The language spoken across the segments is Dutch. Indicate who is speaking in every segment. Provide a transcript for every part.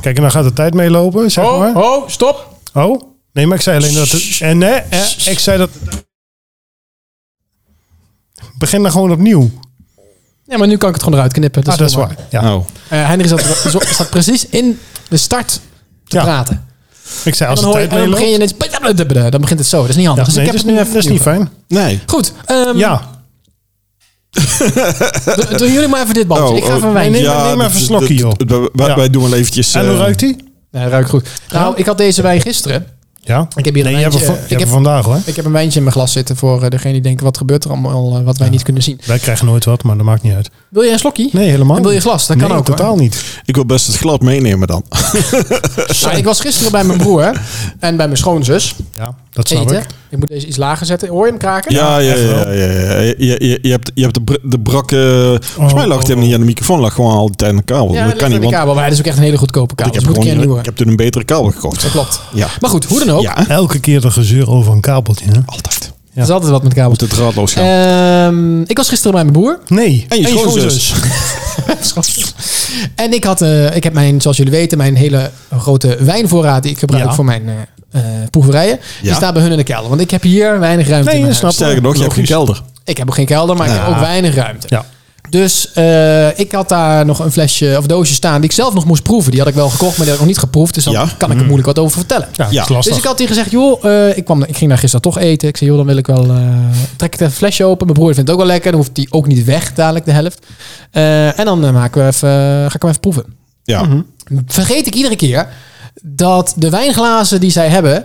Speaker 1: Kijk, en dan gaat de tijd meelopen, zeg
Speaker 2: Ho,
Speaker 3: Oh,
Speaker 1: maar.
Speaker 2: ho, stop.
Speaker 1: Oh, nee, maar ik zei alleen dat... Het, en nee, eh, ik zei dat... Begin dan gewoon opnieuw.
Speaker 3: Ja, maar nu kan ik het gewoon eruit knippen.
Speaker 1: Ah,
Speaker 3: Ah, is
Speaker 1: dat is
Speaker 3: wel
Speaker 1: waar. Ja.
Speaker 2: Oh.
Speaker 3: makkelijk. Eh, Heinrich zat, zo- zat precies in de start te
Speaker 1: Ja.
Speaker 3: praten.
Speaker 1: Ik zei, als
Speaker 3: Dan,
Speaker 1: de
Speaker 3: hoor
Speaker 1: tijd
Speaker 3: je, en dan
Speaker 1: meeloopt...
Speaker 3: begin je ineens... Dan begint het zo. Dat is niet
Speaker 1: Ja,
Speaker 3: handig. dus
Speaker 1: nee,
Speaker 3: ik
Speaker 1: dat is
Speaker 3: heb het nu
Speaker 1: niet-
Speaker 3: even...
Speaker 1: dat is niet fijn.
Speaker 2: Nee.
Speaker 3: Goed. ehm,
Speaker 1: Ja,
Speaker 3: do- Doen jullie maar even
Speaker 1: Oh,
Speaker 3: dit band. ik ga even wijn.
Speaker 1: nee, neem maar
Speaker 2: dat-
Speaker 1: even een slokje,
Speaker 2: dat-
Speaker 1: joh.
Speaker 2: dat- Wij,
Speaker 1: Ja.
Speaker 2: wij doen wel eventjes...
Speaker 1: en hoe
Speaker 2: eh,
Speaker 1: ruikt die?
Speaker 3: Nee, dat ruikt goed. Nou, ik had deze wijn gisteren.
Speaker 1: Ja.
Speaker 3: Ik heb hier
Speaker 1: Nee,
Speaker 3: een
Speaker 1: je hebt
Speaker 3: wijntje,
Speaker 1: er van- je
Speaker 3: eh, ik
Speaker 1: hebt er
Speaker 3: heb-
Speaker 1: vandaag, hoor.
Speaker 3: Ik heb een wijntje in mijn glas zitten voor eh, degene die denken... wat gebeurt er allemaal eh, wat wij niet kunnen zien.
Speaker 1: Wij krijgen nooit wat, maar dat maakt niet uit.
Speaker 3: Wil jij een slokje?
Speaker 1: Nee, helemaal
Speaker 3: En wil je
Speaker 1: niet.
Speaker 3: glas? Dat kan
Speaker 1: Nee,
Speaker 3: ook. hoor.
Speaker 1: totaal niet.
Speaker 2: Ik wil best het glad meenemen dan.
Speaker 3: Ja, Nou, ik was gisteren bij mijn broer en bij mijn schoonzus
Speaker 1: Ja, dat snap
Speaker 3: eten.
Speaker 1: ik.
Speaker 3: Ik. moet deze iets lager zetten. Hoor je hem kraken?
Speaker 2: Ja, ja,
Speaker 1: echt
Speaker 2: ja. ja,
Speaker 1: wel.
Speaker 2: ja. Je, je, je hebt, je hebt de, br- de brakke... volgens mij lag het
Speaker 1: oh,
Speaker 2: hem niet aan de microfoon. lag gewoon al die tijd aan de kabel.
Speaker 3: Ja,
Speaker 2: dat
Speaker 3: ligt
Speaker 2: kan
Speaker 3: aan
Speaker 2: niet,
Speaker 3: de
Speaker 2: want
Speaker 3: kabel. Maar hij is ook echt een hele goedkope kabel.
Speaker 2: ik
Speaker 3: Dus
Speaker 2: heb,
Speaker 3: moet ik
Speaker 2: gewoon,
Speaker 3: een keer een nieuwe.
Speaker 2: ik heb toen een betere kabel gekocht.
Speaker 3: Dat klopt.
Speaker 2: Ja,
Speaker 3: Maar goed, hoe dan ook.
Speaker 2: ja
Speaker 1: Elke keer dat gezeur over een kabeltje, hè?
Speaker 2: altijd.
Speaker 3: Er is altijd wat met kabels.
Speaker 2: Moet het draadloos gaan.
Speaker 3: Ehm, ik was gisteren bij mijn broer.
Speaker 1: Nee.
Speaker 2: en je schoonzus.
Speaker 3: en ik, had, eh, ik heb mijn, zoals jullie weten, mijn hele grote wijnvoorraad die ik gebruik
Speaker 1: Ja.
Speaker 3: voor mijn eh, eh, proeverijen. Die
Speaker 2: Ja.
Speaker 3: staat bij hun in de kelder. Want ik heb hier weinig ruimte in
Speaker 1: Nee,
Speaker 3: mijn
Speaker 1: dat
Speaker 3: huis.
Speaker 1: snap ik.
Speaker 2: Sterker nog, je hebt geen
Speaker 1: Logisch.
Speaker 2: kelder.
Speaker 3: Ik heb ook geen kelder, maar ik heb
Speaker 2: Ja.
Speaker 3: ook weinig ruimte.
Speaker 1: Ja.
Speaker 3: Dus eh, ik had daar nog een flesje of doosje staan die ik zelf nog moest proeven. Die had ik wel gekocht, maar die had ik nog niet geproefd. Dus dan
Speaker 2: Ja. Mm.
Speaker 3: kan ik er moeilijk wat over vertellen.
Speaker 1: Ja,
Speaker 2: Ja.
Speaker 1: dat is lastig.
Speaker 3: Dus ik had tegen gezegd, joh, eh, ik, kwam, ik ging daar gisteren toch eten. Ik zei, joh, dan wil ik wel... eh, trek ik even een flesje open. Mijn broer vindt het ook wel lekker. Dan hoeft die ook niet weg, dadelijk de helft. Eh, en dan eh, maken we even, eh, ga ik hem even proeven.
Speaker 2: Ja.
Speaker 3: Mhm. Vergeet ik iedere keer dat de wijnglazen die zij hebben...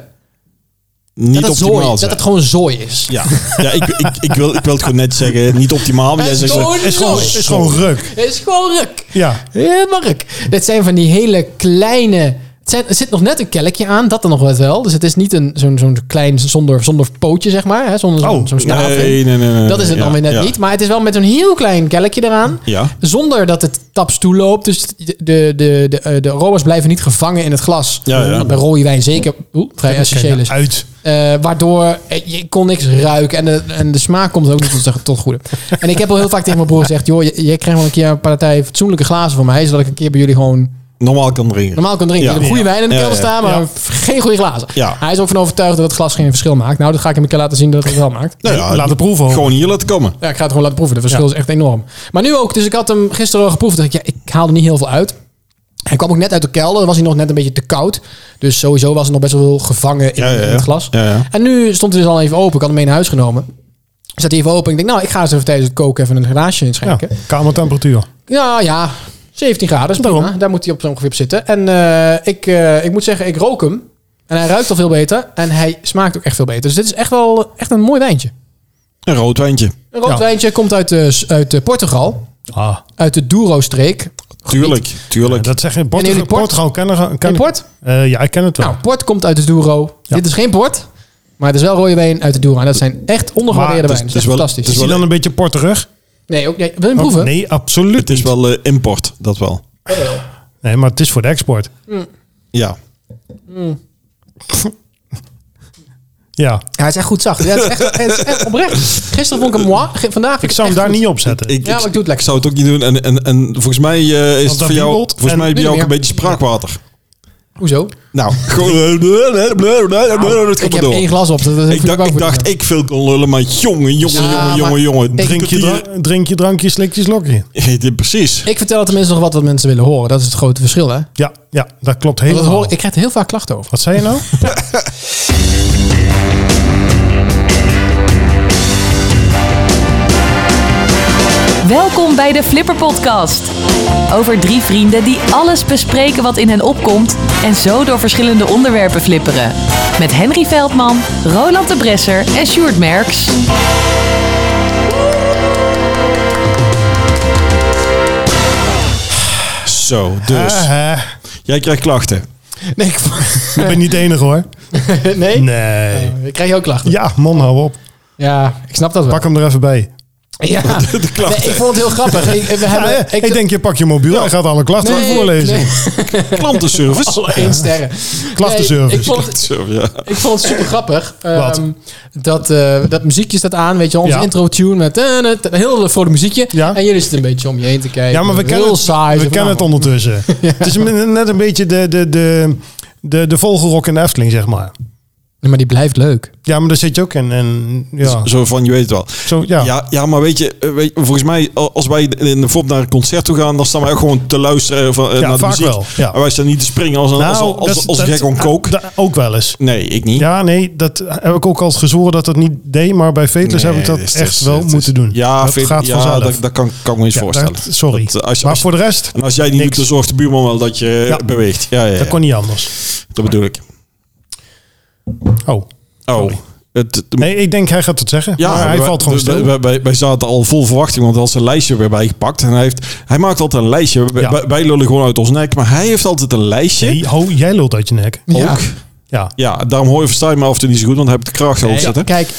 Speaker 2: Niet
Speaker 3: dat, het zooi,
Speaker 2: optimaal
Speaker 3: dat
Speaker 2: zijn.
Speaker 3: het gewoon zooi is.
Speaker 2: Ja, ja ik, ik, ik, wil, ik wil het gewoon net zeggen. Niet optimaal, maar jij
Speaker 3: Het
Speaker 2: zegt... zo-
Speaker 1: is gewoon,
Speaker 3: zooi.
Speaker 1: is gewoon ruk.
Speaker 3: Het is gewoon ruk.
Speaker 1: Ja.
Speaker 3: Helemaal ruk. Dit zijn van die hele kleine... Het zijn, er zit nog net een kelkje aan, dat dan nog wat wel. Dus het is niet een- zo'n zo'n klein zonder, zonder pootje, zeg maar. Hè? Zonder zo'n
Speaker 1: Oh,
Speaker 3: zo'n staaf.
Speaker 2: Nee, nee, nee, nee.
Speaker 3: Dat is het
Speaker 2: ja,
Speaker 3: dan weer net
Speaker 2: ja.
Speaker 3: niet. Maar het is wel met zo'n heel klein kelkje eraan.
Speaker 2: Ja.
Speaker 3: Zonder dat het taps toeloopt. Dus de, de, de, de, eh, de aroma's blijven niet gevangen in het glas.
Speaker 2: Ja, ja.
Speaker 3: Bij rode wijn zeker. Oeh, vrij essentieel is.
Speaker 1: nou, Uit.
Speaker 3: Eh, waardoor eh, je kon niks ruiken. En de, en de smaak komt ook niet tot, tot goede. En ik heb al heel vaak tegen mijn broer gezegd... joh, j- jij krijgt wel een keer een partij fatsoenlijke glazen voor mij... zodat ik een keer bij jullie gewoon
Speaker 2: Normaal kan drinken.
Speaker 3: normaal kan drinken.
Speaker 2: Ja.
Speaker 3: Je hebt
Speaker 2: Ja.
Speaker 3: goede wijn in de
Speaker 2: Ja,
Speaker 3: kelder
Speaker 2: ja.
Speaker 3: staan... maar
Speaker 1: Ja.
Speaker 3: geen goede glazen.
Speaker 2: Ja.
Speaker 3: Hij is ook van overtuigd dat het glas geen verschil maakt. Nou, dat ga ik hem een keer laten zien dat het wel maakt.
Speaker 2: Nou ja,
Speaker 1: Laat het proeven.
Speaker 2: Gewoon hier laten komen.
Speaker 3: Ja, ik ga het gewoon laten proeven. Het verschil is echt enorm. Maar nu ook, dus ik had hem gisteren al geproefd. Dacht ik, ja, ik haal er niet heel veel uit. Hij kwam ook net uit de kelder. Dan was hij nog net een beetje te koud. Dus sowieso was er nog best wel veel gevangen in,
Speaker 2: Ja, ja, ja.
Speaker 3: in het glas.
Speaker 2: Ja, ja.
Speaker 3: En nu stond hij dus al even open. Ik had hem mee naar huis genomen. Zat hij even open. Ik denk, nou, ik ga eens even tijdens het koken even een glaasje
Speaker 1: Ja.
Speaker 3: inschenken.
Speaker 1: Kamertemperatuur.
Speaker 3: Ja, ja. 17 graden, dat is prima.
Speaker 1: Daarom.
Speaker 3: Daar moet hij op zo'n ongeveer op zitten. En eh, ik, eh, ik moet zeggen, ik rook hem. En hij ruikt al veel beter. En hij smaakt ook echt veel beter. Dus dit is echt wel echt een mooi wijntje.
Speaker 2: Een rood wijntje.
Speaker 3: Een rood
Speaker 1: Ja.
Speaker 3: wijntje komt uit, eh, s- uit eh, Portugal.
Speaker 1: Ah.
Speaker 3: Uit de Douro-streek.
Speaker 2: Tuurlijk,
Speaker 1: Ja,
Speaker 2: tuurlijk.
Speaker 1: dat zeg je.
Speaker 3: En
Speaker 1: Portugal,
Speaker 3: jullie port?
Speaker 1: Portugal kennen-
Speaker 3: Ken
Speaker 1: kennen-
Speaker 3: je port?
Speaker 1: Eh, ja, ik ken het wel.
Speaker 3: Nou, port komt uit de Douro.
Speaker 1: Ja.
Speaker 3: Dit is geen port, maar het is wel rode wijn uit de Douro. En dat zijn echt ondergewaardeerde
Speaker 1: Maar het
Speaker 3: wijnen.
Speaker 1: is-
Speaker 3: Dat
Speaker 2: het
Speaker 3: is
Speaker 2: is wel-
Speaker 3: fantastisch.
Speaker 1: is hij dan een beetje porterig?
Speaker 3: nee, ook, nee, wil je hem proeven?
Speaker 1: Oh, nee, absoluut
Speaker 2: het is
Speaker 1: niet.
Speaker 2: wel eh, import, dat wel.
Speaker 1: Nee, maar het is voor de export.
Speaker 2: Ja.
Speaker 1: Ja.
Speaker 3: Ja, hij is echt goed zacht. Ja, het, is echt, het is echt oprecht. Gisteren vond ik hem moi. Ge- Vandaag vind
Speaker 1: Ik zou hem daar
Speaker 3: echt
Speaker 1: niet
Speaker 3: goed.
Speaker 1: op zetten.
Speaker 2: Ik,
Speaker 3: Ja, maar ik doe het lekker.
Speaker 2: zou het ook niet doen. En, en, en volgens mij eh, is
Speaker 1: Want
Speaker 2: het
Speaker 1: dat
Speaker 2: voor jou,
Speaker 1: wiebelt
Speaker 2: volgens
Speaker 1: en-
Speaker 2: mij
Speaker 3: Nu
Speaker 2: bij jou ook
Speaker 3: weer.
Speaker 2: een beetje spraakwater.
Speaker 3: Hoezo?
Speaker 2: Nou, gewoon... Het
Speaker 3: ik
Speaker 2: komt
Speaker 3: heb
Speaker 2: maar door.
Speaker 3: één glas op. Dat, dat
Speaker 2: Ik
Speaker 3: vind
Speaker 2: dacht,
Speaker 3: ook
Speaker 2: ik
Speaker 3: goed.
Speaker 2: dacht, ik veel kon lullen, maar jongen, jongen,
Speaker 3: Ja,
Speaker 2: jongen,
Speaker 3: maar
Speaker 2: jongen, jongen.
Speaker 3: ik-
Speaker 1: Drink je, dra- drink je drankje, slik je slokje.
Speaker 2: drank? Precies.
Speaker 3: Ik vertel tenminste nog wat wat mensen willen horen. Dat is het grote verschil, hè? Want
Speaker 1: Ja, ja dat klopt
Speaker 3: Dat
Speaker 1: helemaal.
Speaker 3: hoor, ik krijg er heel vaak klachten over.
Speaker 1: Wat zei je nou?
Speaker 4: Welkom bij de Flipper Podcast. Over drie vrienden die alles bespreken wat in hen opkomt en zo door verschillende onderwerpen flipperen. Met Henry Veldman, Roland de Bresser en Sjoerd Merks.
Speaker 2: Zo, dus.
Speaker 1: Ah, ah.
Speaker 2: Jij krijgt klachten.
Speaker 3: Nee, ik,
Speaker 1: ik ben niet de enige hoor.
Speaker 3: nee?
Speaker 1: Nee.
Speaker 3: Ik krijg ook klachten.
Speaker 1: Ja, man, hou op.
Speaker 3: Ja, ik snap dat wel.
Speaker 1: Pak hem er even bij.
Speaker 3: Ja,
Speaker 2: de klachten.
Speaker 3: Nee, ik vond het heel grappig. Ik, we hebben,
Speaker 1: Ja, eh,
Speaker 3: ik,
Speaker 1: ik, denk, je pakt je mobiel en gaat alle klachten
Speaker 3: Nee,
Speaker 1: voorlezen.
Speaker 3: nee.
Speaker 2: Klantenservice.
Speaker 3: Alle één sterren.
Speaker 1: Klachtenservice.
Speaker 3: Nee, ik, vond,
Speaker 2: Klantenservice, ja.
Speaker 3: ik vond het super grappig.
Speaker 1: Wat?
Speaker 3: ehm, dat, eh, dat muziekje staat aan, weet je, onze
Speaker 1: Ja.
Speaker 3: intro tune met eh, eh, een heel vrolijk muziekje.
Speaker 1: Ja.
Speaker 3: En jullie zitten een beetje om je heen te kijken.
Speaker 1: Ja, maar we
Speaker 3: heel
Speaker 1: kennen het,
Speaker 3: saai.
Speaker 1: we
Speaker 3: Zo van,
Speaker 1: kennen het
Speaker 3: nou,
Speaker 1: ondertussen. Het is net een beetje de, de, de, de, de vogelrok in de Efteling, zeg maar.
Speaker 3: nee, Maar die blijft leuk.
Speaker 1: Ja, maar daar zit je ook in. En,
Speaker 3: Oh.
Speaker 1: ja.
Speaker 2: Zo van, je weet het wel.
Speaker 1: Zo, ja.
Speaker 2: Ja, ja, maar weet je, eh, weet, volgens mij, al- als wij in de VOP naar een concert toe gaan, dan staan wij ook gewoon te luisteren eh, van,
Speaker 1: Ja,
Speaker 2: eh, naar de
Speaker 1: vaak
Speaker 2: muziek.
Speaker 1: wel, ja. Nou,
Speaker 2: En wij staan niet te springen als een, als, als, als,
Speaker 1: dat-
Speaker 2: als
Speaker 1: dat-
Speaker 2: gek on coke.
Speaker 1: da- ook wel eens.
Speaker 2: nee, ik niet.
Speaker 1: Ja, nee, dat heb ik ook altijd gezworen dat dat niet deed. Maar bij Vetlers heb ik
Speaker 2: Nee,
Speaker 1: dat
Speaker 2: het is-
Speaker 1: echt
Speaker 2: het is-
Speaker 1: wel
Speaker 2: het is-
Speaker 1: moeten doen.
Speaker 2: Ja,
Speaker 1: dat
Speaker 2: vind-
Speaker 1: gaat
Speaker 2: ja,
Speaker 1: vanzelf.
Speaker 2: Dat, dat kan, kan ik me eens
Speaker 1: Ja,
Speaker 2: voorstellen.
Speaker 1: dat- sorry.
Speaker 2: Dat eh, als je-
Speaker 1: maar
Speaker 2: als-
Speaker 1: voor de rest,
Speaker 2: en als jij niet
Speaker 1: niks.
Speaker 2: doet, dan zorgt de buurman wel dat je eh,
Speaker 1: Ja.
Speaker 2: beweegt. Ja, ja, ja.
Speaker 1: dat kon niet anders.
Speaker 2: Dat bedoel ik.
Speaker 1: Oh,
Speaker 2: Oh. Het, het-
Speaker 1: nee, ik denk hij gaat het zeggen. Ja, maar hij
Speaker 2: wij-
Speaker 1: valt gewoon
Speaker 2: dus
Speaker 1: stil.
Speaker 2: Wij, wij, wij zaten al vol verwachting, want hij had zijn lijstje weer bijgepakt. En hij, heeft, hij maakt altijd een lijstje. Wij-
Speaker 1: Ja.
Speaker 2: Wij, wij lullen gewoon uit ons nek, maar hij heeft altijd een lijstje.
Speaker 1: Nee, ho, jij lult uit je nek.
Speaker 2: Ook.
Speaker 3: Ja.
Speaker 2: Ja.
Speaker 1: Ja,
Speaker 2: daarom hoor je versta je me af en toe niet zo goed, want dan heb ik de kracht erop
Speaker 3: Nee,
Speaker 2: zitten.
Speaker 3: Kijk,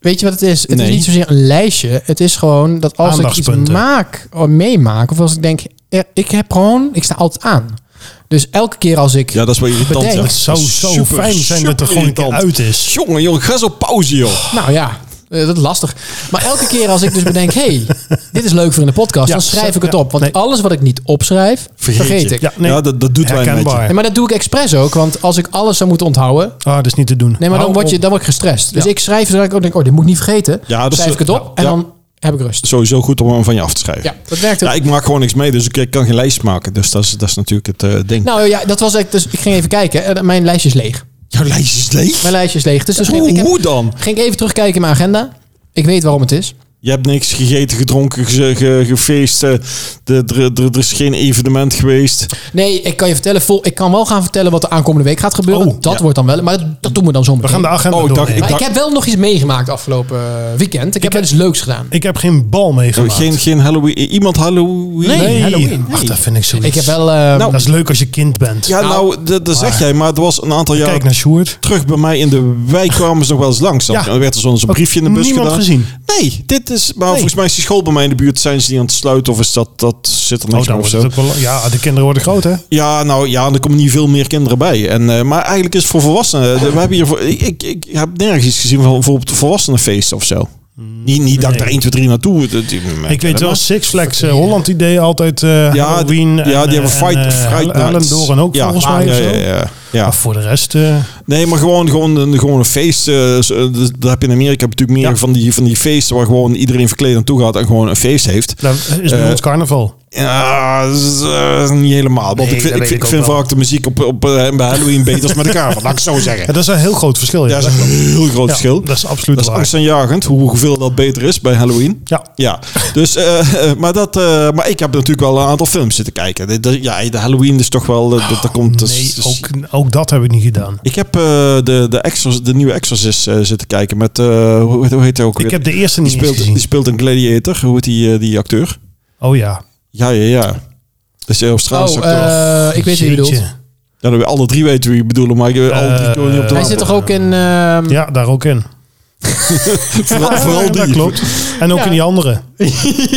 Speaker 3: weet je wat het is? Het
Speaker 2: Nee.
Speaker 3: is niet zozeer een lijstje. Het is gewoon dat als ik iets
Speaker 1: Aandachtspunten.
Speaker 3: maak of meemaak, of als ik denk, eh, ik heb gewoon, ik sta altijd aan. Dus elke keer als ik.
Speaker 2: Ja, dat is wel irritant.
Speaker 3: Bedenk.
Speaker 2: ja.
Speaker 1: het zou
Speaker 2: Dat is
Speaker 1: zo
Speaker 2: super,
Speaker 1: fijn zijn dat er
Speaker 2: super
Speaker 1: gewoon een keer uit
Speaker 2: irritant.
Speaker 1: is.
Speaker 2: Jongen, jongen, ga zo pauze, joh.
Speaker 3: Nou ja, eh, dat is lastig. Maar elke keer als ik dus bedenk, hey, dit is leuk voor in de podcast,
Speaker 1: Ja,
Speaker 3: dan schrijf
Speaker 1: zo-
Speaker 3: ik het
Speaker 1: ja,
Speaker 3: op. Want
Speaker 1: nee.
Speaker 3: alles wat ik niet opschrijf, vergeet,
Speaker 2: je.
Speaker 3: ik.
Speaker 1: Ja, nee.
Speaker 2: Ja, dat, dat doet wij een
Speaker 1: Herkenbaar.
Speaker 2: beetje.
Speaker 3: Nee, maar dat doe ik expres ook, want als ik alles zou moeten onthouden,
Speaker 1: Ah, dat is niet te doen.
Speaker 3: nee, maar dan
Speaker 1: Hou
Speaker 3: word, je,
Speaker 1: op.
Speaker 3: dan word ik gestrest. Dus
Speaker 1: Ja.
Speaker 3: ik schrijf zodat ik ook denk, oh, dit moet ik niet vergeten.
Speaker 2: Ja, dat is-
Speaker 3: schrijf ik het op
Speaker 2: ja,
Speaker 3: en
Speaker 2: ja.
Speaker 3: dan heb ik rust.
Speaker 2: Sowieso goed om hem van je af te schrijven.
Speaker 3: Ja, dat werkt ook.
Speaker 2: Ja, ik maak gewoon niks mee, dus ik, ik kan geen lijst maken. Dus dat is, dat is natuurlijk het eh, ding.
Speaker 3: Nou ja, dat was ik. Dus ik ging even kijken. Eh, Mijn lijstje is leeg.
Speaker 2: Jouw lijstje is leeg?
Speaker 3: Mijn lijstje is leeg. Dus toen ging,
Speaker 2: Hoe,
Speaker 3: ik heb-
Speaker 2: hoe dan?
Speaker 3: ging ik even terugkijken in mijn agenda. Ik weet waarom het is.
Speaker 2: Je hebt niks gegeten, gedronken, ge, ge- gefeest. eh, de- de- de- Er is geen evenement geweest.
Speaker 3: Nee, ik kan je vertellen. Vol, ik kan wel gaan vertellen wat de aankomende week gaat gebeuren.
Speaker 1: Oh,
Speaker 3: dat
Speaker 2: ja.
Speaker 3: wordt dan wel. Maar dat, dat doen we dan zometeen.
Speaker 1: We gaan de agenda
Speaker 2: Oh, ik dacht-
Speaker 1: doornemen. Ik,
Speaker 3: maar ik heb wel nog iets meegemaakt afgelopen eh, weekend. Ik, heb wel iets leuks gedaan.
Speaker 1: heb geen bal meegemaakt.
Speaker 2: Geen, geen Halloween. Iemand Halloween?
Speaker 3: Nee, Halloween.
Speaker 1: Ach, dat vind ik zoiets.
Speaker 3: Ik heb wel... eh,
Speaker 2: Nou,
Speaker 1: dat is leuk als je kind bent.
Speaker 2: Ja, nou, dat dat zeg jij, maar het was een aantal jaar
Speaker 1: Kijk naar Sjoerd.
Speaker 2: terug bij mij in de wijk kwamen ze nog wel eens langs. Dan
Speaker 1: Ja.
Speaker 2: ja. werd er zo'n zo'n
Speaker 1: Ook
Speaker 2: briefje in de bus
Speaker 1: niemand
Speaker 2: gedaan.
Speaker 1: gezien.
Speaker 2: Nee, dit is, maar volgens mij is die school bij mij in de buurt. Zijn ze die aan het sluiten of is dat, dat zit er
Speaker 1: Oh,
Speaker 2: niks
Speaker 1: dan
Speaker 2: meer of
Speaker 1: wordt
Speaker 2: zo?
Speaker 1: het ook wel, ja, de kinderen worden groot, hè?
Speaker 2: Ja, nou ja, er komen niet veel meer kinderen bij. En, eh, maar eigenlijk is het voor volwassenen. eh, We hebben hier, voor- ik, ik, ik heb nergens iets gezien van bijvoorbeeld volwassenenfeesten of zo. Niet, niet dat ik daar 1, 2, 3 naartoe. dat- dat-
Speaker 1: Ik weet wel, Six Flags eh, Holland idee altijd eh
Speaker 2: Ja,
Speaker 1: Halloween.
Speaker 2: ja, die hebben Fright,
Speaker 1: en, eh,
Speaker 2: Fright
Speaker 1: Hel-
Speaker 2: Nights.
Speaker 1: Hellendoorn ook
Speaker 2: Ja, ah,
Speaker 1: volgens mij.
Speaker 2: Ja,
Speaker 1: of zo.
Speaker 2: ja, ja, ja.
Speaker 1: Maar voor de rest... eh,
Speaker 2: Nee, maar gewoon, gewoon, een, gewoon een feest. eh, zo, eh, dus dat heb je in Amerika natuurlijk meer
Speaker 1: Ja.
Speaker 2: van, die, van die feesten waar gewoon iedereen verkleed naartoe gaat en gewoon een feest heeft.
Speaker 1: dat is bij
Speaker 2: Eh,
Speaker 1: ons carnaval.
Speaker 2: Ja, dat is, eh, niet helemaal. Want
Speaker 1: Nee,
Speaker 2: ik
Speaker 1: dat
Speaker 2: vind, ik
Speaker 1: weet
Speaker 2: vind,
Speaker 1: ik ook
Speaker 2: vind
Speaker 1: wel.
Speaker 2: vaak de muziek op, op, eh, bij Halloween beter als met elkaar. Laat ik het zo
Speaker 1: Ja,
Speaker 2: zeggen.
Speaker 1: dat is een heel groot verschil.
Speaker 2: Ja, dat is een heel groot verschil.
Speaker 1: Dat is absoluut
Speaker 2: Dat is
Speaker 1: waar.
Speaker 2: angstaanjagend, hoe- hoeveel dat beter is bij Halloween.
Speaker 1: Ja.
Speaker 2: Ja, dus, eh, eh, maar, dat, eh, maar ik heb natuurlijk wel een aantal films zitten kijken. De, de- ja, de Halloween is toch wel... eh, Dat, dat komt, dat is-
Speaker 1: Nee,
Speaker 2: dus-
Speaker 1: ook, ook dat heb ik niet gedaan.
Speaker 2: Ik heb eh, de, de, Exor- de nieuwe Exorcist eh, zitten kijken met... eh, hoe, hoe heet hij ook
Speaker 1: Ik
Speaker 2: weer?
Speaker 1: heb de eerste
Speaker 2: die,
Speaker 1: niet eens
Speaker 2: speelt, die
Speaker 1: gezien.
Speaker 2: speelt een gladiator. Hoe heet die, eh, die acteur?
Speaker 1: Oh ja.
Speaker 2: Ja, ja, ja. Dat is een Australische
Speaker 3: oh,
Speaker 2: acteur.
Speaker 3: eh, ik weet wie je bedoelt.
Speaker 1: Jeetje.
Speaker 2: ja, dan, alle drie weten wie je bedoelt, maar ik weet alle drie komen niet op de
Speaker 1: Eh,
Speaker 3: Hij
Speaker 2: naam.
Speaker 3: zit toch ook in... eh,
Speaker 1: Ja, daar ook in.
Speaker 2: vooral, vooral
Speaker 1: dat
Speaker 2: die.
Speaker 1: klopt. En ook
Speaker 3: Ja.
Speaker 1: in die andere.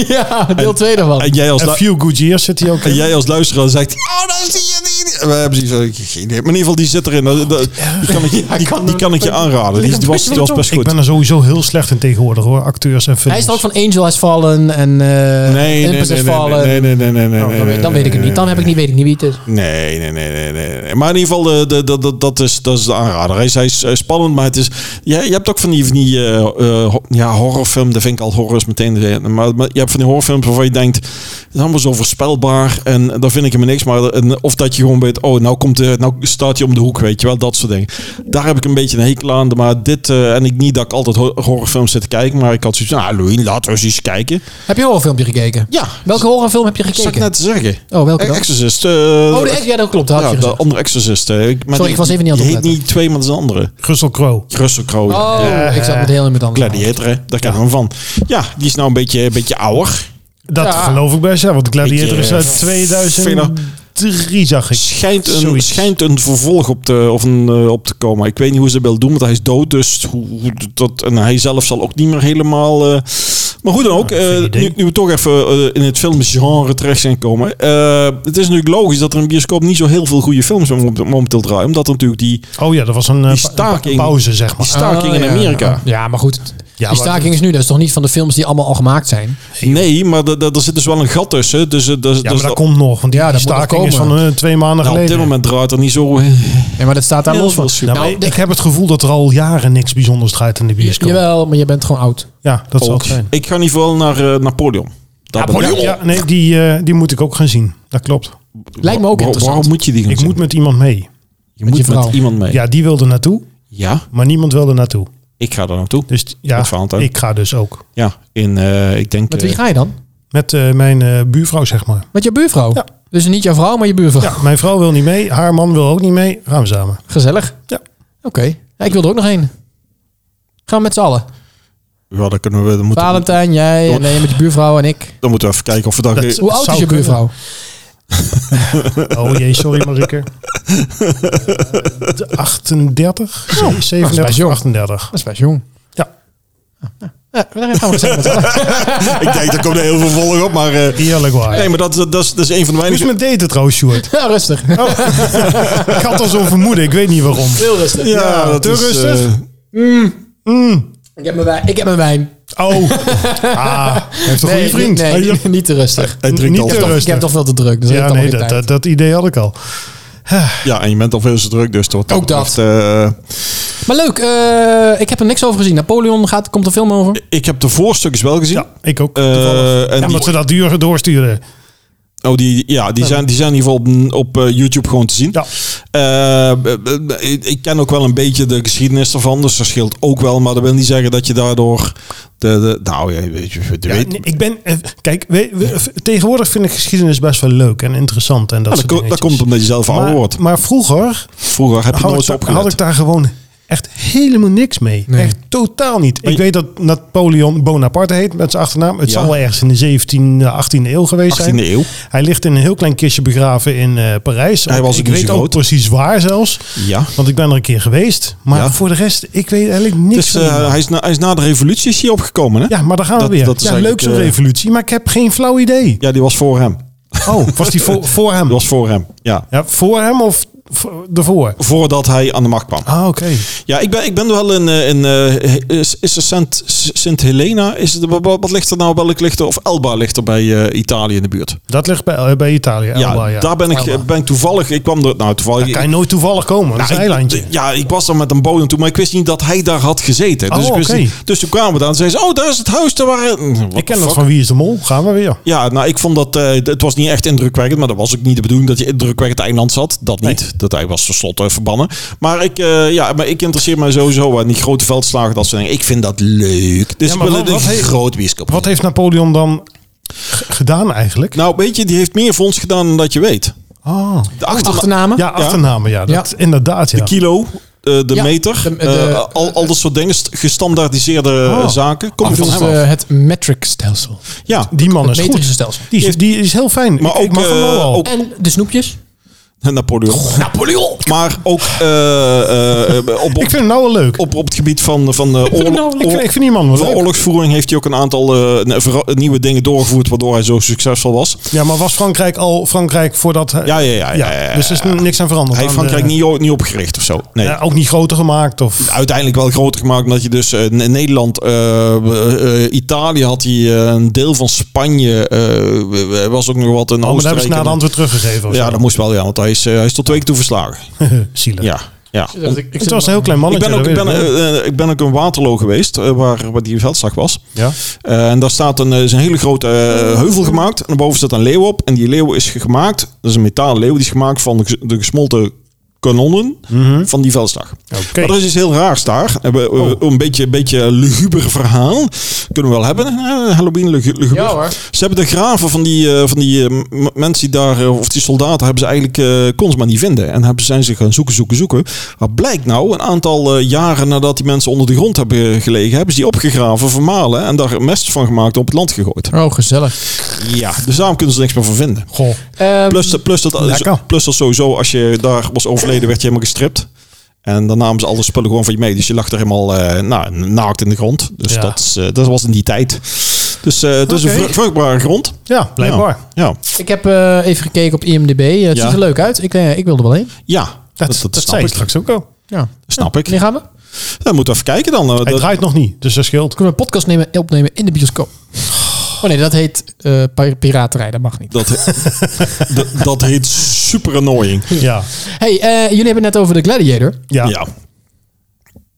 Speaker 3: ja, deel 2
Speaker 2: En
Speaker 3: daarvan.
Speaker 2: jij als,
Speaker 1: A
Speaker 2: lu-
Speaker 1: Few Good Years zit hij ook
Speaker 2: en
Speaker 1: in.
Speaker 2: jij als luisteraar zegt... Oh, daar zie je die. We hebben zoiets van, geen idee. Maar in ieder geval, die zit erin. Dat- dat- Die kan ik je, die, die kan ik je aanraden. Die, die was, die was best
Speaker 1: Ik
Speaker 2: goed.
Speaker 1: ben er sowieso heel slecht in tegenwoordig hoor, acteurs en films.
Speaker 3: Hij is er ook van Angel Has Fallen en...
Speaker 2: Nee, nee,
Speaker 3: eh
Speaker 2: nee,
Speaker 3: Olympus Has
Speaker 2: nee, nee,
Speaker 3: Fallen.
Speaker 2: nee, nee, nee, nee, nee,
Speaker 3: Oh, dan
Speaker 2: nee,
Speaker 3: weet- dan
Speaker 2: nee,
Speaker 3: weet ik het
Speaker 2: nee,
Speaker 3: niet. Dan heb ik niet, weet ik niet wie het is.
Speaker 2: Nee, nee, nee, nee, nee, nee. Maar in ieder geval, eh, de, de, de- dat, is, dat is de aanrader. Hij is, hij is eh, spannend, maar het is... Ja, je hebt ook van die, van die eh, eh, ho- ja, horrorfilm, dat vind ik al horror is meteen... de- Maar, maar je hebt van die horrorfilms waarvan je denkt, het is allemaal zo voorspelbaar. En daar vind ik hem niks. Maar en, of dat je gewoon weet, oh, nou, komt de, nou staat je om de hoek, weet je wel. Dat soort dingen. Daar heb ik een beetje een hekel aan. Maar dit, eh, en ik niet dat ik altijd ho- horrorfilms zit te kijken. Maar ik had zoiets van, nou, Halloween, laten we eens iets kijken.
Speaker 3: Heb je een horrorfilmpje gekeken?
Speaker 2: Ja,
Speaker 3: Welke horrorfilm heb je
Speaker 2: dat zag ik
Speaker 3: gekeken?
Speaker 2: net te zeggen.
Speaker 3: Oh, welke dan?
Speaker 2: Exorcist. eh,
Speaker 3: Oh, de, ja, dat klopt. Dat had
Speaker 2: ja,
Speaker 3: je
Speaker 2: de
Speaker 3: gezegd.
Speaker 2: andere Exorcist. eh, Ik, maar
Speaker 3: Sorry, ik was even niet aan het
Speaker 2: die heet
Speaker 3: opletten.
Speaker 2: niet twee, maar dat is een andere.
Speaker 1: Russell Crowe.
Speaker 2: Russell Crowe. ja.
Speaker 3: Oh, ik zat met heel iemand anders.
Speaker 2: Gladiator, hè? daar kennen we hem van. Ja, die is nou een beetje, een beetje ouder.
Speaker 1: Dat
Speaker 3: Ja.
Speaker 1: geloof ik best, ja. Want Gladiator
Speaker 2: Ik,
Speaker 1: is
Speaker 2: eh,
Speaker 1: uit 2003, zag ik.
Speaker 2: Schijnt een,
Speaker 1: Zoiets.
Speaker 2: schijnt een vervolg op te, of een, eh, op te komen. Ik weet niet hoe ze dat willen doen, want hij is dood. Dus hoe, hoe dat, en hij zelf zal ook niet meer helemaal... eh, Maar hoe dan ook,
Speaker 5: Ja, geen
Speaker 2: eh,
Speaker 5: idee.
Speaker 2: nu, nu we toch even eh, in het filmgenre terecht zijn gekomen. eh, het is natuurlijk logisch dat er in een bioscoop niet zo heel veel goede films mom- momenteel draaien. Omdat er natuurlijk die,
Speaker 1: Oh ja, dat was een, eh,
Speaker 2: Die
Speaker 1: pa-
Speaker 2: staking.
Speaker 1: een pauze, zeg
Speaker 2: die
Speaker 1: maar.
Speaker 2: staking
Speaker 3: Ah,
Speaker 2: in
Speaker 3: ja.
Speaker 2: Amerika.
Speaker 3: Ja, maar goed.
Speaker 1: maar-
Speaker 3: die staking is nu, dat is toch niet van de films die allemaal al gemaakt zijn?
Speaker 2: Nee, maar da- da- er zit dus wel een gat tussen. Dus, eh, dus,
Speaker 1: Ja,
Speaker 2: dus
Speaker 1: maar dat
Speaker 2: dat-
Speaker 1: komt nog. Want die,
Speaker 3: Ja,
Speaker 1: die
Speaker 3: dat moet nog
Speaker 1: staking is
Speaker 3: komen.
Speaker 1: van eh, twee maanden
Speaker 2: nou, op
Speaker 1: geleden.
Speaker 2: dit moment draait er niet zo... eh,
Speaker 3: Ja, maar dat staat daar
Speaker 2: Heel
Speaker 3: los
Speaker 2: veel
Speaker 3: van.
Speaker 2: super-
Speaker 1: Nou,
Speaker 3: Nou,
Speaker 1: ik- ik heb het gevoel dat er al jaren niks bijzonders draait in de bioscoop.
Speaker 3: Jawel, maar je bent gewoon oud.
Speaker 1: Ja, dat zal het zijn.
Speaker 2: Ik ga niet vooral naar eh, Napoleon. Daar ben ik-
Speaker 1: Ja, ja, nee, die, eh, die moet ik ook gaan zien. Dat klopt.
Speaker 3: Lijkt me
Speaker 2: Waar-
Speaker 3: ook interessant.
Speaker 2: Waarom moet je die gaan
Speaker 1: Ik
Speaker 2: zien?
Speaker 1: moet met iemand mee.
Speaker 2: je
Speaker 3: met
Speaker 2: moet
Speaker 3: je
Speaker 2: met
Speaker 3: vrouw.
Speaker 2: iemand mee. Ja.
Speaker 1: Ja, die wilde naartoe, maar niemand wilde naartoe.
Speaker 2: ik ga daar naartoe.
Speaker 1: Dus t- ja,
Speaker 2: Met Valentijn.
Speaker 1: ik ga dus ook.
Speaker 2: Ja, in, eh, ik denk...
Speaker 3: Met wie
Speaker 2: eh,
Speaker 3: ga je dan?
Speaker 1: Met eh, mijn eh, buurvrouw, zeg maar.
Speaker 2: Oh.
Speaker 3: Met je buurvrouw?
Speaker 1: Ja.
Speaker 3: Dus niet jouw vrouw, maar je buurvrouw.
Speaker 1: Ja, mijn vrouw wil niet mee. Haar man wil ook niet mee. Gaan we samen.
Speaker 3: Gezellig.
Speaker 1: Ja.
Speaker 3: Oké. Ja, ik wil er ook nog één. Gaan we met z'n allen.
Speaker 2: ja, dan kunnen we... Dan moeten, we-
Speaker 3: Valentijn, jij en nee, met je buurvrouw en ik.
Speaker 2: dan moeten we even kijken of we daar...
Speaker 1: Dat is-
Speaker 3: Hoe oud is
Speaker 1: zou
Speaker 3: je
Speaker 1: kunnen.
Speaker 3: buurvrouw?
Speaker 1: Oh jee, sorry Marike. Eh, de
Speaker 2: Oh.
Speaker 1: 38?
Speaker 2: Nou,
Speaker 1: ze- 37,
Speaker 3: jong.
Speaker 1: 38.
Speaker 3: Dat is best jong. Ah,
Speaker 1: Ja.
Speaker 3: Ja, daar gaan we gezellig met z'n allen.
Speaker 2: ik denk, daar komt er heel veel volg op, maar... eh,
Speaker 1: Eerlijk waar.
Speaker 2: nee, maar dat, dat, dat, is, dat is een van de
Speaker 1: Hoe is
Speaker 2: weinige...
Speaker 1: mijn daten trouwens, Sjoerd?
Speaker 3: Ja, rustig.
Speaker 1: Oh. Ik had al zo'n vermoeden, ik weet niet waarom.
Speaker 3: Heel rustig.
Speaker 2: Ja,
Speaker 1: Ja, te rustig.
Speaker 2: eh,
Speaker 3: Ik heb mijn wijn. Ik heb mijn wijn.
Speaker 1: Oh, ah, hij heeft een goede vriend.
Speaker 3: Nee,
Speaker 1: Hij-
Speaker 3: niet te rustig.
Speaker 2: hij drinkt
Speaker 1: Niet te
Speaker 2: altijd.
Speaker 1: rustig.
Speaker 3: Ik heb toch veel te druk. Dus
Speaker 1: Ja, nee, dat, dat, dat idee had ik al.
Speaker 2: Ja, en je bent al veel te druk, dus tot
Speaker 3: Ook dat.
Speaker 2: eh,
Speaker 3: Maar leuk, eh, ik heb er niks over gezien. Napoleon gaat, komt een film over.
Speaker 2: ik heb de voorstukjes wel gezien.
Speaker 1: Ja, ik ook.
Speaker 2: Eh,
Speaker 1: toevallig.
Speaker 2: en
Speaker 1: ja,
Speaker 2: die-
Speaker 1: omdat ze dat duur doorsturen.
Speaker 2: Oh, die, ja, die zijn, die zijn in ieder geval op, op eh, YouTube gewoon te zien.
Speaker 1: Ja.
Speaker 2: Eh, eh, ik- ik ken ook wel een beetje de geschiedenis ervan, dus dat scheelt ook wel. Maar dat wil niet zeggen dat je daardoor... De, de, nou, ja, weet je, je
Speaker 1: Ja,
Speaker 2: weet,
Speaker 1: nee, ik ben, eh, kijk, we- we- v- tegenwoordig vind ik geschiedenis best wel leuk en interessant. En dat,
Speaker 2: dat,
Speaker 1: soort
Speaker 2: ko- dat
Speaker 1: dingetjes.
Speaker 2: komt omdat je zelf ouder
Speaker 1: maar,
Speaker 2: wordt.
Speaker 1: maar vroeger
Speaker 2: Vroeger heb je
Speaker 1: had
Speaker 2: nooit
Speaker 1: ik,
Speaker 2: zo
Speaker 1: daar, had ik
Speaker 2: opgelet.
Speaker 1: daar gewoon echt helemaal niks mee.
Speaker 3: Nee.
Speaker 1: Echt totaal niet.
Speaker 2: Maar
Speaker 1: ik
Speaker 2: je-
Speaker 1: weet dat Napoleon Bonaparte heet met zijn achternaam. Het
Speaker 2: Ja.
Speaker 1: zal wel ergens in de 17e, 18e eeuw geweest
Speaker 2: 18e
Speaker 1: zijn.
Speaker 2: eeuw.
Speaker 1: Hij ligt in een heel klein kistje begraven in eh, Parijs.
Speaker 2: Hij was ook
Speaker 1: ik
Speaker 2: niet
Speaker 1: weet
Speaker 2: zo
Speaker 1: ook
Speaker 2: groot.
Speaker 1: precies waar zelfs.
Speaker 2: Ja.
Speaker 1: Want ik ben er een keer geweest. Maar
Speaker 2: Ja.
Speaker 1: voor de rest, ik weet eigenlijk niks
Speaker 2: Dus,
Speaker 1: van
Speaker 2: eh,
Speaker 1: die man.
Speaker 2: hij, is na, hij is na de revolutie is hij opgekomen, hè?
Speaker 1: Ja, maar daar gaan we
Speaker 2: dat-
Speaker 1: weer.
Speaker 2: dat is
Speaker 1: ja, leuk
Speaker 2: eigenlijk,
Speaker 1: zo'n
Speaker 2: eh,
Speaker 1: revolutie, maar ik heb geen flauw idee.
Speaker 2: Ja, die was voor hem.
Speaker 1: Oh, was die voor, voor
Speaker 2: Die
Speaker 1: hem?
Speaker 2: was voor hem, ja.
Speaker 1: Ja, voor hem of voor- ervoor?
Speaker 2: Voordat hij aan de macht kwam.
Speaker 1: Ah, oké.
Speaker 2: Ja, ik ben, ik ben wel in, eh, in eh, is, is er Sint, Sint Helena? Is het, wat, wat ligt er nou? Welk ligt er? Of Elba ligt er bij eh, Italië in de buurt.
Speaker 1: Dat ligt bij, eh, bij Italië.
Speaker 2: ja,
Speaker 1: Elba, ja.
Speaker 2: daar ben
Speaker 3: Elba.
Speaker 2: ik, eh, ben ik toevallig. Ik kwam er nou toevallig.
Speaker 1: Daar kan je nooit toevallig komen. Dat is een
Speaker 2: Nou, ik-
Speaker 1: eilandje.
Speaker 2: ja, ik was er met een boot toe, maar ik wist niet dat hij daar had gezeten. Dus,
Speaker 1: Oh,
Speaker 2: ik wist
Speaker 1: oké.
Speaker 2: niet- dus toen kwamen we daar en zeiden ze, oh, daar is het huis. Daar waren... Hm, what
Speaker 1: ik ken dat
Speaker 2: the fuck?
Speaker 1: van Wie is de Mol. Gaan we weer.
Speaker 2: Ja, nou, ik vond dat... eh, het was niet echt indrukwekkend, maar dat was ook niet de bedoeling dat je indrukwekkend eiland zat. Dat niet. Dat hij was tenslotte verbannen. Maar ik, eh, ja, maar ik interesseer mij sowieso aan die grote veldslagen. Dat soort dingen. Ik vind dat leuk. Dus
Speaker 1: Ja,
Speaker 2: ik
Speaker 1: maar
Speaker 2: wil
Speaker 1: wat-
Speaker 2: een
Speaker 1: wat heeft-
Speaker 2: groot bioscoop.
Speaker 1: Wat heeft Napoleon dan g- gedaan eigenlijk?
Speaker 2: Nou, weet je, die heeft meer voor ons gedaan dan dat je weet.
Speaker 1: Oh.
Speaker 2: De achterna-
Speaker 3: Achternamen?
Speaker 1: Ja, achternamen. Ja, dat,
Speaker 3: Ja.
Speaker 1: inderdaad. Ja.
Speaker 2: de kilo, eh, de
Speaker 3: Ja,
Speaker 2: meter,
Speaker 3: de- de-
Speaker 2: eh, al, al dat soort dingen, st- gestandaardiseerde eh,
Speaker 1: Oh.
Speaker 2: zaken. Kom je
Speaker 3: Of
Speaker 2: van
Speaker 3: dus,
Speaker 2: hem af.
Speaker 3: eh, het metric stelsel.
Speaker 2: ja,
Speaker 1: Die man
Speaker 3: Het
Speaker 1: is
Speaker 3: metrische
Speaker 1: goed.
Speaker 3: stelsel.
Speaker 1: Die is, die is heel fijn.
Speaker 2: Maar
Speaker 1: Ik- ik
Speaker 2: ook,
Speaker 1: mag hem
Speaker 2: eh,
Speaker 1: wel al.
Speaker 2: ook-
Speaker 3: En de snoepjes?
Speaker 2: Napoleon. Napoleon! Maar ook eh, eh, op,
Speaker 1: Ik
Speaker 2: op,
Speaker 1: vind hem nou wel leuk.
Speaker 2: op, op het gebied van, van eh,
Speaker 1: Ik vind, hem nou wel
Speaker 2: oorlog.
Speaker 1: leuk. ik, vind, ik vind die man wel
Speaker 2: Voor
Speaker 1: leuk.
Speaker 2: oorlogsvoering heeft hij ook een aantal eh, ne- vera- nieuwe dingen doorgevoerd, waardoor hij zo succesvol was.
Speaker 1: Ja, maar was Frankrijk al Frankrijk voordat... hij-
Speaker 2: Ja, ja, ja. ja, ja, ja.
Speaker 1: dus er is n- niks aan veranderd.
Speaker 2: hij heeft
Speaker 1: Aan de-
Speaker 2: Frankrijk niet, o- niet opgericht of zo. Nee.
Speaker 1: Ja, ook niet groter gemaakt of...
Speaker 2: uiteindelijk wel groter gemaakt. Omdat je dus eh, in Nederland, eh, eh, eh, Italië had hij eh, een deel van Spanje. eh, er was ook nog wat in
Speaker 1: Oh, maar daar hebben ze
Speaker 2: Oostenrijk.
Speaker 1: na de hand weer teruggegeven. of
Speaker 2: ja,
Speaker 1: zo.
Speaker 2: dat moest wel, ja. Want hij is, eh, hij is tot twee keer toe verslagen.
Speaker 1: Zielig.
Speaker 2: Ja, ja.
Speaker 1: Het was een heel klein
Speaker 2: Ik
Speaker 1: mannetje.
Speaker 2: ben, ook, ik,
Speaker 1: dat
Speaker 2: ben,
Speaker 1: weet ik wel.
Speaker 2: eh, eh, ik ben ook in Waterloo geweest, eh, waar, waar die veldslag was.
Speaker 1: ja.
Speaker 2: Eh, en daar staat een, eh, is een hele grote eh, heuvel gemaakt. En daarboven staat een leeuw op. En die leeuw is ge- gemaakt, dat is een metalen leeuw, die is gemaakt van de, ges- de gesmolten kanonnen
Speaker 1: Mhm.
Speaker 2: van die veldslag.
Speaker 1: Oké.
Speaker 2: Maar er is iets heel raars daar. Eh, we- we-
Speaker 3: Oh.
Speaker 2: Een beetje, een beetje luguber verhaal. Kunnen we wel hebben. eh, Halloween lugu- luguber.
Speaker 3: Ja, hoor.
Speaker 2: Ze hebben de graven van die, eh, van die eh, m- mensen die daar, eh, of die soldaten, hebben ze eigenlijk, eh kon ze maar niet vinden. En hebben, zijn ze gaan zoeken, zoeken, zoeken. Wat blijkt nou, een aantal eh, jaren nadat die mensen onder de grond hebben gelegen, hebben ze die opgegraven, vermalen en daar mest van gemaakt en op het land gegooid.
Speaker 3: Oh, gezellig.
Speaker 2: Ja. Dus daarom kunnen ze er niks meer van vinden.
Speaker 1: Goh.
Speaker 3: Ehm,
Speaker 2: Plus, dat- plus,
Speaker 1: Lekker.
Speaker 2: dat, plus dat sowieso, als je daar was overleden, werd je helemaal gestript. En dan namen ze alle spullen gewoon van je mee. Dus je lag er helemaal eh, nou, naakt in de grond. Dus
Speaker 1: Ja.
Speaker 2: dat, is, eh, dat was in die tijd. Dus Dus eh, het is
Speaker 1: Oké.
Speaker 2: een vru- vruchtbare grond.
Speaker 1: Ja, blijkbaar.
Speaker 2: Ja, ja.
Speaker 3: Ik heb eh, even gekeken op IMDb. Eh, het
Speaker 2: Ja.
Speaker 3: ziet er leuk uit. Ik, eh, ik wil er wel heen.
Speaker 2: Ja, dat,
Speaker 1: Dat, dat,
Speaker 2: dat, snap
Speaker 1: zei je
Speaker 2: ik.
Speaker 1: straks ook al.
Speaker 3: Ja.
Speaker 2: Snap ik.
Speaker 3: Wanneer gaan we?
Speaker 2: Dan moeten we even kijken dan. eh,
Speaker 1: Hij
Speaker 2: dat-
Speaker 1: draait nog niet, dus dat scheelt.
Speaker 3: Kunnen we een podcast nemen, opnemen in de bioscoop? Oh nee, dat heet eh, pi- piraterij. Dat mag niet.
Speaker 2: Dat, dat, dat heet super annoying.
Speaker 1: Ja,
Speaker 3: Hey, eh, jullie hebben het net over de Gladiator.
Speaker 1: ja. ja.
Speaker 2: Ja.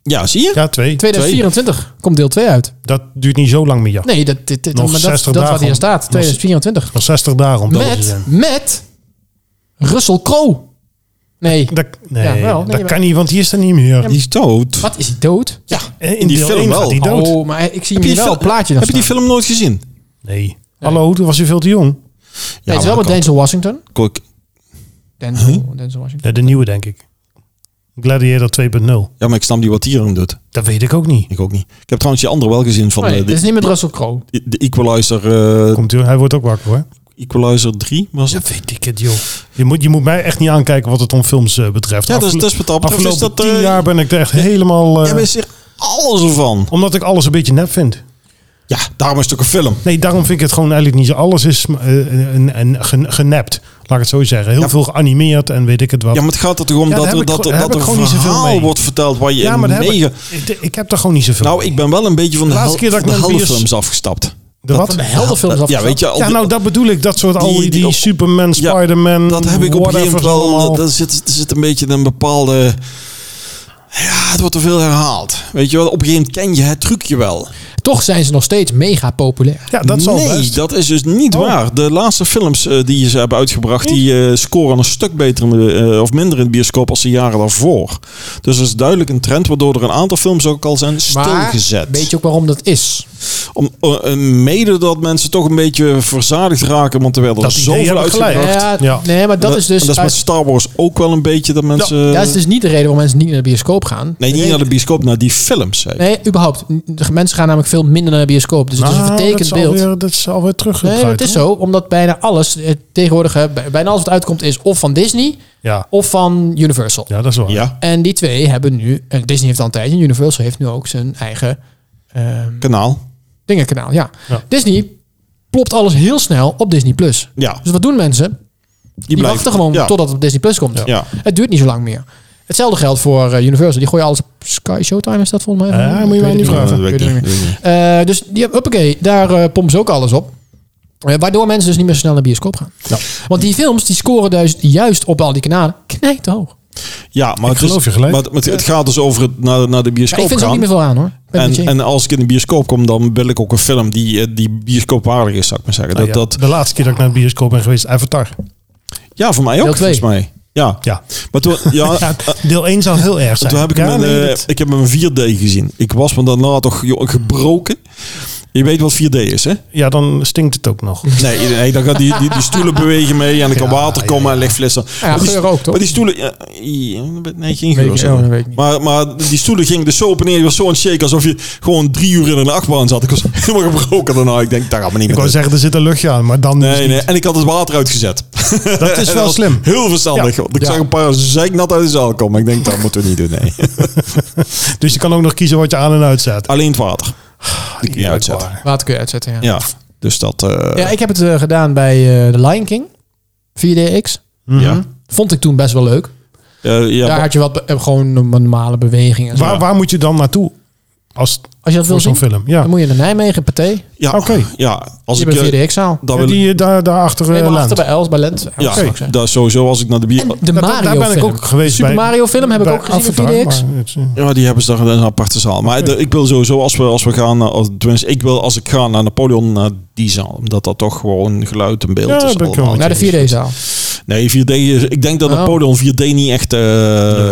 Speaker 2: Ja, zie je?
Speaker 1: twee.
Speaker 3: 2024 komt deel 2 uit.
Speaker 1: Dat duurt niet zo lang meer, ja.
Speaker 3: Nee, dat, dit, dit,
Speaker 1: Nog
Speaker 3: maar dat,
Speaker 1: 60
Speaker 3: dat wat
Speaker 1: dagen
Speaker 3: hier
Speaker 1: om-
Speaker 3: staat. 2024.
Speaker 1: Nog 60 dagen om dood te
Speaker 3: Met,
Speaker 1: zijn.
Speaker 3: met Russell Crowe. Nee.
Speaker 1: Dat, nee,
Speaker 3: Ja, wel, nee,
Speaker 1: dat
Speaker 3: maar-
Speaker 1: kan niet, want die is er niet meer. Eh,
Speaker 2: Die is dood.
Speaker 3: Wat is hij dood?
Speaker 2: Ja,
Speaker 1: In,
Speaker 2: die
Speaker 1: deel
Speaker 2: film
Speaker 1: één
Speaker 2: wel.
Speaker 1: gaat die dood.
Speaker 3: Oh, maar ik zie
Speaker 2: die
Speaker 3: hem hier wel
Speaker 2: fil-
Speaker 3: op plaatje.
Speaker 2: heb je die film nooit gezien?
Speaker 1: Nee. Hallo, toen was je veel te jong.
Speaker 2: Ja,
Speaker 3: het is
Speaker 2: maar
Speaker 3: wel met Denzel Washington.
Speaker 2: kan- kan-
Speaker 3: Denzel, Denzel Washington.
Speaker 1: Ja, de nieuwe, denk ik. Gladiator 2.0.
Speaker 2: Ja, maar ik snap niet wat hier aan doet.
Speaker 1: Dat weet ik ook niet.
Speaker 2: Ik ook niet. Ik heb trouwens die andere wel gezien van
Speaker 3: Oh, nee,
Speaker 2: eh,
Speaker 3: dit is
Speaker 2: de,
Speaker 3: niet met Russell Crowe.
Speaker 2: de, Equalizer, eh,
Speaker 1: Komt hij, hij wordt ook wakker, hoor.
Speaker 2: Equalizer 3. Was het?
Speaker 1: weet ik het, joh. Je moet, je moet mij echt niet aankijken wat het om films eh, betreft.
Speaker 2: Ja, dus,
Speaker 1: Afgelo-
Speaker 2: dus wat dat betreft is
Speaker 1: Afgelopen
Speaker 2: dat...
Speaker 1: tien
Speaker 2: eh,
Speaker 1: jaar ben ik er echt helemaal... eh,
Speaker 2: Jij wist er alles van.
Speaker 1: omdat ik alles een beetje nep vind.
Speaker 2: Ja, daarom is het ook een film.
Speaker 1: Nee, daarom vind ik het gewoon eigenlijk niet zo. Alles is eh, en, en gen- genept. Laat ik het zo zeggen. Heel
Speaker 2: Ja.
Speaker 1: veel geanimeerd en weet ik het wat.
Speaker 2: Ja, maar het gaat er toch om
Speaker 1: Ja,
Speaker 2: dat,
Speaker 1: daar heb
Speaker 2: er-
Speaker 1: ik
Speaker 2: dat,
Speaker 1: gewoon-
Speaker 2: er-
Speaker 1: daar
Speaker 2: dat
Speaker 1: heb
Speaker 2: er
Speaker 1: ik
Speaker 2: een
Speaker 1: gewoon niet zoveel
Speaker 2: verhaal
Speaker 1: mee.
Speaker 2: wordt verteld waar je
Speaker 1: Ja, maar
Speaker 2: in
Speaker 1: daar heb
Speaker 2: mega...
Speaker 1: ik, ik, ik heb er gewoon niet zoveel.
Speaker 2: Nou, ik ben wel een beetje van de,
Speaker 1: De
Speaker 2: hel,
Speaker 1: laatste keer dat
Speaker 2: van de
Speaker 1: ik naar een
Speaker 2: heldenfilms
Speaker 1: bios-
Speaker 2: afgestapt.
Speaker 1: de wat?
Speaker 3: De heldenfilms
Speaker 2: Ja, weet je, al
Speaker 1: Ja,
Speaker 2: die-
Speaker 1: nou, dat bedoel ik. Dat soort al
Speaker 2: die-
Speaker 1: die,
Speaker 2: die op-
Speaker 1: Superman,
Speaker 2: Ja,
Speaker 1: Spider-Man.
Speaker 2: dat heb ik op een gegeven moment
Speaker 1: whatever's
Speaker 2: wel.
Speaker 1: nou, allemaal.
Speaker 2: Er zit, er zit een beetje een bepaalde... Ja, het wordt te veel herhaald. Weet je wel, op een gegeven moment ken je het trucje wel.
Speaker 3: Toch zijn ze nog steeds mega populair.
Speaker 1: Ja, dat zal
Speaker 2: nee,
Speaker 1: best.
Speaker 2: dat is dus niet
Speaker 1: Oh.
Speaker 2: waar. De laatste films eh, die ze hebben uitgebracht, die eh, scoren een stuk beter in de, eh, of minder in de bioscoop als de jaren daarvoor. Dus dat is duidelijk een trend waardoor er een aantal films ook al zijn stilgezet.
Speaker 3: Maar weet je ook waarom dat is?
Speaker 2: Om, eh, eh, mede dat mensen toch een beetje verzadigd raken, want er werden
Speaker 1: Dat
Speaker 2: er
Speaker 1: idee
Speaker 2: zoveel
Speaker 1: heb ik
Speaker 2: uitgebracht.
Speaker 1: gelijk.
Speaker 3: Ja,
Speaker 1: Ja.
Speaker 3: Nee, maar dat is dus...
Speaker 2: En dat is met Star Wars ook wel een beetje dat mensen...
Speaker 3: dat is dus niet de reden waarom mensen niet naar de bioscoop gaan.
Speaker 2: nee, niet naar de bioscoop, naar die films. zeg ik.
Speaker 3: Nee, überhaupt. De mensen gaan namelijk veel minder naar de bioscoop. Dus het is
Speaker 1: Nou,
Speaker 3: een
Speaker 1: dat
Speaker 3: vertekend
Speaker 1: is
Speaker 3: beeld.
Speaker 1: Alweer, dat is alweer teruggedraaid.
Speaker 3: Nee, maar het is
Speaker 1: hoor.
Speaker 3: zo. Omdat bijna alles, eh, tegenwoordig, eh, bij- bijna alles wat uitkomt is of van Disney
Speaker 1: Ja.
Speaker 3: of van Universal.
Speaker 1: ja, dat is waar.
Speaker 2: Ja,
Speaker 3: En die twee hebben nu, en Disney heeft al een tijdje, en Universal heeft nu ook zijn eigen ehm,
Speaker 2: kanaal.
Speaker 3: dingenkanaal. Ja.
Speaker 1: Ja.
Speaker 3: Disney plopt alles heel snel op Disney+. Plus.
Speaker 2: Ja,
Speaker 3: Dus wat doen mensen? Die,
Speaker 2: die, blijft
Speaker 3: wachten gewoon
Speaker 2: ja.
Speaker 3: totdat het op Disney Plus komt.
Speaker 2: Ja.
Speaker 3: Het duurt niet zo lang meer. Hetzelfde geldt voor eh, Universal. Die gooien alles op Sky Showtime, is dat volgens mij?
Speaker 1: Ja,
Speaker 3: Ik
Speaker 1: Eh, moet je
Speaker 3: weet
Speaker 1: mij
Speaker 3: het
Speaker 1: niet
Speaker 2: Ja,
Speaker 1: vragen.
Speaker 2: dat
Speaker 3: Ik
Speaker 2: weet
Speaker 3: weet
Speaker 2: ik
Speaker 3: het
Speaker 2: niet.
Speaker 3: niet
Speaker 2: Weet ik niet.
Speaker 3: Eh, dus die, huppakee, daar eh, pompen ze ook alles op. Eh, waardoor mensen dus niet meer zo snel naar de bioscoop gaan. Want die films die scoren dus juist op al die kanalen knijt hoog.
Speaker 2: Ja, maar,
Speaker 1: Ik
Speaker 2: het, is-
Speaker 1: geloof je gelijk.
Speaker 2: maar het- maar het gaat dus over het naar, naar de
Speaker 3: Ja,
Speaker 2: bioscoop
Speaker 3: ik vind ze
Speaker 2: gaan.
Speaker 3: ook niet meer veel aan hoor. Ben
Speaker 2: en,
Speaker 3: met je eens.
Speaker 2: en als ik in de bioscoop kom, dan wil ik ook een film die, eh, die bioscoopwaardig is, zou ik maar zeggen.
Speaker 3: Ah,
Speaker 1: Nou
Speaker 2: Dat,
Speaker 1: ja,
Speaker 2: dat,
Speaker 1: De laatste keer dat ik naar de bioscoop ben geweest, Avatar.
Speaker 2: ja, voor mij ook,
Speaker 3: Deel twee.
Speaker 2: volgens mij. Ja.
Speaker 1: Ja.
Speaker 2: Maar toen, ja,
Speaker 1: Ja, deel 1 zal heel erg zijn.
Speaker 2: toen heb ik,
Speaker 1: Ja,
Speaker 2: hem in,
Speaker 1: nee,
Speaker 2: eh,
Speaker 1: dat-
Speaker 2: ik heb hem in 4D gezien. Ik was me daarna toch joh, gebroken. Je weet wat 4D is, hè?
Speaker 1: ja, dan stinkt het ook nog.
Speaker 2: Nee, nee dan gaat die, die, die stoelen bewegen mee en er kan
Speaker 1: Ja,
Speaker 2: water komen en ligt flessen.
Speaker 3: Ja,
Speaker 2: Maar die
Speaker 3: geur
Speaker 2: sto-
Speaker 3: ook, toch?
Speaker 2: Maar die stoelen... ja, ja, nee, geen
Speaker 3: Weet
Speaker 2: geur.
Speaker 3: ik-
Speaker 2: zeg maar.
Speaker 3: oh, dat weet ik niet.
Speaker 2: maar, maar die stoelen gingen dus zo op en neer. Die was zo'n shake alsof je gewoon drie uur in een achtbaan zat. Ik was helemaal gebroken daarna. Ik denk, daar gaat me niet
Speaker 1: Ik
Speaker 2: meer
Speaker 1: wou zeggen, er zit een luchtje aan, maar dan
Speaker 2: Nee, nee. En ik had het water uitgezet.
Speaker 1: Dat is wel
Speaker 2: En dat was
Speaker 1: slim.
Speaker 2: Heel verstandig.
Speaker 1: Ja.
Speaker 2: Want ik
Speaker 1: Ja.
Speaker 2: zag een paar zeiknat uit de zaal komen. Ik denk, dat moeten we niet doen. Nee.
Speaker 1: Dus je kan ook nog kiezen wat je aan en uit zet.
Speaker 2: Alleen het water. Ah, Die kun je uitzetten.
Speaker 1: Waar.
Speaker 3: Water kun je uitzetten, ja. ja.
Speaker 2: Ja. Dus dat... eh, ja.
Speaker 3: ik heb het eh, gedaan bij eh, The Lion King. 4DX.
Speaker 2: Ja.
Speaker 3: Vond ik toen best wel leuk.
Speaker 2: Eh, ja,
Speaker 3: Daar had je wat be- eh, gewoon normale bewegingen. en zo.
Speaker 1: Waar, waar moet je dan naartoe? Als
Speaker 3: Als je dat wil
Speaker 1: voor
Speaker 3: zien,
Speaker 1: zo'n film. Ja,
Speaker 3: dan moet je naar Nijmegen, Pathé.
Speaker 2: ja,
Speaker 1: Oké.
Speaker 2: ja, als
Speaker 3: Je
Speaker 2: ik...
Speaker 3: bent
Speaker 2: eh,
Speaker 3: 4DX-zaal.
Speaker 2: dat
Speaker 1: Ja,
Speaker 2: wil,
Speaker 1: die eh, daar, daarachter eh,
Speaker 3: Helemaal
Speaker 1: land.
Speaker 3: achter bij Els, bij Lent. Ja,
Speaker 2: ja,
Speaker 3: dat zou ik zeggen.
Speaker 2: dat is sowieso als ik naar de bier...
Speaker 3: En de
Speaker 1: Ja, daar-
Speaker 3: Mario
Speaker 1: daar ben ik
Speaker 3: film.
Speaker 1: ook geweest
Speaker 3: Super
Speaker 1: bij-
Speaker 3: Mario film heb ik
Speaker 1: bij
Speaker 3: ook gezien
Speaker 1: Avatar,
Speaker 3: op 4DX.
Speaker 1: maar het is, eh,
Speaker 2: Ja, die hebben ze daar in een aparte zaal. Maar de- ik wil sowieso, als we, als we gaan... naar- Als, tenminste, ik wil als ik ga naar Napoleon, naar die zaal. Omdat dat toch gewoon geluid en beeld
Speaker 1: Ja,
Speaker 2: is.
Speaker 1: dat ben ik wel
Speaker 2: allemaal.
Speaker 1: met
Speaker 3: Naar de 4D-zaal.
Speaker 2: Nee, 4D is... Ik denk dat
Speaker 3: Oh.
Speaker 2: Napoleon 4D niet echt... eh,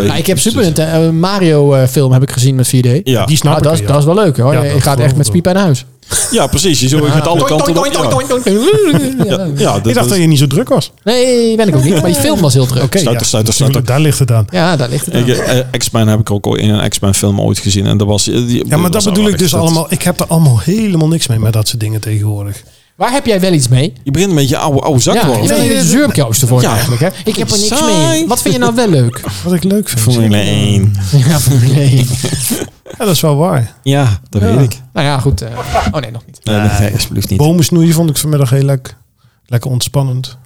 Speaker 3: Ja, ik heb Super Nintendo eh, Mario eh, film heb ik gezien met 4D.
Speaker 2: Ja.
Speaker 1: Die snap
Speaker 3: Ah,
Speaker 1: ik.
Speaker 3: dat, is,
Speaker 1: ja.
Speaker 3: dat is wel leuk hoor.
Speaker 1: Ja,
Speaker 3: je
Speaker 1: dat
Speaker 3: gaat
Speaker 1: geloof
Speaker 3: echt
Speaker 1: ik wel.
Speaker 3: met spiepen naar huis.
Speaker 2: Ja, precies. Je gaat alle kanten op. Ja.
Speaker 3: Ja.
Speaker 2: Ja,
Speaker 1: Ik
Speaker 2: dat
Speaker 1: dacht dat
Speaker 2: is...
Speaker 1: je niet zo druk was.
Speaker 3: Nee, ben ik ook niet. Maar die film was heel druk.
Speaker 1: Oké,
Speaker 2: Stuiter,
Speaker 1: ja,
Speaker 2: stuiter,
Speaker 1: natuurlijk,
Speaker 2: stuiter.
Speaker 1: daar ligt het aan.
Speaker 3: Ja, daar ligt het aan.
Speaker 2: Ik, eh, X-Men heb ik ook ooit in een X-Men film ooit gezien. En dat was,
Speaker 1: Ja, maar dat bedoel ik dus allemaal. Ik heb er allemaal helemaal niks mee met dat soort dingen tegenwoordig.
Speaker 3: Waar heb jij wel iets mee?
Speaker 2: Je begint een beetje oude, oude zak
Speaker 3: Ja,
Speaker 2: te
Speaker 3: je
Speaker 2: worden.
Speaker 3: bent
Speaker 1: Nee,
Speaker 3: een
Speaker 1: dat-
Speaker 3: zeurkooster voor je
Speaker 2: Ja.
Speaker 3: eigenlijk. Hè? Ik heb er niks
Speaker 2: Saai.
Speaker 3: mee. Wat vind je nou wel leuk?
Speaker 1: Wat ik leuk vind.
Speaker 2: Formule 1.
Speaker 3: Ja, nee.
Speaker 1: Ja, dat is wel waar.
Speaker 2: Ja, dat
Speaker 1: Ja.
Speaker 2: weet ik.
Speaker 3: Nou ja, goed. eh, oh nee, nog niet.
Speaker 2: Nee, nee, alsjeblieft niet.
Speaker 1: Bomen snoeien vond ik vanmiddag heel leuk. Lekker ontspannend.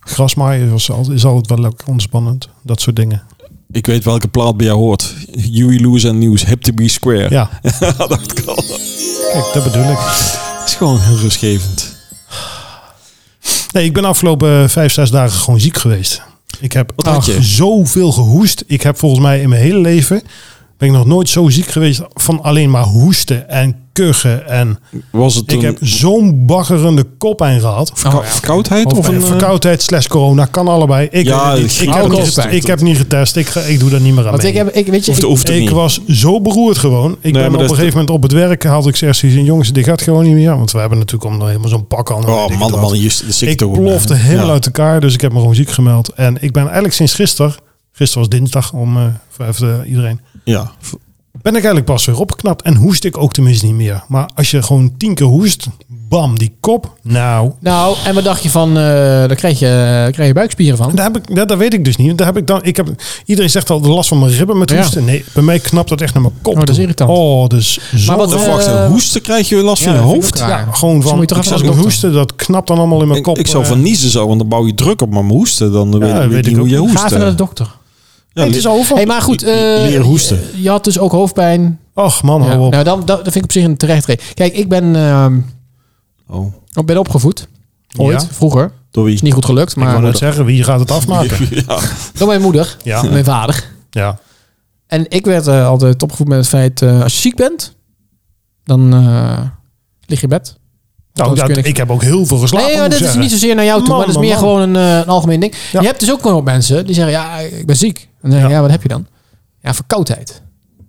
Speaker 1: Grasmaaien was al, is altijd wel lekker ontspannend. Dat soort dingen.
Speaker 2: Ik weet welke plaat bij jou hoort. Huey Lewis and News, Hip to be Square.
Speaker 1: Ja,
Speaker 2: dat dacht ik al.
Speaker 1: kijk, dat bedoel ik.
Speaker 2: Het is gewoon heel rustgevend.
Speaker 1: Nee, ik ben afgelopen eh, vijf, zes dagen gewoon ziek geweest. Ik heb
Speaker 2: Wat had
Speaker 1: ach,
Speaker 2: je?
Speaker 1: zoveel gehoest. Ik heb volgens mij in mijn hele leven ben ik nog nooit zo ziek geweest van alleen maar hoesten en kuchen. En
Speaker 2: Was het
Speaker 1: ik
Speaker 2: een
Speaker 1: heb zo'n baggerende kopijn gehad.
Speaker 3: Oh,
Speaker 2: verkou- verkoudheid? Of
Speaker 1: Of
Speaker 2: een,
Speaker 1: een
Speaker 2: eh,
Speaker 1: verkoudheid slash corona kan allebei. Ik,
Speaker 2: Ja,
Speaker 1: ik,
Speaker 2: het
Speaker 1: ik,
Speaker 2: ging
Speaker 1: heb,
Speaker 3: ook
Speaker 1: niet
Speaker 3: op,
Speaker 1: getest,
Speaker 3: hè.
Speaker 1: ik heb niet getest. Ik, ga, ik doe daar niet meer aan
Speaker 3: Want
Speaker 1: mee.
Speaker 3: ik heb, ik, weet je,
Speaker 2: Hoeft,
Speaker 3: ik-
Speaker 2: hoeft het
Speaker 1: ik
Speaker 2: niet.
Speaker 1: was zo beroerd gewoon. Ik ben
Speaker 2: maar
Speaker 1: op
Speaker 2: dat
Speaker 1: een
Speaker 2: is
Speaker 1: gegeven
Speaker 2: de-
Speaker 1: moment op het werk had ik zoiets gezien. Jongens, dit gaat gewoon niet meer. Want we hebben natuurlijk om dan helemaal zo'n pak aan.
Speaker 2: Oh
Speaker 1: Weet ik
Speaker 2: man,
Speaker 1: wat.
Speaker 2: man, just, de
Speaker 1: Ik
Speaker 2: ziekte. hoor.
Speaker 1: plofte helemaal
Speaker 2: Ja.
Speaker 1: uit elkaar, dus ik heb me gewoon ziek gemeld. En ik ben eigenlijk sinds gisteren, gisteren was dinsdag om eh voor even, eh, iedereen,
Speaker 2: Ja.
Speaker 1: ben ik eigenlijk pas weer opgeknapt. En hoest ik ook tenminste niet meer. Maar als je gewoon tien keer hoest, bam, die kop. Nou,
Speaker 3: nou, en wat dacht je van, eh daar kreeg je, kreeg je buikspieren van.
Speaker 1: daar heb ik, dat, dat weet ik dus niet. Daar heb ik dan, ik heb, iedereen zegt al de last van mijn ribben met
Speaker 3: Ja.
Speaker 1: hoesten. Nee, bij mij knapt dat echt naar mijn kop.
Speaker 3: Oh, dat is
Speaker 1: toe.
Speaker 3: irritant.
Speaker 1: Oh, dus zo.
Speaker 3: wat-
Speaker 2: Dan
Speaker 3: Eh,
Speaker 2: wacht, een hoesten krijg je last van je
Speaker 3: ja, vind ik
Speaker 2: hoofd?
Speaker 3: ook raar.
Speaker 1: ja, gewoon
Speaker 3: Misschien
Speaker 1: van,
Speaker 3: moet je toch
Speaker 1: ik
Speaker 3: even
Speaker 1: zeg,
Speaker 3: naar de
Speaker 1: ik
Speaker 3: dokter.
Speaker 1: hoesten, dat knapt dan allemaal in mijn
Speaker 2: Ik,
Speaker 1: kop.
Speaker 2: ik zou
Speaker 1: eh.
Speaker 2: van niezen zo, want dan bouw je druk op mijn hoesten. Dan weet, weet,
Speaker 1: weet
Speaker 2: ik
Speaker 1: ik
Speaker 2: niet hoe
Speaker 1: ook.
Speaker 2: je
Speaker 3: Ga
Speaker 2: hoest.
Speaker 3: even naar de dokter.
Speaker 2: Ja,
Speaker 1: het
Speaker 2: li-
Speaker 1: is over.
Speaker 3: hey, maar goed. eh,
Speaker 2: Leren hoesten.
Speaker 3: Je had dus ook hoofdpijn.
Speaker 1: Och man,
Speaker 3: Ja.
Speaker 1: hou op.
Speaker 3: Nou, dat, dat vind ik op zich een terecht reden. Kijk, ik ben, ehm,
Speaker 2: Oh,
Speaker 3: ik ben opgevoed. Ooit,
Speaker 1: Ja.
Speaker 3: vroeger.
Speaker 2: door
Speaker 3: Is
Speaker 2: wie?
Speaker 3: niet goed gelukt,
Speaker 1: Ik wou
Speaker 3: maar
Speaker 1: net zeggen, wie gaat het afmaken?
Speaker 2: Ja.
Speaker 3: door mijn moeder,
Speaker 1: Ja.
Speaker 3: mijn vader.
Speaker 1: Ja.
Speaker 3: En ik werd eh, altijd opgevoed met het feit, eh, als je ziek bent, dan eh, lig je in bed.
Speaker 1: Nou,
Speaker 3: Anders
Speaker 1: dat,
Speaker 3: kun je
Speaker 1: ik heb ook heel veel geslapen.
Speaker 3: Nee, maar
Speaker 1: moet
Speaker 3: dit
Speaker 1: ik
Speaker 3: is
Speaker 1: zeggen.
Speaker 3: niet zozeer naar jou toe,
Speaker 1: Man,
Speaker 3: maar dat is
Speaker 1: man,
Speaker 3: meer
Speaker 1: man.
Speaker 3: gewoon een, eh, een algemeen ding.
Speaker 1: Ja.
Speaker 3: Je hebt dus ook nog mensen die zeggen, ja, ik ben ziek. En dan denk ik, ja,
Speaker 1: Ja.
Speaker 3: wat heb je dan? Ja, verkoudheid.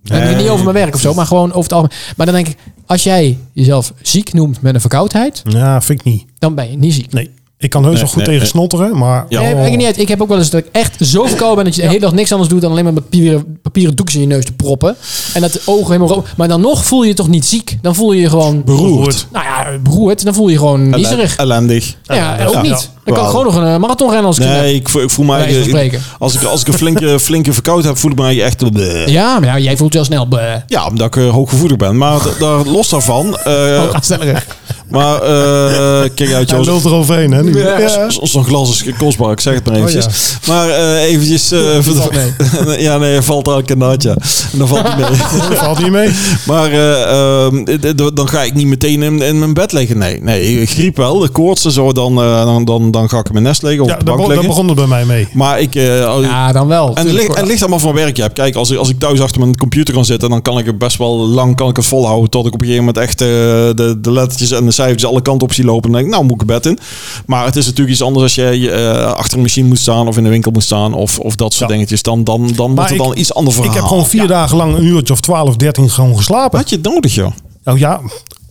Speaker 3: Dan heb ik het
Speaker 2: Nee.
Speaker 3: niet over mijn werk of zo, maar gewoon over het algemeen. Maar dan denk ik, als jij jezelf ziek noemt met een verkoudheid,
Speaker 1: Ja, vind ik niet.
Speaker 3: dan ben je niet ziek.
Speaker 1: Nee. Ik kan heus
Speaker 2: Nee,
Speaker 1: wel goed
Speaker 2: nee,
Speaker 1: tegen
Speaker 2: nee.
Speaker 1: snotteren, maar...
Speaker 2: Ja.
Speaker 3: Nee,
Speaker 1: Oh.
Speaker 3: maakt niet uit. Ik heb ook wel eens dat ik echt zo verkouden ben dat je de hele dag niks anders doet dan alleen maar met papieren, papieren doekjes in je neus te proppen. En dat de ogen helemaal rood. Maar dan nog voel je je toch niet ziek. Dan voel je je gewoon,
Speaker 2: Beroerd.
Speaker 3: nou ja, beroerd. Dan voel je je gewoon niezerig.
Speaker 2: Ellendig.
Speaker 3: Ja, en ook
Speaker 1: Ja.
Speaker 3: niet. Dan kan ik
Speaker 2: Wauw.
Speaker 3: gewoon nog een eh, marathon rennen als ik zin heb.
Speaker 2: Nee, ik, voel- ik voel mij...
Speaker 3: Bij wijze van
Speaker 2: eigenlijk-
Speaker 3: spreken.
Speaker 2: Als ik, als ik een flinke, flinke verkoud heb, voel ik mij echt... eh,
Speaker 3: Ja, maar ja, jij voelt je al snel. bleh.
Speaker 2: Ja, omdat ik eh, hooggevoelig ben. Maar da- daar, los daarvan... eh,
Speaker 3: Aanstellerig.
Speaker 2: maar eh, kijk uit,
Speaker 1: Oh. Hij
Speaker 2: Joost.
Speaker 1: lult eroverheen, hè? nu.
Speaker 2: Ja,
Speaker 1: Ja.
Speaker 2: s- Zo'n glas is kostbaar, ik zeg het maar
Speaker 1: Oh,
Speaker 2: eventjes. Maar eh, eventjes... eh, voor de-
Speaker 3: Valt
Speaker 2: ja, nee, er valt elke naadje. En dan valt niet mee.
Speaker 1: Dat valt niet mee.
Speaker 2: Maar eh, ehm, d- d- dan ga ik niet meteen in, in mijn bed liggen. Nee, nee, griep wel, de koorts en zo, dan, eh, dan, dan, dan ga ik in mijn nest liggen of
Speaker 1: Ja,
Speaker 2: op de
Speaker 1: daar,
Speaker 2: bank
Speaker 1: be- daar
Speaker 2: liggen.
Speaker 1: begon het bij mij mee.
Speaker 2: Maar ik... eh, al-
Speaker 3: Ja, dan wel.
Speaker 2: en het ligt, en het ligt allemaal van werk. Je hebt. Kijk, als ik, als ik thuis achter mijn computer kan zitten, dan kan ik het best wel lang kan ik het volhouden. Tot ik op een gegeven moment echt eh, de, de lettertjes en de cijfertjes alle kanten op zie lopen. En dan denk ik, nou moet ik het bed in. Maar het is natuurlijk iets anders als jij eh, achter een machine moet staan of in de winkel moet staan. Of, of dat soort
Speaker 1: Ja.
Speaker 2: dingetjes. Dan, dan, dan wordt
Speaker 1: Maar
Speaker 2: het
Speaker 1: ik-
Speaker 2: dan iets ander verhaal.
Speaker 1: Ik heb gewoon vier dagen lang een uurtje of 12, 13 gewoon geslapen.
Speaker 2: Had je het nodig, joh?
Speaker 1: Nou ja,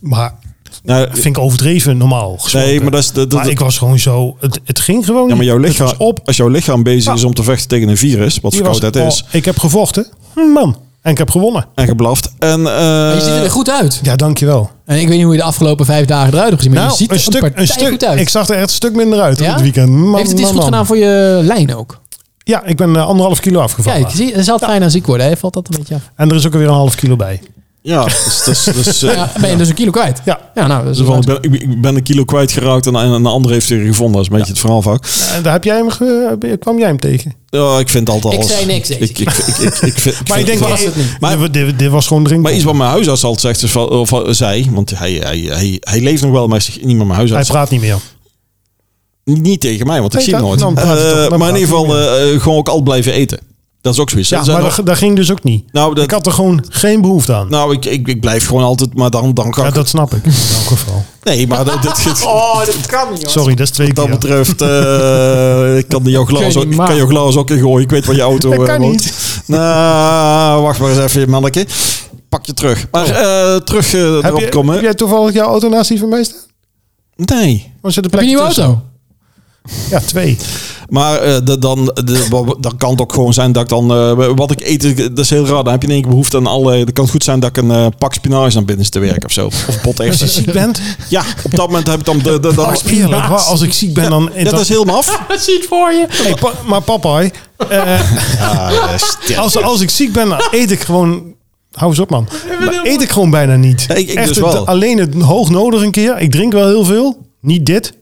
Speaker 1: maar
Speaker 2: Nou,
Speaker 1: vind ik overdreven normaal gesproken.
Speaker 2: nee, maar dat is... Dat, dat-
Speaker 1: Maar ik was gewoon zo... Het, het ging gewoon
Speaker 2: Ja, maar jouw
Speaker 1: niet. Het
Speaker 2: lichaam,
Speaker 1: was op.
Speaker 2: als jouw lichaam bezig
Speaker 1: Ja.
Speaker 2: is om te vechten tegen een virus, wat
Speaker 1: Hier was-
Speaker 2: verkoudheid
Speaker 1: oh,
Speaker 2: is,
Speaker 1: ik heb gevochten. Hm, Man. En ik heb gewonnen.
Speaker 2: en geblaft. En, eh,
Speaker 3: je ziet er goed uit.
Speaker 1: Ja, dankjewel.
Speaker 3: En ik weet niet hoe je de afgelopen vijf dagen eruit hebt gezien, maar
Speaker 1: Nou,
Speaker 3: je ziet er
Speaker 1: een stuk,
Speaker 3: partij
Speaker 1: een stuk,
Speaker 3: goed uit.
Speaker 1: Ik zag er echt een stuk minder uit
Speaker 3: Ja?
Speaker 1: op het weekend. Man,
Speaker 3: Heeft het iets
Speaker 1: man, man.
Speaker 3: goed gedaan voor je lijn ook?
Speaker 1: Ja, ik ben eh, anderhalf kilo afgevallen.
Speaker 3: Kijk, zie, je zal het bijna ziek worden. Hè? Valt dat een beetje af?
Speaker 1: En er is ook weer een half kilo bij.
Speaker 2: ja, dus, dus, dus, eh,
Speaker 3: Ja, ben je dus een kilo kwijt?
Speaker 1: Ja.
Speaker 3: Ja, nou, dat is
Speaker 2: dus van,
Speaker 3: wel...
Speaker 2: ik, ben, ik- ik ben een kilo kwijtgeraakt en, en een ander heeft er gevonden. Dat is een beetje het verhaal vaak.
Speaker 1: En eh, daar heb jij hem ge- eh, kwam jij hem tegen.
Speaker 2: Ja, ik vind altijd
Speaker 3: Ik
Speaker 2: alles.
Speaker 3: zei niks,
Speaker 2: Ik,
Speaker 3: Eze.
Speaker 2: ik, ik, ik, ik vind- ik vind
Speaker 1: Maar ik denk,
Speaker 2: het wel-
Speaker 3: was het niet.
Speaker 1: Maar, dit, dit- dit was gewoon drinken.
Speaker 2: maar iets wat mijn huisarts altijd zegt, is van, of eh, zei, want hij, hij, hij, hij leeft nog wel, maar hij is niet meer mijn
Speaker 1: Hij
Speaker 2: huisarts.
Speaker 1: praat niet meer.
Speaker 2: Niet, niet tegen mij, want ik
Speaker 1: Nee,
Speaker 2: zie hem
Speaker 1: dan-
Speaker 2: nooit.
Speaker 1: dan praat hij
Speaker 2: Eh,
Speaker 1: toch- dan
Speaker 2: maar in
Speaker 1: praat
Speaker 2: ieder
Speaker 1: hij
Speaker 2: geval eh, eh, gewoon ook al blijven eten. Dat is ook zoiets.
Speaker 1: Ja,
Speaker 2: Er zijn
Speaker 1: maar
Speaker 2: nog-
Speaker 1: dat, dat ging dus ook niet.
Speaker 2: nou, dat,
Speaker 1: Ik had er gewoon geen behoefte aan.
Speaker 2: nou ik, ik, ik blijf gewoon altijd, maar dan, dan kan
Speaker 1: Ja,
Speaker 2: ik-
Speaker 1: dat Oh. snap ik. In elk geval.
Speaker 2: Nee, maar dat, dit, dit-
Speaker 3: dat kan niet,
Speaker 1: Sorry, dat is twee
Speaker 2: Wat
Speaker 1: keer.
Speaker 2: dat betreft, eh, ik kan jouw
Speaker 3: Kun
Speaker 2: glas,
Speaker 3: je
Speaker 2: ook,
Speaker 3: niet
Speaker 2: ik kan
Speaker 3: maken.
Speaker 2: jouw glas ook in gooien. Ik weet waar je auto
Speaker 1: Dat
Speaker 2: eh,
Speaker 1: kan
Speaker 2: woont.
Speaker 1: niet.
Speaker 2: Nou, wacht maar eens even, manneke. Pak je terug. Maar
Speaker 3: Oh.
Speaker 2: eh, terug eh,
Speaker 1: Heb,
Speaker 2: erop
Speaker 1: je,
Speaker 2: komen.
Speaker 1: heb jij toevallig jouw auto naast die van mij staan?
Speaker 2: Nee.
Speaker 1: Of zit er
Speaker 3: Heb je
Speaker 1: plekje
Speaker 3: een nieuwe
Speaker 1: tussen?
Speaker 3: auto?
Speaker 1: Ja, twee.
Speaker 2: Maar eh, de- dan, de- wa- dan kan het ook gewoon zijn dat ik dan... eh, wat ik eet, ik- dat is heel raar. Dan heb je in één keer behoefte aan allerlei... Dan kan het goed zijn dat ik een eh, pak spinazie naar binnen te werken of zo. Of bot
Speaker 1: Als je
Speaker 2: ergens.
Speaker 1: ziek bent.
Speaker 2: Ja, op dat moment heb ik dan... De, de,
Speaker 1: Oh,
Speaker 2: dan
Speaker 1: eerlijk, waar, als ik ziek ben, dan...
Speaker 2: ja, dat is helemaal af.
Speaker 3: Dat zie ik voor je.
Speaker 1: Hey, pa- maar papa, hè, eh, Ah,
Speaker 2: Ja, ja, sterk.
Speaker 1: als, als ik ziek ben, dan eet ik gewoon hou eens op man. Maar eet ik gewoon bijna niet.
Speaker 2: Ja, ik- ik
Speaker 1: Echt,
Speaker 2: dus
Speaker 1: het-
Speaker 2: wel.
Speaker 1: alleen het hoog nodig een keer. Ik drink wel heel veel. Niet dit.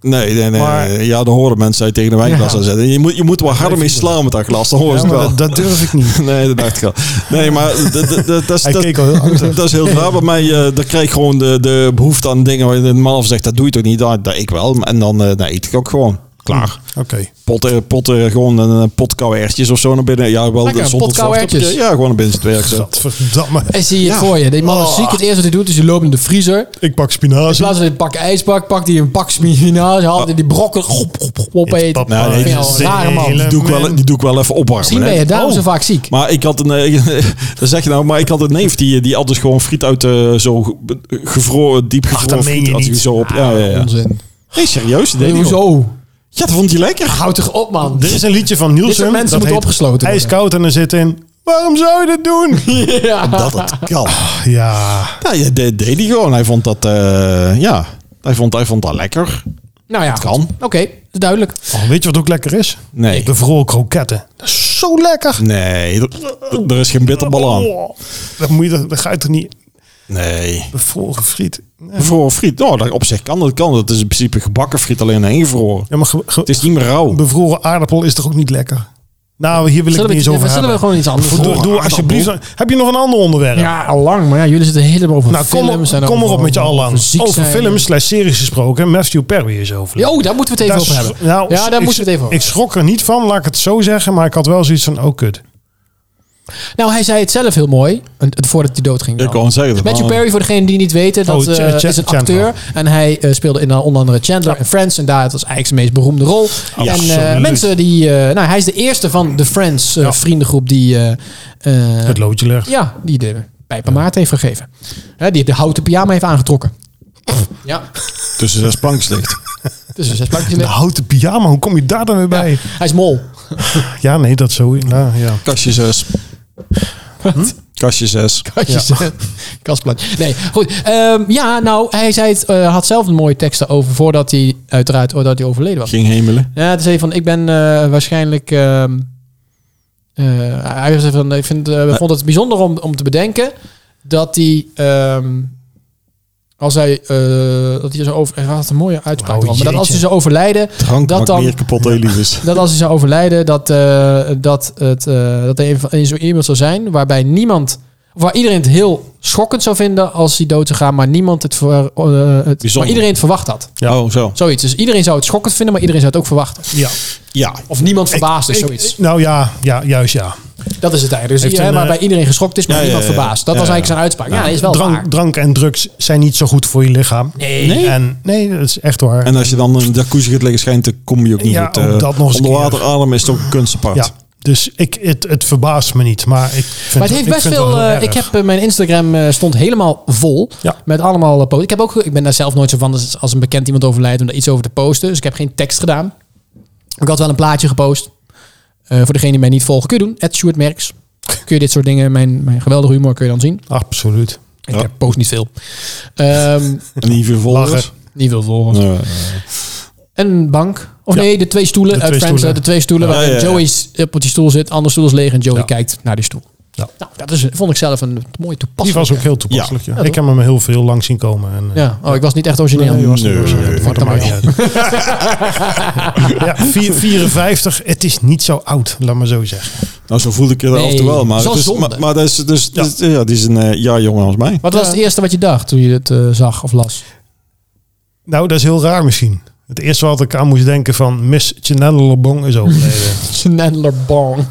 Speaker 2: Nee, nee, nee.
Speaker 1: Maar-
Speaker 2: ja, dan horen mensen uit tegen de wijnglas aan zetten. Je moet, je moet wel harder mee slaan met dat glas, dan horen
Speaker 1: Ja,
Speaker 2: ze het
Speaker 1: maar
Speaker 2: wel.
Speaker 1: dat, dat durf ik niet.
Speaker 2: Nee, dat dacht ik al. Nee, maar d- d- d- dat is-
Speaker 1: Hij
Speaker 2: dat-
Speaker 1: keek al heel angstig.
Speaker 2: dat is heel raar. Bij mij eh dan krijg ik gewoon de, de behoefte aan dingen waar je normaal zegt, dat doe je toch niet? Dat, dat ik wel. En dan eh, nee, eet ik ook gewoon. Klaar.
Speaker 1: Oké.
Speaker 2: Potten, potten, gewoon een eh, pot koude erwtjes of zo naar binnen. Ja, wel
Speaker 3: Lekker,
Speaker 2: zonder
Speaker 3: pot koude
Speaker 2: het
Speaker 3: erwtjes.
Speaker 2: Ja, gewoon naar binnen zitten werken. zo.
Speaker 1: Gadverdamme.
Speaker 3: En zie je het
Speaker 2: Ja.
Speaker 3: voor je. Die man
Speaker 1: Oh.
Speaker 3: is ziek. Het eerste wat hij doet is hij loopt in de vriezer.
Speaker 1: Ik pak
Speaker 3: In
Speaker 1: spinazie.
Speaker 3: plaats van een pak ijsbak, pakt hij een pak spinazie. Haalt hij die brokken op, op, op, opeten.
Speaker 1: Papa,
Speaker 2: Nou, nee,
Speaker 3: Ik vind het een rare man.
Speaker 1: hele-
Speaker 2: Die doe, ik wel, die doe ik wel even opwarmen.
Speaker 3: Misschien
Speaker 2: hè.
Speaker 3: ben je daarom
Speaker 2: Oh.
Speaker 3: zo vaak ziek.
Speaker 2: Maar ik had een, eh, dat zeg je nou, maar ik had een neef die, die had dus gewoon friet uit eh, zo ge- gevroren, diep
Speaker 1: dat meen
Speaker 2: gevroren friet.
Speaker 1: je
Speaker 2: had hij
Speaker 1: niet.
Speaker 2: zo op. Ja, ja, ja.
Speaker 3: Onzin.
Speaker 2: Nee, serieus, dat deed hij gewoon.
Speaker 3: Hoezo?
Speaker 2: Ja, dat vond hij lekker.
Speaker 3: Houd toch op, man.
Speaker 1: Er is een liedje van
Speaker 3: Dit soort
Speaker 1: Nielsen.
Speaker 3: mensen
Speaker 1: Dat
Speaker 3: moeten
Speaker 1: heet
Speaker 3: opgesloten worden.
Speaker 1: IJskoud en er zit in... Waarom zou je dit doen?
Speaker 3: Ja.
Speaker 2: Dat het kan.
Speaker 1: Ja.
Speaker 2: Ja, ja, dat deed hij gewoon. Hij vond dat, eh, ja, hij vond, hij vond dat lekker.
Speaker 3: Nou ja.
Speaker 2: kan.
Speaker 3: goed. Oké, is duidelijk.
Speaker 1: Oh, weet je wat ook lekker is?
Speaker 2: Nee.
Speaker 1: Bevroren kroketten. Dat is zo lekker.
Speaker 2: Nee, er- er is geen bitterbal aan.
Speaker 1: Oh, dat, moet je, dat ga je toch niet...
Speaker 2: Nee.
Speaker 1: Bevroren friet. Nee.
Speaker 2: Bevroren friet. Nou, dat op zich kan dat. Kan. Dat is in principe gebakken friet alleen ingevroren.
Speaker 1: Ja, maar ge- ge-
Speaker 2: Het is niet meer rauw.
Speaker 1: bevroren aardappel is toch ook niet lekker? Nou, hier wil
Speaker 3: Zullen
Speaker 1: ik
Speaker 3: we,
Speaker 1: niet eens over
Speaker 3: zullen we
Speaker 1: hebben.
Speaker 3: gewoon iets anders
Speaker 1: Doe- doe,
Speaker 2: aardappel?
Speaker 1: alsjeblieft... Heb je nog een ander onderwerp?
Speaker 3: Ja, al lang. Maar ja, jullie zitten helemaal over
Speaker 1: Nou, kom,
Speaker 3: films. en
Speaker 1: op, kom
Speaker 3: over-
Speaker 1: erop met je allen.
Speaker 3: over ziek
Speaker 1: Over, over
Speaker 3: zijn.
Speaker 1: films slash series gesproken. Matthew Perry is over.
Speaker 3: Ja, oh, daar moeten we het even
Speaker 1: Daar
Speaker 3: over hebben.
Speaker 1: s- nou,
Speaker 3: ja, daar
Speaker 1: ik-
Speaker 3: moeten we het even over
Speaker 1: Ik schrok er niet van, laat ik het zo zeggen. Maar ik had wel zoiets van, oh kut.
Speaker 3: Nou, hij zei het zelf heel mooi. en- en Voordat hij dood ging.
Speaker 2: Ik kan zeggen. dat
Speaker 3: Matthew
Speaker 2: wel.
Speaker 3: Perry, voor degene die niet weten, dat
Speaker 1: Oh, Ch-
Speaker 3: eh,
Speaker 1: Ch-
Speaker 3: is een
Speaker 1: Chandler.
Speaker 3: acteur. En hij eh, speelde in, eh, onder andere Chandler en Friends. En daar het was eigenlijk zijn meest beroemde rol. en eh,
Speaker 1: Absoluut.
Speaker 3: mensen die... eh, nou, hij is de eerste van de Friends eh,
Speaker 1: Ja.
Speaker 3: vriendengroep die... eh, eh,
Speaker 1: Het loodje legt.
Speaker 3: ja, die de pijp aan Maarten heeft gegeven. Hè, die de houten pyjama heeft aangetrokken. ja,
Speaker 2: Tussen zes planks ligt.
Speaker 3: tussen zes plankjes
Speaker 1: De
Speaker 3: weg.
Speaker 1: houten pyjama, hoe kom je daar dan weer bij? Nou, Ja,
Speaker 3: Hij is mol.
Speaker 1: nee, dat zo. Nou, ja.
Speaker 2: Kastje zes. Hm? Kastje zes.
Speaker 3: Katjes. Kastplan. Nee, goed. Ehm, ja, nou, hij zei het, eh, had zelf een mooie tekst over voordat hij uiteraard voordat hij overleden was.
Speaker 2: Ging hemelen.
Speaker 3: Ja, het is even van, ik ben eh, waarschijnlijk... ehm, eh, hij was even van, ik vind, eh, vond het bijzonder om, om te bedenken dat hij... ehm, als hij, eh, dat hij zo over, hij had een mooie uitspraak.
Speaker 1: Wauw,
Speaker 3: erover, maar dat als hij
Speaker 1: Oh, jeetje.
Speaker 3: zou overlijden,
Speaker 2: Drank
Speaker 3: Dat
Speaker 2: maakt
Speaker 3: dan-
Speaker 2: meer kapot dan je lief is.
Speaker 3: dat als hij zou overlijden, dat, eh, dat, het, eh, dat hij in zo'n e-mail zou zijn waarbij niemand, of waar iedereen het heel schokkend zou vinden als hij dood zou gaan, maar niemand het, ver, eh, het
Speaker 2: Bijzonder.
Speaker 3: maar iedereen het verwacht had.
Speaker 2: Ja. Oh, zo.
Speaker 3: Zoiets. Dus iedereen zou het schokkend vinden, maar iedereen zou het ook verwachten.
Speaker 1: ja.
Speaker 2: Ja.
Speaker 3: Of niemand verbaasd is,
Speaker 1: Ik-
Speaker 3: dus zoiets.
Speaker 1: ik- nou ja, ja, juist ja.
Speaker 3: dat is het eigenlijk. Dus
Speaker 1: Heeft
Speaker 3: hier, hè,
Speaker 1: een, eh,
Speaker 3: waarbij iedereen geschokt is, maar
Speaker 2: ja, ja,
Speaker 3: niemand
Speaker 2: ja, ja.
Speaker 3: verbaasd. Dat
Speaker 2: Ja,
Speaker 3: was
Speaker 2: ja.
Speaker 3: eigenlijk zijn uitspraak. Ja, is wel waar.
Speaker 1: Drank, drank en drugs zijn niet zo goed voor je lichaam.
Speaker 3: Nee.
Speaker 1: En, nee, dat is echt waar.
Speaker 2: En als je dan in een jacuzzi gaat liggen, schijnt de kom je ook niet
Speaker 1: Ja,
Speaker 2: goed. eh,
Speaker 1: ook dat nog eens
Speaker 2: Onder water ademen is toch een kunstapart.
Speaker 1: ja. Dus ik, het, het verbaast me niet. Maar, ik vind
Speaker 3: Maar het heeft
Speaker 1: ik
Speaker 3: best
Speaker 1: vind
Speaker 3: veel.
Speaker 1: wel heel
Speaker 3: eh,
Speaker 1: erg.
Speaker 3: ik heb eh, mijn Instagram eh, stond helemaal vol
Speaker 1: Ja.
Speaker 3: met allemaal eh, posts. Ik heb ook, ik ben daar zelf nooit zo van dus als een bekend iemand overlijdt om daar iets over te posten. Dus ik heb geen tekst gedaan. Ik had wel een plaatje gepost. Eh, voor degene die mij niet volgen, kun je doen. At Stuart Merks. Kun je dit soort dingen, mijn, mijn geweldige humor, kun je dan zien.
Speaker 1: Absoluut.
Speaker 3: Ik
Speaker 2: Ja.
Speaker 3: heb post niet veel. Ehm,
Speaker 2: En die vervolgens.
Speaker 1: Lachen.
Speaker 3: niet veel volgen.
Speaker 2: Nee.
Speaker 3: Een bank. Of
Speaker 1: Ja.
Speaker 3: nee, de twee stoelen
Speaker 1: De
Speaker 3: uit
Speaker 1: twee
Speaker 3: Friends.
Speaker 1: stoelen.
Speaker 3: hè, De twee stoelen
Speaker 2: Ja,
Speaker 3: waar
Speaker 2: ja, ja.
Speaker 3: Joey s- op die stoel zit. Andere stoel is leeg en Joey
Speaker 1: Ja.
Speaker 3: kijkt naar die stoel.
Speaker 1: Ja.
Speaker 3: Nou, dat is, vond ik zelf een mooi
Speaker 1: Die
Speaker 3: toepasselijk.
Speaker 1: was ook heel toepasselijk. Ja.
Speaker 3: Ja,
Speaker 1: ik
Speaker 3: toch?
Speaker 1: heb hem heel veel lang zien komen. En, eh,
Speaker 3: Ja, oh, ik was niet echt origineel.
Speaker 1: Nee, je was
Speaker 2: niet Nee, origineel. nee,
Speaker 3: Fuck
Speaker 1: dat
Speaker 3: dan
Speaker 1: maakt
Speaker 3: maar.
Speaker 1: niet uit. ja, vier- 54, het is niet zo oud, laat maar zo zeggen.
Speaker 2: Nou, zo voelde ik het
Speaker 3: Nee,
Speaker 2: af en toe wel. Maar,
Speaker 3: zo
Speaker 2: het is,
Speaker 3: zonde.
Speaker 2: maar, maar dat is, dus,
Speaker 1: Ja.
Speaker 2: dus- ja, die is een eh, jaar jonger dan mij.
Speaker 3: Wat was het eerste wat je dacht toen je het eh, zag of las?
Speaker 1: Nou, dat is heel raar misschien. Het eerste wat ik aan moest denken van Miss Chenelobong is overleden.
Speaker 3: Chandler Bong.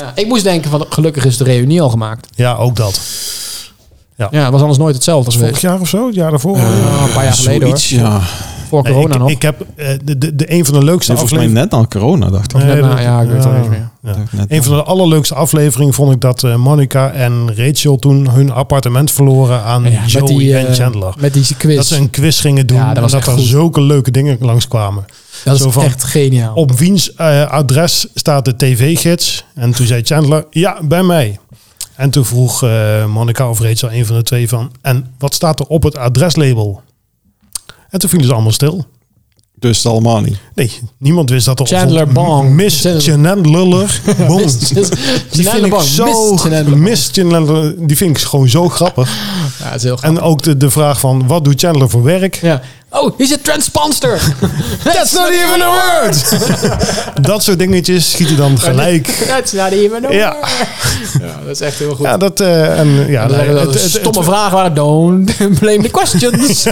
Speaker 3: Ja, ik moest denken van gelukkig is de reunie al gemaakt.
Speaker 1: ja, ook dat.
Speaker 3: Ja, het was anders nooit hetzelfde als
Speaker 1: Vorig
Speaker 3: geweest.
Speaker 1: jaar of zo, het jaar daarvoor.
Speaker 3: Ja, een paar jaar geleden hoor.
Speaker 2: Zoiets, ja.
Speaker 3: Voor
Speaker 1: Nee,
Speaker 3: Eh, corona
Speaker 1: ik,
Speaker 3: nog.
Speaker 1: ik heb eh, de, de, de een van de leukste
Speaker 2: Volgens mij
Speaker 1: afleveringen.
Speaker 2: net aan corona, dacht ik.
Speaker 3: Of net
Speaker 1: Nee,
Speaker 3: na-
Speaker 1: dat-
Speaker 3: ja, ik weet het al
Speaker 1: ja.
Speaker 3: niet meer.
Speaker 1: Ja.
Speaker 2: Dacht net
Speaker 1: Een van de allerleukste afleveringen vond ik dat eh, Monica en Rachel toen hun appartement verloren aan
Speaker 3: Ja, met
Speaker 1: Joey
Speaker 3: die, eh,
Speaker 1: en Chandler.
Speaker 3: Met die quiz.
Speaker 1: Dat ze een quiz gingen doen
Speaker 3: Ja, dat
Speaker 1: en
Speaker 3: was
Speaker 1: dat
Speaker 3: echt
Speaker 1: er
Speaker 3: goed.
Speaker 1: zulke leuke dingen langskwamen. zo
Speaker 3: is
Speaker 1: van-
Speaker 3: echt geniaal.
Speaker 1: Op wiens eh, adres staat de tv-gids? En toen zei Chandler, ja, bij mij. En toen vroeg eh Monica of Rachel, een van de twee, van... En wat staat er op het adreslabel? En toen vielen ze allemaal stil.
Speaker 2: Dus het allemaal niet.
Speaker 1: Nee, niemand wist dat er
Speaker 3: Chandler
Speaker 1: ontstond.
Speaker 3: Bong.
Speaker 1: Miss Chandler Bong. Die vind ik zo... Miss Chandler, die vind ik gewoon zo grappig.
Speaker 3: Ja, dat is heel
Speaker 1: En ook de, de vraag van, wat doet Chandler voor werk?
Speaker 3: Ja. Oh, he's a transponster. That's not even a word.
Speaker 1: Dat soort dingetjes schiet hij dan gelijk.
Speaker 3: That's not even a
Speaker 1: Ja.
Speaker 3: word. Ja, dat is echt heel goed.
Speaker 1: Ja, dat... eh, en, ja,
Speaker 3: En dan
Speaker 1: nee,
Speaker 3: zeggen we dat
Speaker 1: het,
Speaker 3: er
Speaker 1: het, het,
Speaker 3: stomme vragen waren don't blame the questions.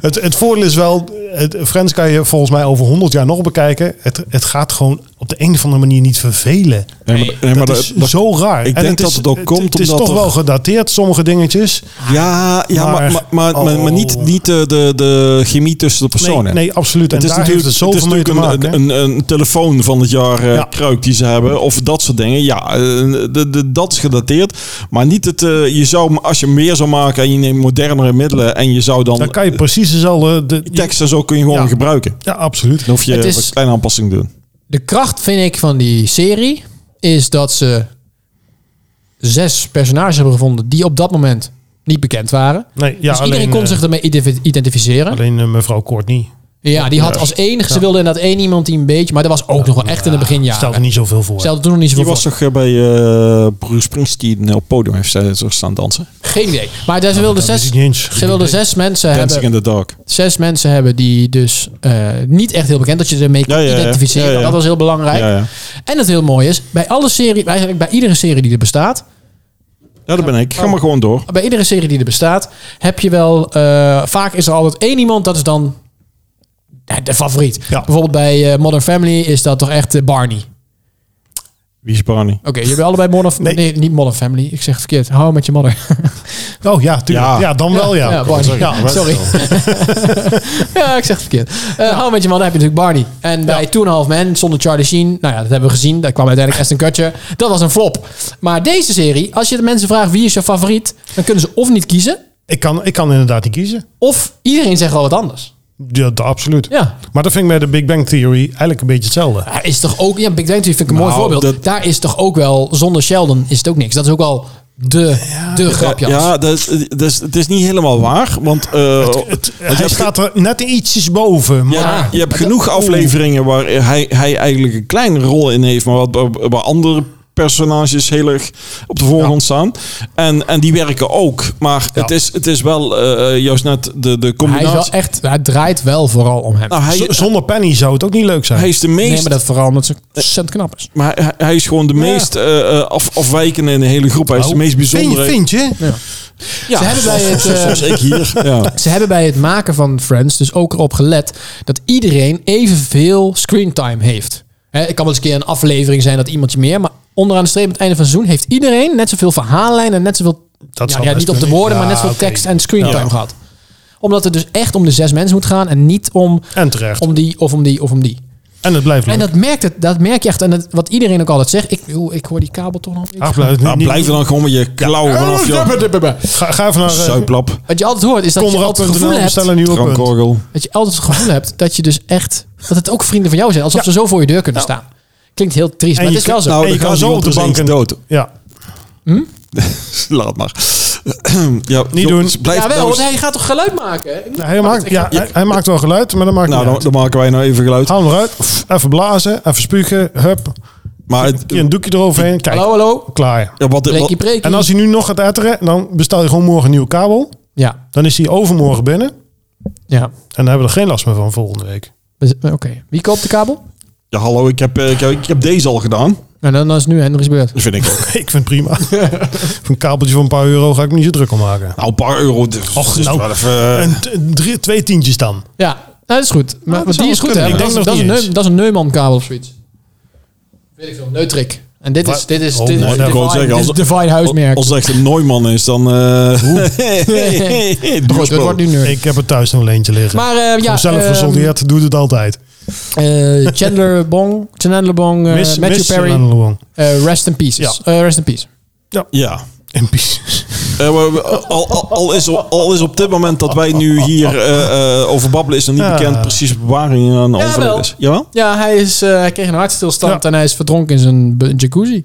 Speaker 1: het, het voordeel is wel... Het, Friends kan je volgens mij over 100 jaar nog bekijken. Het, het gaat gewoon op de een of andere manier niet vervelen.
Speaker 2: Nee, maar, nee, maar
Speaker 1: dat is
Speaker 2: dat- dat-
Speaker 1: zo raar.
Speaker 2: ik
Speaker 1: En
Speaker 2: denk dat het ook komt
Speaker 1: Het is
Speaker 2: omdat
Speaker 1: toch
Speaker 2: er-
Speaker 1: wel gedateerd, sommige dingetjes.
Speaker 2: ja, ja, maar,
Speaker 1: Maar-
Speaker 2: maar, maar, maar, maar niet,
Speaker 1: Oh.
Speaker 2: niet eh, de, de, de chemie tussen de
Speaker 1: Nee,
Speaker 2: personen.
Speaker 1: nee, absoluut. En
Speaker 2: Het is
Speaker 1: daar heeft
Speaker 2: natuurlijk,
Speaker 1: het
Speaker 2: het
Speaker 1: zoveel
Speaker 2: is
Speaker 1: mee te
Speaker 2: natuurlijk
Speaker 1: maken.
Speaker 2: een, een, een, een telefoon van het jaar eh,
Speaker 1: Ja.
Speaker 2: kruik die ze hebben. Of dat soort dingen. Ja, eh, de, de, dat is gedateerd. Maar niet het... eh, je zou, als je meer zou maken en je neemt modernere middelen... en je zou dan...
Speaker 1: Dan kan je precies dezelfde... De,
Speaker 2: tekst en zo kun je gewoon
Speaker 1: Ja.
Speaker 2: gebruiken.
Speaker 1: ja, absoluut.
Speaker 2: Dan hoef je
Speaker 3: Het is-
Speaker 2: wat kleine aanpassing te doen.
Speaker 3: De kracht, vind ik, van die serie is dat ze zes personages hebben gevonden die op dat moment niet bekend waren.
Speaker 1: Nee, ja,
Speaker 3: dus
Speaker 1: alleen,
Speaker 3: iedereen kon
Speaker 1: eh,
Speaker 3: zich ermee identif- identificeren.
Speaker 1: Alleen eh, mevrouw Kort niet.
Speaker 3: ja, die had als enige, ze wilde inderdaad één iemand die een beetje, maar dat was ook nog wel echt in de
Speaker 1: Stelt
Speaker 3: beginjaren.
Speaker 1: er niet zoveel voor.
Speaker 3: Stelde toen nog niet
Speaker 2: Die
Speaker 3: zoveel
Speaker 2: was
Speaker 3: voor.
Speaker 2: toch eh, bij eh Bruce Springsteen op het podium heeft zij zo staan dansen.
Speaker 3: Geen idee. Maar daar- ze wilde
Speaker 1: dat
Speaker 3: zes,
Speaker 1: is niet eens.
Speaker 3: ze wilde zes mensen
Speaker 2: Dancing
Speaker 3: hebben,
Speaker 2: in the Dark.
Speaker 3: zes mensen hebben die dus eh, niet echt heel bekend, dat je ermee kon
Speaker 2: Ja, ja, ja.
Speaker 3: identificeren.
Speaker 2: Ja, ja.
Speaker 3: Dat was heel belangrijk.
Speaker 2: Ja, ja.
Speaker 3: En het heel mooi is, bij alle serie, eigenlijk bij iedere serie die er bestaat,
Speaker 2: ja, dat ben ik.
Speaker 1: Oh.
Speaker 2: Ga maar gewoon door.
Speaker 3: bij iedere serie die er bestaat, heb je wel. eh, vaak is er altijd één iemand dat is dan eh, de favoriet.
Speaker 1: Ja.
Speaker 3: Bijvoorbeeld bij eh, Modern Family is dat toch echt eh, Barney. Oké,
Speaker 2: Wie is Barney?
Speaker 3: jullie allebei Modern Family.
Speaker 1: Nee.
Speaker 3: Nee. niet Modern Family. Ik zeg het verkeerd. Hou met je modder.
Speaker 1: Oh ja, tuurlijk.
Speaker 2: Ja.
Speaker 1: Ja, dan wel ja.
Speaker 3: Ja,
Speaker 1: Kom,
Speaker 3: Barney.
Speaker 1: sorry. Ja,
Speaker 3: Sorry. ja, ik zeg het verkeerd. Eh Hou met je modder heb je natuurlijk Barney. En bij Two and a Half Men zonder Charlie Sheen. Nou ja, dat hebben we gezien. Daar kwam uiteindelijk Aston Kutcher. Dat was een flop. Maar deze serie, als je de mensen vraagt wie is je favoriet, dan kunnen ze of niet kiezen,
Speaker 1: Ik kan, ik kan inderdaad niet kiezen.
Speaker 3: of iedereen zegt wel wat anders.
Speaker 1: Ja, dat, absoluut.
Speaker 3: Ja,
Speaker 1: Maar dat vind ik bij de Big Bang Theory eigenlijk een beetje hetzelfde.
Speaker 3: Ja, is toch ook, ja, Big Bang Theory vind ik een mooi
Speaker 2: Nou,
Speaker 3: voorbeeld.
Speaker 2: dat-
Speaker 3: Daar is toch ook wel, zonder Sheldon is het ook niks. Dat is ook al de, de grapjas.
Speaker 2: Ja, dat is, dat is- het is niet helemaal waar. Want, eh, want je
Speaker 1: Hij
Speaker 2: hebt-
Speaker 1: staat er net ietsjes boven.
Speaker 2: je
Speaker 1: Maar
Speaker 2: hebt- je hebt
Speaker 3: Maar
Speaker 2: genoeg afleveringen waar hij, hij eigenlijk een kleine rol in heeft, maar wat bij- bij andere personages heel erg op de voorgrond staan. En, en die werken ook. Maar het, is, het is wel eh, juist net de, de
Speaker 3: hij, is
Speaker 2: combinatie.
Speaker 3: wel echt, hij draait wel vooral om hem.
Speaker 2: nou, hij,
Speaker 1: z- zonder Penny zou het ook niet leuk zijn.
Speaker 2: hij is de meest
Speaker 3: nee, maar dat vooral omdat ze ontzettend knap is.
Speaker 2: Maar hij, hij is gewoon de meest eh, eh, af, afwijkende in de hele groep. Hij is de
Speaker 1: Oh,
Speaker 2: meest bijzondere.
Speaker 1: Vind, vind je?
Speaker 2: Ja,
Speaker 3: Ze hebben bij
Speaker 2: zoals-
Speaker 3: het, eh,
Speaker 2: Zoals ik hier. Ja.
Speaker 3: Ze hebben bij het maken van Friends dus ook erop gelet dat iedereen evenveel screentime heeft. Hè, het kan wel eens een keer een aflevering zijn dat iemand je meer, maar onderaan de streep aan het einde van het seizoen heeft iedereen net zoveel verhaallijnen, net zoveel
Speaker 1: Dat
Speaker 3: ja,
Speaker 1: zou
Speaker 3: ja,
Speaker 1: best
Speaker 3: niet op de
Speaker 1: kunnen.
Speaker 3: woorden, maar
Speaker 1: Ja,
Speaker 3: net zoveel
Speaker 1: oké.
Speaker 3: tekst en screentime
Speaker 2: Ja.
Speaker 3: gehad. Omdat het dus echt om de zes mensen moet gaan en niet om,
Speaker 1: En terecht.
Speaker 3: om die of om die of om die.
Speaker 1: en het blijft leuk.
Speaker 3: En dat, merkt het, dat merk je echt. En dat, wat iedereen ook altijd zegt. Ik, oeh, ik hoor die kabel toch nog.
Speaker 1: Ah, blijf,
Speaker 2: Ja,
Speaker 1: niet-
Speaker 2: Nou, blijf er dan gewoon met je klauwen
Speaker 1: Oh,
Speaker 2: vanaf, joh.
Speaker 1: ga, ga even naar eh,
Speaker 2: Zuiplap,
Speaker 3: Wat je altijd hoort is dat je altijd het
Speaker 1: konrad.nl
Speaker 3: gevoel
Speaker 1: bestel
Speaker 3: hebt...
Speaker 1: een nieuwe punt.
Speaker 2: drankorgel.
Speaker 3: Dat je altijd het gevoel hebt dat je dus echt... Dat het ook vrienden van jou zijn. Alsof
Speaker 1: Ja.
Speaker 3: ze zo voor je deur kunnen staan. Klinkt heel triest, maar
Speaker 1: je
Speaker 3: het is wel zo.
Speaker 1: kan-
Speaker 2: Nou,
Speaker 1: En
Speaker 2: dan
Speaker 1: je kan
Speaker 2: gaat
Speaker 1: zo op
Speaker 2: iemand
Speaker 1: de
Speaker 2: dus
Speaker 1: bank
Speaker 2: eens
Speaker 1: een-
Speaker 2: dood.
Speaker 1: Ja,
Speaker 2: Laat maar. ja,
Speaker 1: Niet
Speaker 2: joh,
Speaker 1: doen.
Speaker 2: dus Blijf
Speaker 3: ja, wel,
Speaker 2: nou
Speaker 3: want
Speaker 2: eens-
Speaker 3: hij gaat toch geluid maken?
Speaker 1: Nou, hij, maakt, ja, hij, hij maakt wel geluid, maar dat maakt
Speaker 2: Nou,
Speaker 1: niet
Speaker 2: dan,
Speaker 1: uit.
Speaker 2: dan maken wij nou even geluid.
Speaker 1: Haal hem eruit. Pff, Even blazen, even spugen. Hup.
Speaker 2: Maar het,
Speaker 1: Hier een doekje eroverheen. Kijk,
Speaker 3: Hallo, hallo.
Speaker 1: klaar.
Speaker 2: ja, wat,
Speaker 3: Preekie,
Speaker 2: wat,
Speaker 3: preekie.
Speaker 1: En als hij nu nog gaat etteren, dan bestel je gewoon morgen een nieuwe kabel.
Speaker 3: Ja,
Speaker 1: Dan is hij overmorgen binnen.
Speaker 3: ja.
Speaker 1: En dan hebben we er geen last meer van volgende week.
Speaker 3: Dus, Oké, wie koopt de kabel?
Speaker 2: ja, hallo, ik heb, eh, ik, heb, ik heb deze al gedaan.
Speaker 3: Nou, dan is nu Henry's beurt.
Speaker 2: Dat vind ik ook.
Speaker 1: Ik vind het prima. Voor een kabeltje van een paar euro ga ik me niet zo druk om maken.
Speaker 2: Nou, een paar euro. dus-
Speaker 1: Och,
Speaker 2: dus
Speaker 1: nou.
Speaker 2: wel even, eh,
Speaker 1: En t- drie, twee tientjes dan.
Speaker 3: Ja, nou, dat is goed. Maar,
Speaker 1: dat
Speaker 3: want
Speaker 1: zou
Speaker 3: die is
Speaker 1: wel
Speaker 3: goed, hè?
Speaker 1: kunnen.
Speaker 3: Dat,
Speaker 1: Ik
Speaker 3: is-
Speaker 1: denk nog
Speaker 3: dat, is een
Speaker 1: niet
Speaker 3: Neu- dat is een Neumann-kabel of zoiets. Weet ik veel, Neutrik. En dit is,
Speaker 1: Wat?
Speaker 3: dit is,
Speaker 1: Oh,
Speaker 3: dit is,
Speaker 1: nou,
Speaker 3: dit
Speaker 1: dat
Speaker 3: is
Speaker 2: wil ik
Speaker 3: Divine,
Speaker 2: zeggen,
Speaker 3: dit is
Speaker 2: als-
Speaker 3: Divine huismerk.
Speaker 2: Als het echt een Neumann is, dan... eh
Speaker 3: Maar goed, het wordt nu nerd.
Speaker 1: Ik heb er thuis nog een leentje liggen.
Speaker 3: Maar eh, ja,
Speaker 1: Gewoon zelf
Speaker 3: ehm,
Speaker 1: gesoldeerd doet het altijd.
Speaker 3: eh, Chandler Bong, Chandler Bong, eh,
Speaker 1: Miss,
Speaker 3: Matthew
Speaker 1: miss
Speaker 3: Perry,
Speaker 1: Fernando Wong.
Speaker 3: eh, Rest in Peace.
Speaker 1: Ja.
Speaker 3: Eh, rest in Peace.
Speaker 2: Ja.
Speaker 1: En Pies.
Speaker 2: Eh, we- we- al, al, al is, op- al is op dit moment dat wij nu hier eh, eh, over babbelen, is nog niet
Speaker 1: Ja.
Speaker 2: bekend precies op bewaring aan
Speaker 3: Jawel.
Speaker 2: overleden is. Jawel?
Speaker 3: Ja, hij, is, eh, hij kreeg een hartstilstand
Speaker 1: Ja.
Speaker 3: en hij is verdronken in zijn b- jacuzzi.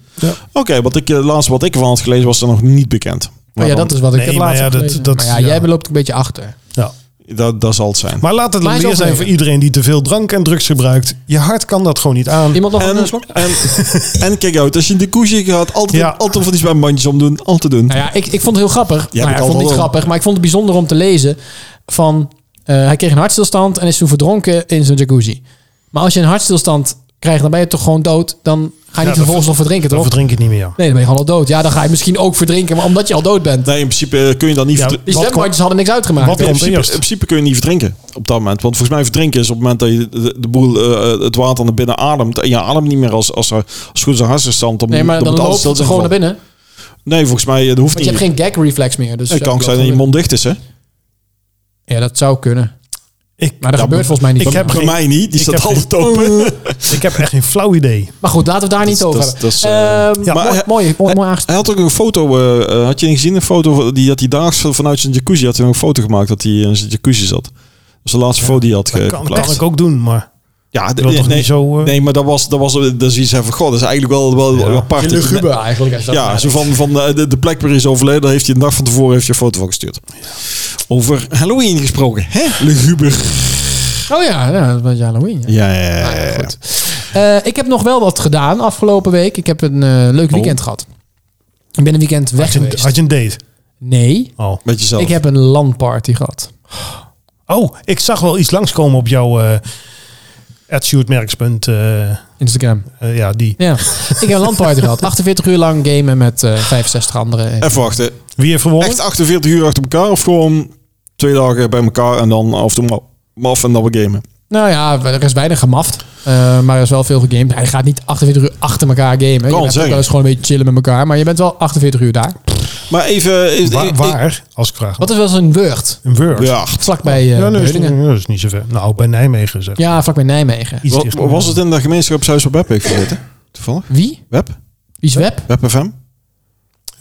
Speaker 2: Oké, wat ik het laatste wat ik ervan had gelezen was er nog niet bekend.
Speaker 3: Maar Oh ja, dat is wat ik
Speaker 1: Nee,
Speaker 3: het
Speaker 1: maar
Speaker 3: laatst
Speaker 1: ja,
Speaker 3: heb
Speaker 1: dat-
Speaker 3: gelezen.
Speaker 1: dat-
Speaker 3: Maar ja,
Speaker 1: ja.
Speaker 3: jij loopt een beetje achter.
Speaker 1: Ja.
Speaker 2: Dat, dat zal het zijn.
Speaker 1: Maar laat het
Speaker 3: Maar
Speaker 1: een
Speaker 3: hij is
Speaker 1: leer zijn voor
Speaker 3: overleden.
Speaker 1: iedereen die te veel drank en drugs gebruikt. Je hart kan dat gewoon niet aan.
Speaker 3: Iemand nog
Speaker 2: En,
Speaker 3: een eh, slok?
Speaker 2: en, en kijk uit, als je een jacuzzi gaat, altijd,
Speaker 1: Ja.
Speaker 2: altijd van die zwijnbandjes om doen. Altijd doen.
Speaker 3: Nou ja, ik, ik vond het heel grappig.
Speaker 2: Ja,
Speaker 3: nou
Speaker 2: dat
Speaker 3: ja, ik vond
Speaker 2: kan
Speaker 3: het niet
Speaker 2: wel.
Speaker 3: grappig, maar ik vond het bijzonder om te lezen van... eh, hij kreeg een hartstilstand en is toen verdronken in zijn jacuzzi. Maar als je een hartstilstand krijgt, dan ben je toch gewoon dood. Dan ga je
Speaker 1: dat
Speaker 3: niet vervolgens nog verdrinken,
Speaker 1: Dan
Speaker 3: toch?
Speaker 1: verdrink je het niet meer.
Speaker 3: Nee, dan ben je gewoon al dood. Ja, dan ga je misschien ook verdrinken, maar omdat je al dood bent.
Speaker 2: Nee, in principe eh, kun je dan niet...
Speaker 1: Ja,
Speaker 2: verdr-
Speaker 3: Die
Speaker 1: wat
Speaker 3: zwembandjes hadden niks uitgemaakt.
Speaker 1: wat
Speaker 2: in,
Speaker 1: komt
Speaker 2: principe, in
Speaker 1: eerst?
Speaker 2: principe kun je niet verdrinken op dat moment. Want volgens mij verdrinken is op het moment dat je de, de boel, eh, het water naar binnen ademt. En je ademt niet meer als, als, er, als goed is een hartstilstand. Dan,
Speaker 3: nee, maar
Speaker 2: moet-
Speaker 3: dan
Speaker 2: moet alles
Speaker 3: loopt het
Speaker 2: stil
Speaker 3: gewoon naar
Speaker 2: zijn
Speaker 3: binnen.
Speaker 2: gevallen. Nee, volgens mij eh, dat hoeft
Speaker 3: Want je
Speaker 2: niet.
Speaker 3: hebt geen gag-reflex meer. Dus
Speaker 2: het
Speaker 3: ja,
Speaker 2: kan ook
Speaker 3: dat
Speaker 2: zijn dat je
Speaker 3: wel-
Speaker 2: mond dicht is, hè?
Speaker 3: Ja, dat zou kunnen.
Speaker 1: Ik,
Speaker 3: Maar dat gebeurt volgens mij niet.
Speaker 1: Ik heb-
Speaker 2: Bij
Speaker 1: geen-
Speaker 2: mij niet, die
Speaker 1: ik
Speaker 2: staat
Speaker 1: heb
Speaker 2: altijd open.
Speaker 1: ik heb echt geen flauw idee.
Speaker 3: Maar goed, laten we het daar niet
Speaker 2: Dat-
Speaker 3: over
Speaker 2: dat-
Speaker 3: hebben.
Speaker 2: dat is, eh,
Speaker 3: Ehm,
Speaker 1: ja,
Speaker 3: mooi,
Speaker 2: maar-
Speaker 3: mooi, mooi, mooi aangesteld.
Speaker 2: Hij had ook een foto, eh, eh, had je niet gezien? Een foto die had hij daags vanuit zijn jacuzzi had hij nog een foto gemaakt dat hij in zijn jacuzzi zat. Dat is de laatste foto die hij had
Speaker 1: Dat
Speaker 2: ge-
Speaker 1: kan, kan
Speaker 2: geplaatst.
Speaker 1: ik ook doen, maar
Speaker 2: Ja,
Speaker 1: ik wil
Speaker 2: nee,
Speaker 1: toch
Speaker 2: nee,
Speaker 1: niet zo... eh,
Speaker 2: nee, maar dat was, dat was dat is iets van god, dat is eigenlijk wel, wel
Speaker 1: Ja.
Speaker 2: apart. Dat je-
Speaker 3: Ja, eigenlijk. als je dat
Speaker 2: ja,
Speaker 3: vraagt.
Speaker 2: zo van, van eh, de, de plek waar hij is overleden, daar heeft hij een dag van tevoren heeft hij een foto van gestuurd. Over Halloween gesproken, hè? Luguber.
Speaker 3: Oh ja, ja, dat is een beetje Halloween. ja.
Speaker 2: Ja, ja, ja.
Speaker 3: Ah, ja,
Speaker 2: ja.
Speaker 3: goed. Eh, ik heb nog wel wat gedaan afgelopen week. Ik heb een eh, leuk weekend gehad. Ik ben een weekend weg
Speaker 1: had, je,
Speaker 3: geweest.
Speaker 1: een- had je een date?
Speaker 3: Nee,
Speaker 1: Oh.
Speaker 2: Met jezelf.
Speaker 3: ik heb een landparty gehad.
Speaker 1: oh, ik zag wel iets langskomen op jouw... eh @shootmerks.punt, eh, eh,
Speaker 3: Instagram.
Speaker 1: ja, die.
Speaker 3: Ja, ik heb een landparty gehad. 48 uur lang gamen met eh 65 anderen. En-
Speaker 2: Even wachten.
Speaker 1: Wie heeft verwonnen?
Speaker 2: Echt 48 uur achter elkaar of gewoon twee dagen bij elkaar en dan af en toe ma- maf en dan weer gamen?
Speaker 3: Nou ja, er is weinig gemaft. eh, maar er is wel veel gegamed. Hij gaat niet 48 uur achter elkaar gamen. Je bent ook
Speaker 2: zeggen.
Speaker 3: wel eens gewoon een beetje chillen met elkaar. Maar je bent wel 48 uur daar.
Speaker 2: Maar even... even
Speaker 1: Wa-
Speaker 2: ik-
Speaker 1: waar, als ik vraag.
Speaker 3: Wat is wel eens een Wurgt?
Speaker 1: Een Word.
Speaker 2: ik- eh, Ja,
Speaker 3: Vlakbij eh
Speaker 1: ja, nee, dat is,
Speaker 3: Beuningen.
Speaker 1: niet- dat is niet zo ver. Nou, bij Nijmegen zeg.
Speaker 3: Ja, vlakbij Nijmegen.
Speaker 1: Iets
Speaker 2: Wa-
Speaker 1: dichter.
Speaker 2: was het in de gemeenschapshuis op Web heeft gezeten? Toevallig?
Speaker 3: Wie?
Speaker 2: Web?
Speaker 3: Wie is Web?
Speaker 2: Web FM?
Speaker 1: Wie-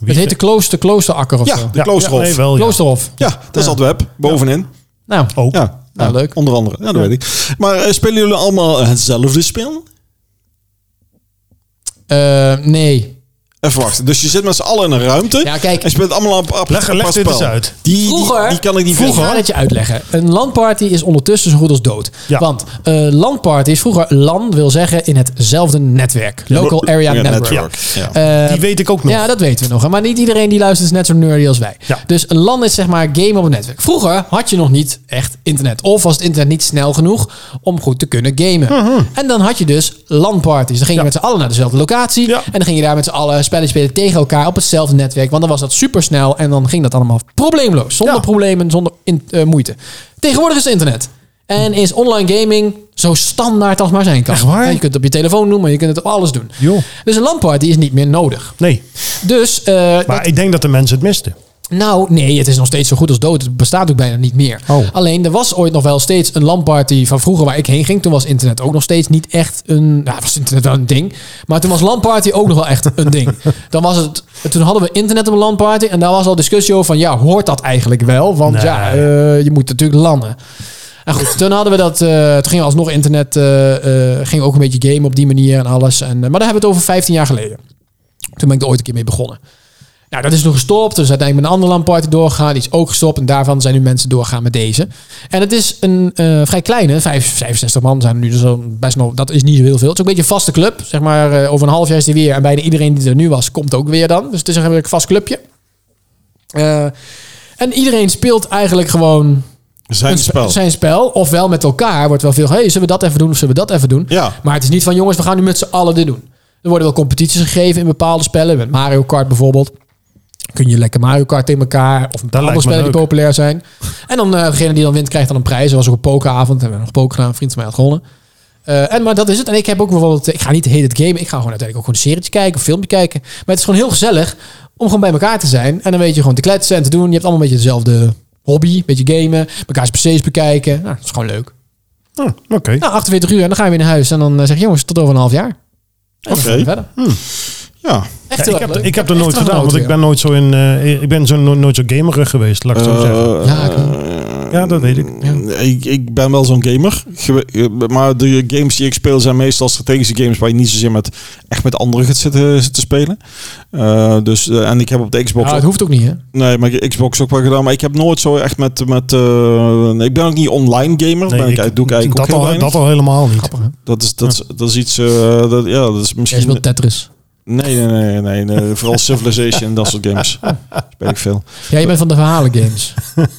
Speaker 3: Het heet de Klooster, Kloosterakker of
Speaker 2: Ja,
Speaker 3: zo.
Speaker 2: de Kloosterhof.
Speaker 1: Ja, nee, wel, ja.
Speaker 3: Kloosterhof.
Speaker 2: Ja, dat is dat Web. Bovenin.
Speaker 3: Nou,
Speaker 1: Ook.
Speaker 2: Ja.
Speaker 3: Nou,
Speaker 2: Ja,
Speaker 3: leuk.
Speaker 2: Onder andere. Ja, dat weet ik. Maar eh, spelen jullie allemaal hetzelfde spel?
Speaker 3: eh, nee.
Speaker 2: Even wachten. Dus je zit met z'n allen in een ruimte.
Speaker 3: Ja, kijk.
Speaker 2: En je speelt allemaal een apart
Speaker 1: Leg- leg
Speaker 2: apart
Speaker 1: dit
Speaker 2: spel.
Speaker 1: eens uit.
Speaker 2: Die,
Speaker 3: Vroeger-
Speaker 2: die, die kan ik niet
Speaker 3: Ik ga
Speaker 2: volgen.
Speaker 3: het je uitleggen. Een landparty is ondertussen zo goed als dood.
Speaker 1: Ja.
Speaker 3: Want eh landparty is vroeger LAN wil zeggen in hetzelfde netwerk. Local Area
Speaker 2: Ja,
Speaker 3: Network.
Speaker 2: Ja.
Speaker 3: Eh,
Speaker 1: Die weet ik ook nog.
Speaker 3: Ja, dat weten we nog. hè. Maar niet iedereen die luistert is net zo nerdy als wij.
Speaker 1: Ja.
Speaker 3: Dus een LAN is zeg maar game op een netwerk. Vroeger had je nog niet echt internet. Of was het internet niet snel genoeg om goed te kunnen gamen. En dan had je dus LAN-parties. Dan ging
Speaker 1: Mhm. Ja.
Speaker 3: je met z'n allen naar dezelfde locatie.
Speaker 1: Ja.
Speaker 3: En dan ging je daar met z'n allen spelletjes spelen tegen elkaar op hetzelfde netwerk. Want dan was dat supersnel en dan ging dat allemaal probleemloos. Zonder
Speaker 1: Ja.
Speaker 3: problemen, zonder in- eh, moeite. Tegenwoordig is het internet. En is online gaming zo standaard als maar zijn kan.
Speaker 1: Echt waar?
Speaker 3: En je kunt het op je telefoon doen, maar je kunt het op alles doen.
Speaker 1: Joh.
Speaker 3: Dus een LAN-party is niet meer nodig.
Speaker 1: Nee,
Speaker 3: Dus, eh,
Speaker 1: maar
Speaker 3: dat-
Speaker 1: ik denk dat de mensen het misten.
Speaker 3: nou nee, het is nog steeds zo goed als dood. Het bestaat ook bijna niet meer.
Speaker 1: Oh.
Speaker 3: Alleen, er was ooit nog wel steeds een LAN-party van vroeger waar ik heen ging. Toen was internet ook nog steeds niet echt een... Nou, was internet wel een ding. Maar toen was LAN-party ook nog wel echt een ding. Dan was het, toen hadden we internet op een LAN-party. En daar was al discussie over van, ja, hoort dat eigenlijk wel? Want
Speaker 1: Nee.
Speaker 3: ja, eh, je moet natuurlijk landen. En goed, toen hadden we dat. eh toen gingen we alsnog internet. eh eh ging ook een beetje game op die manier en alles. En, eh, maar daar hebben we het over 15 jaar geleden. Toen ben ik er ooit een keer mee begonnen. Nou, dat is toen gestopt. Dus uiteindelijk met een andere lamparty doorgegaan. Die is ook gestopt. En daarvan zijn nu mensen doorgaan met deze. En het is een eh, vrij kleine. vijf- 65 man zijn er nu. Dus al best nog, dat is niet zo heel veel. Het is ook een beetje een vaste club. Zeg maar, eh, over een half jaar is die weer. En bijna iedereen die er nu was, komt ook weer dan. Dus het is een redelijk vast clubje. Eh, en iedereen speelt eigenlijk gewoon
Speaker 2: Zijn
Speaker 3: een spe-
Speaker 2: spel.
Speaker 3: Zijn spel. Ofwel met elkaar wordt wel veel. Hey, zullen we dat even doen of zullen we dat even doen?
Speaker 2: Ja.
Speaker 3: Maar het is niet van jongens, we gaan nu met z'n allen dit doen. Er worden wel competities gegeven in bepaalde spellen. Met Mario Kart bijvoorbeeld. Kun je lekker Mario Kart tegen elkaar. Of een
Speaker 1: lijkt
Speaker 3: andere
Speaker 1: me
Speaker 3: spellen die
Speaker 1: leuk.
Speaker 3: populair zijn. En dan eh, degene die dan wint krijgt dan een prijs. Er was ook een pokeravond. Hebben we nog poker gedaan. Een vriend van mij had gewonnen. Eh, en, maar dat is het. En ik heb ook bijvoorbeeld... Ik ga niet de hele tijd gamen. Ik ga gewoon uiteindelijk ook gewoon een serietje kijken. Een filmpje kijken. Maar het is gewoon heel gezellig om gewoon bij elkaar te zijn. En dan weet je gewoon te kletsen en te doen. Je hebt allemaal een beetje dezelfde hobby. Een beetje gamen. Mekaars PC's bekijken. Nou, dat is gewoon leuk.
Speaker 1: Hm, Oké.
Speaker 3: Nou, 48 uur en dan ga je weer naar huis. En dan eh, zeg je, jongens, tot over een half jaar. En dan
Speaker 2: Oké.
Speaker 3: gaan we verder.
Speaker 2: Ja.
Speaker 3: Echt
Speaker 1: Ja,
Speaker 3: heel
Speaker 1: ik,
Speaker 3: erg
Speaker 1: heb,
Speaker 3: leuk.
Speaker 1: ik heb dat
Speaker 3: Echt
Speaker 1: nooit
Speaker 3: wel
Speaker 1: gedaan, want
Speaker 3: genoten
Speaker 1: ik ben nooit zo in. eh, ik ben zo no- nooit zo gamerig geweest, laat ik het zo zeggen.
Speaker 2: Eh,
Speaker 3: Ja, ik-
Speaker 2: eh,
Speaker 1: Ja, dat weet ik.
Speaker 2: Mm, Ik, ik ben wel zo'n gamer. Gewe- eh, Maar de games die ik speel zijn meestal strategische games waar je niet zozeer met, echt met anderen gaat zitten, zitten spelen. Eh, dus, eh, en ik heb op de Xbox.
Speaker 3: Nou, het hoeft ook niet, hè?
Speaker 2: Nee, maar ik- Xbox ook wel gedaan. Maar ik heb nooit zo echt met. met eh, nee, ik ben ook niet online gamer.
Speaker 1: Nee,
Speaker 2: ben ik, doe ik eigenlijk
Speaker 1: dat,
Speaker 2: ook heel
Speaker 1: al,
Speaker 2: weinig.
Speaker 1: dat al helemaal niet.
Speaker 3: Grappig, hè?
Speaker 2: Dat is, dat, is- dat is iets. eh, dat, ja, dat is
Speaker 3: Jij
Speaker 2: misschien.
Speaker 3: speelt Tetris.
Speaker 2: Nee, nee, nee, nee, nee. Vooral Civilization en dat soort games. Speel ik veel.
Speaker 3: Ja, je bent van de verhalen games.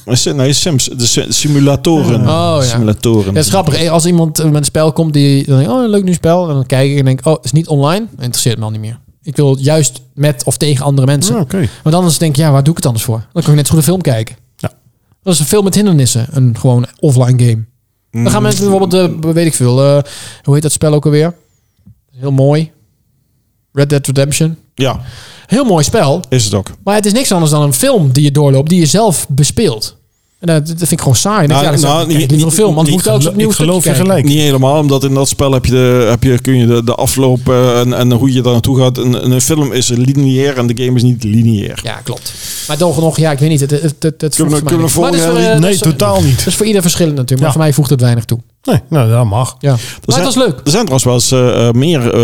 Speaker 2: Maar si- Nee, Sims. De si- simulatoren.
Speaker 3: Oh, ja.
Speaker 2: Simulatoren.
Speaker 3: Ja, dat is grappig. Eh, Als iemand eh, met een spel komt die dan denkt, oh, een leuk nieuw spel. En dan kijk ik en denk, oh, is niet online. Interesseert me al niet meer. Ik wil juist met of tegen andere mensen.
Speaker 1: Ja, Ah, Oké.
Speaker 3: Want anders denk ik, ja, waar doe ik het anders voor? Dan kan ik net zo goed een film kijken.
Speaker 1: Ja.
Speaker 3: Dat is een film met hindernissen. Een gewoon offline game.
Speaker 2: Mm,
Speaker 3: Dan gaan mensen bijvoorbeeld, eh, weet ik veel, eh, hoe heet dat spel ook alweer? Heel mooi. Red Dead Redemption.
Speaker 2: Ja,
Speaker 3: Heel mooi spel.
Speaker 2: is het ook.
Speaker 3: Maar het is niks anders dan een film die je doorloopt, die je zelf bespeelt. En dat, dat vind ik gewoon saai. Nou,
Speaker 2: Nou,
Speaker 3: ja, dat is
Speaker 2: nou,
Speaker 3: nou,
Speaker 2: niet-
Speaker 3: niet, een
Speaker 2: niet-
Speaker 3: film, want
Speaker 2: niet
Speaker 3: moet ook
Speaker 1: gelo-
Speaker 3: opnieuw
Speaker 1: ik geloof je
Speaker 3: stukje kijken.
Speaker 1: gelijk.
Speaker 2: Niet helemaal, omdat in dat spel heb je de, heb je, kun je de, de afloop eh, en, en hoe je daar naartoe gaat. Een, een film is lineair en de game is niet lineair.
Speaker 3: Ja, klopt. Maar toch nog, ja, ik weet niet. Het, het, het, het voegt
Speaker 2: Kunnen we-
Speaker 3: voor
Speaker 2: kunnen we
Speaker 3: mij niks. Maar dat is
Speaker 2: volgen,
Speaker 3: voor, eh,
Speaker 2: Henry?
Speaker 3: dat
Speaker 1: Nee,
Speaker 3: is-
Speaker 1: totaal niet.
Speaker 3: Dat is voor ieder verschillend natuurlijk, maar
Speaker 1: Ja.
Speaker 3: voor mij voegt het weinig toe.
Speaker 1: Nee, nou, dat mag.
Speaker 3: Ja. Maar
Speaker 2: zijn-
Speaker 3: het was leuk.
Speaker 2: Er zijn trouwens wel eens eh, eh, meer. eh,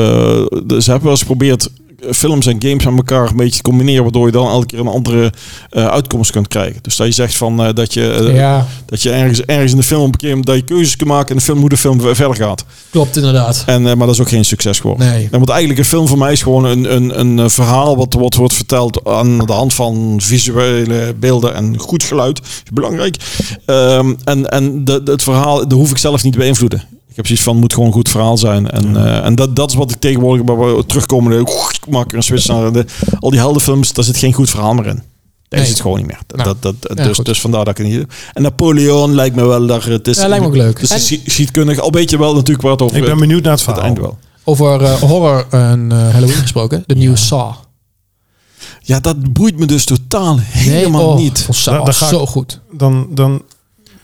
Speaker 2: de- ze hebben wel eens geprobeerd eh, films en games aan elkaar een beetje te combineren, waardoor je dan elke keer een andere eh, uitkomst kunt krijgen. Dus dat je zegt van eh, dat je, eh,
Speaker 3: Ja,
Speaker 2: dat je ergens, ergens in de film op een keer dat je keuzes kunt maken en de film hoe de film ver- verder gaat.
Speaker 3: klopt inderdaad.
Speaker 2: En, eh, maar dat is ook geen succes geworden.
Speaker 3: Nee.
Speaker 2: En want eigenlijk een film voor mij is gewoon een, een, een eh, verhaal wat, wat wordt verteld aan de hand van visuele beelden en goed geluid. is belangrijk. Ehm, en en de, de- het verhaal, dat hoef ik zelf niet te beïnvloeden. Ik heb zoiets van, het moet gewoon een goed verhaal zijn. En, eh, en dat, dat is wat ik tegenwoordig bij bij terugkomende... Ik maak er een switch naar de, al die heldenfilms. Daar zit geen goed verhaal meer in. Daar
Speaker 3: Nee.
Speaker 2: zit gewoon niet meer. Dat,
Speaker 3: Nou,
Speaker 2: dat, dat,
Speaker 3: ja,
Speaker 2: dus,
Speaker 3: goed.
Speaker 2: dus vandaar dat ik het niet doe. En Napoleon lijkt me wel... Daar, het is,
Speaker 3: Ja, lijkt me ook leuk.
Speaker 2: Het
Speaker 3: En-
Speaker 2: is schi- schietkundig. Al weet je wel natuurlijk waar het over
Speaker 1: Ik ben benieuwd naar het
Speaker 2: het
Speaker 1: verhaal.
Speaker 2: einde wel.
Speaker 3: Over eh, horror en eh, Halloween gesproken, de nieuwe Saw.
Speaker 2: Ja, dat boeit me dus totaal
Speaker 3: Nee,
Speaker 2: helemaal
Speaker 3: oh,
Speaker 2: niet.
Speaker 3: vond Saw
Speaker 1: Daar- daar ga ik-
Speaker 3: zo goed.
Speaker 1: Dan, dan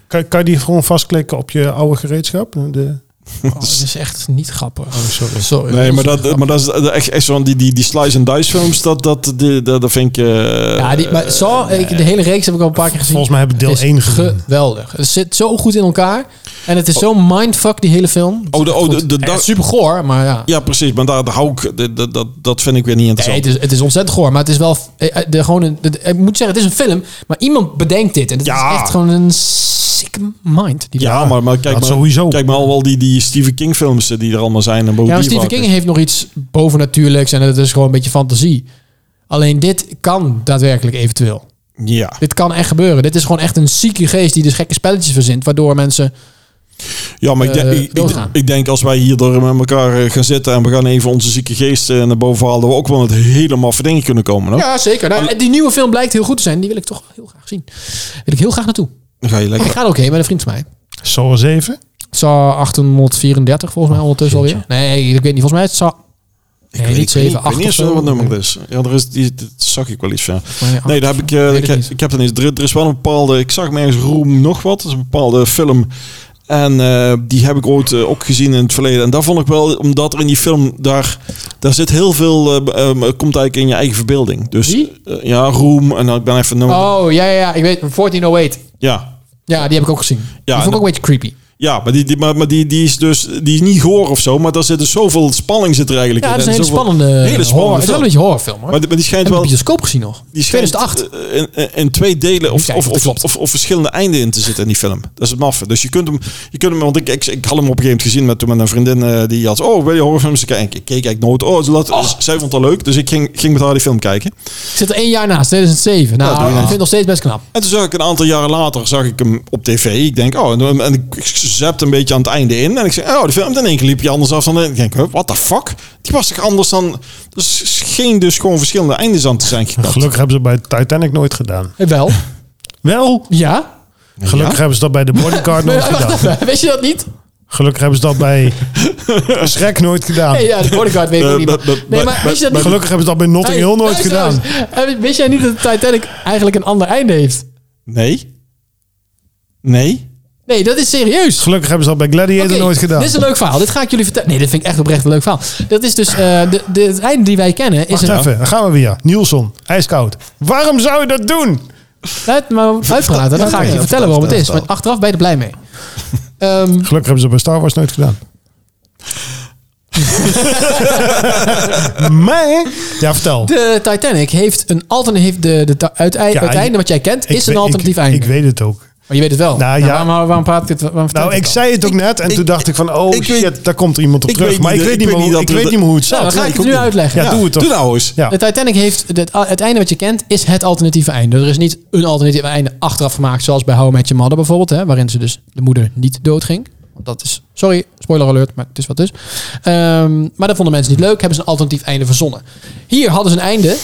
Speaker 1: kan, kan je die gewoon vastklikken op je oude gereedschap. De,
Speaker 3: Oh, dat is echt niet grappig. sorry. sorry.
Speaker 2: Nee, maar dat, maar dat is eh, echt, echt zo'n die, die, die slice and dice films, dat, dat, die, dat, dat vind ik... eh,
Speaker 3: Ja, die, maar Saw, ik, de hele reeks heb ik al een paar keer gezien.
Speaker 1: volgens mij hebben we deel
Speaker 3: Het is
Speaker 1: 1 gezien.
Speaker 3: geweldig. Het zit zo goed in elkaar. En het is zo'n mindfuck, die hele film.
Speaker 2: oh, de, oh, de, de- dat-
Speaker 3: super goor, maar ja.
Speaker 2: ja, precies, maar daar daar hou ik... de- de- Dat, dat vind ik weer niet
Speaker 3: Nee,
Speaker 2: interessant.
Speaker 3: het, is, het is ontzettend goor, maar het is wel. eh, eh, De, gewoon een, de- de- ik moet zeggen, het is een film, maar iemand bedenkt dit. En het
Speaker 2: Ja.
Speaker 3: is echt gewoon een sick mind. Die
Speaker 2: ja,
Speaker 3: daar-
Speaker 2: maar, maar kijk
Speaker 1: dat
Speaker 2: maar,
Speaker 1: sowieso.
Speaker 2: kijk maar al wel die, die Stephen King films eh, die er allemaal zijn. En
Speaker 3: Ja,
Speaker 2: ja,
Speaker 3: maar Stephen King heeft nog iets bovennatuurlijks en het is gewoon een beetje fantasie. Alleen dit kan daadwerkelijk eventueel.
Speaker 2: Ja.
Speaker 3: Dit kan echt gebeuren. Dit is gewoon echt een zieke geest die dus gekke spelletjes verzint, waardoor mensen.
Speaker 2: ja, maar ik, denk-
Speaker 3: Eh,
Speaker 2: ik, ik,
Speaker 3: doorgaan.
Speaker 2: ik denk als wij hier door met elkaar eh, gaan zitten en we gaan even onze zieke geesten naar boven halen, dat we ook wel met helemaal verdingen kunnen komen. Hoor.
Speaker 3: Ja, zeker. Nou, en die nieuwe film blijkt heel goed te zijn. Die wil ik toch heel graag zien. Wil ik heel graag naartoe.
Speaker 2: Dan ga je lekker
Speaker 3: Ik ga er ook heen met een vriend van mij.
Speaker 1: Saw 7.
Speaker 3: Saw 834 volgens mij ondertussen
Speaker 2: Oh,
Speaker 3: alweer. Nee, ik weet niet. Volgens mij is het Saw... Nee,
Speaker 2: Ik
Speaker 3: niet
Speaker 2: weet-
Speaker 3: 7, 8
Speaker 2: Ik weet
Speaker 3: of
Speaker 2: niet
Speaker 3: zo.
Speaker 2: eens wat nummer het is. Ja, er is die, dat zag ik wel iets van.
Speaker 3: Maar ja,
Speaker 2: Nee, daar heb ik, eh,
Speaker 3: weet
Speaker 2: ik,
Speaker 3: het niet.
Speaker 2: ik heb er niet. Er, er is wel een bepaalde. Ik zag me ergens Roem nog wat. Dat is een bepaalde film. En eh, die heb ik ooit eh, ook gezien in het verleden. En daar vond ik wel, omdat er in die film daar, daar zit heel veel, eh, eh, komt eigenlijk in je eigen verbeelding. Dus
Speaker 3: Wie?
Speaker 2: eh, ja, Roem en dan, ik ben even nummer.
Speaker 3: Oh, ja, ja, ja. Ik weet 1408.
Speaker 2: Ja,
Speaker 3: Ja, die heb ik ook gezien. die vond
Speaker 2: en-
Speaker 3: ik ook een beetje creepy.
Speaker 2: ja, maar die, die, maar, maar die, die is dus die is niet goor of zo, maar daar zit dus zoveel spanning zit er eigenlijk
Speaker 3: Ja,
Speaker 2: in.
Speaker 3: dat is
Speaker 2: En
Speaker 3: een hele
Speaker 2: zoveel-
Speaker 3: spannende
Speaker 2: hele spannende
Speaker 3: horror. Het is wel
Speaker 2: film.
Speaker 3: een beetje horrorfilm, hoor.
Speaker 2: Maar die, maar die schijnt
Speaker 3: heb ik
Speaker 2: wel.
Speaker 3: de bioscoop gezien nog.
Speaker 2: Die schijnt
Speaker 3: 2008.
Speaker 2: eh, in, in- in twee delen of,
Speaker 3: Kijk,
Speaker 2: of,
Speaker 3: dat
Speaker 2: of,
Speaker 3: klopt.
Speaker 2: of, of verschillende einden in te zitten in die film. Dat is het maffe. Dus je kunt hem, je kunt hem want ik, ik, ik had hem op een gegeven moment gezien met, toen met een vriendin eh, die had, oh, wil je horrorfilms kijken? Ik keek eigenlijk nooit. Oh, ze laat, zij vond dat leuk, dus ik ging, ging met haar die film kijken.
Speaker 3: Ik zit er één jaar naast, 2007. Nou,
Speaker 2: Ja, doe je
Speaker 3: ik vind
Speaker 2: naast.
Speaker 3: het nog steeds best knap.
Speaker 2: En toen zag ik een aantal jaren later, zag ik hem op tv. Ik denk, oh, en, en ik zapte een beetje aan het einde in. En ik zeg, oh, de film, in één keer liep je anders af dan... de- Ik denk, huh, what the fuck? Die was toch anders dan... Er scheen dus gewoon verschillende eindes aan te zijn geknapt.
Speaker 1: Gelukkig hebben ze bij Titanic nooit gedaan.
Speaker 3: Eh, Wel.
Speaker 1: Wel,
Speaker 3: Ja.
Speaker 1: gelukkig
Speaker 2: Ja?
Speaker 1: hebben ze dat bij de Bodyguard nooit
Speaker 3: Wacht
Speaker 1: gedaan.
Speaker 3: even, Weet je dat niet?
Speaker 1: Gelukkig hebben ze dat bij Shrek nooit gedaan.
Speaker 3: Nee, ja, de bodyguard weet ik ook
Speaker 2: Eh,
Speaker 3: niet.
Speaker 2: but-
Speaker 3: maar-
Speaker 2: but-
Speaker 3: Nee,
Speaker 2: but-
Speaker 3: maar wist je dat niet?
Speaker 1: Maar Gelukkig hebben ze dat bij Notting Hill nooit
Speaker 3: Hey,
Speaker 1: gedaan.
Speaker 3: luister eens. Eh, Wist jij niet dat Titanic eigenlijk een ander einde heeft?
Speaker 2: Nee. Nee.
Speaker 3: Nee, dat is serieus.
Speaker 1: Gelukkig hebben ze dat bij Gladiator
Speaker 3: Oké,
Speaker 1: nooit gedaan.
Speaker 3: Dit is een leuk verhaal. Dit ga ik jullie vertellen. Nee, dit vind ik echt oprecht een leuk verhaal. Dat is dus eh, de, de, het einde die wij kennen. Is
Speaker 1: Wacht
Speaker 3: een,
Speaker 1: even, daar gaan we weer. Nielsen, ijskoud. Waarom zou je dat doen?
Speaker 3: Uit, maar uitpraten, dan ga ik je
Speaker 2: Ja,
Speaker 3: vertellen waarom het is.
Speaker 2: vertel.
Speaker 3: Maar achteraf ben je er blij mee. Ehm,
Speaker 1: Gelukkig hebben ze bij Star Wars nooit gedaan. maar, ja, vertel.
Speaker 3: de Titanic heeft een alternatief. De, de, ta- uitei-
Speaker 1: Ja,
Speaker 3: uiteinde
Speaker 1: ik-
Speaker 3: wat jij kent
Speaker 1: Ik
Speaker 3: is een
Speaker 1: weet-
Speaker 3: alternatief
Speaker 1: ik,
Speaker 3: einde.
Speaker 1: Ik weet het ook.
Speaker 3: maar je weet het wel.
Speaker 1: Nou, ja.
Speaker 3: waarom, waarom praat ik het? Waarom vertel
Speaker 1: Nou,
Speaker 3: ik
Speaker 1: ik
Speaker 3: het
Speaker 1: zei het ook net en toen dacht ik van, oh
Speaker 2: ik
Speaker 1: shit,
Speaker 2: weet-
Speaker 1: daar komt er iemand op
Speaker 2: ik
Speaker 1: terug.
Speaker 2: weet
Speaker 1: Maar ik
Speaker 2: niet,
Speaker 1: weet
Speaker 2: ik
Speaker 1: niet
Speaker 2: weet
Speaker 1: meer
Speaker 2: niet
Speaker 1: hoe-
Speaker 2: dat
Speaker 1: ik weet
Speaker 2: we-
Speaker 1: niet meer hoe het
Speaker 3: al? Nou,
Speaker 1: zat.
Speaker 3: dan ga
Speaker 2: Nee, ik
Speaker 3: ik het nu
Speaker 2: ook niet.
Speaker 3: uitleggen.
Speaker 1: Ja, doe het toch.
Speaker 2: Doe nou eens.
Speaker 1: Ja.
Speaker 3: De Titanic heeft het, het einde wat je kent is het alternatieve einde. Er is niet een alternatief einde achteraf gemaakt, zoals bij How I Met Your Mother bijvoorbeeld, hè, waarin ze dus de moeder niet doodging. Want Dat is, sorry, spoiler alert, maar het is wat het is. Ehm, maar dat vonden mensen niet leuk, hebben ze een alternatief einde verzonnen. Hier hadden ze een einde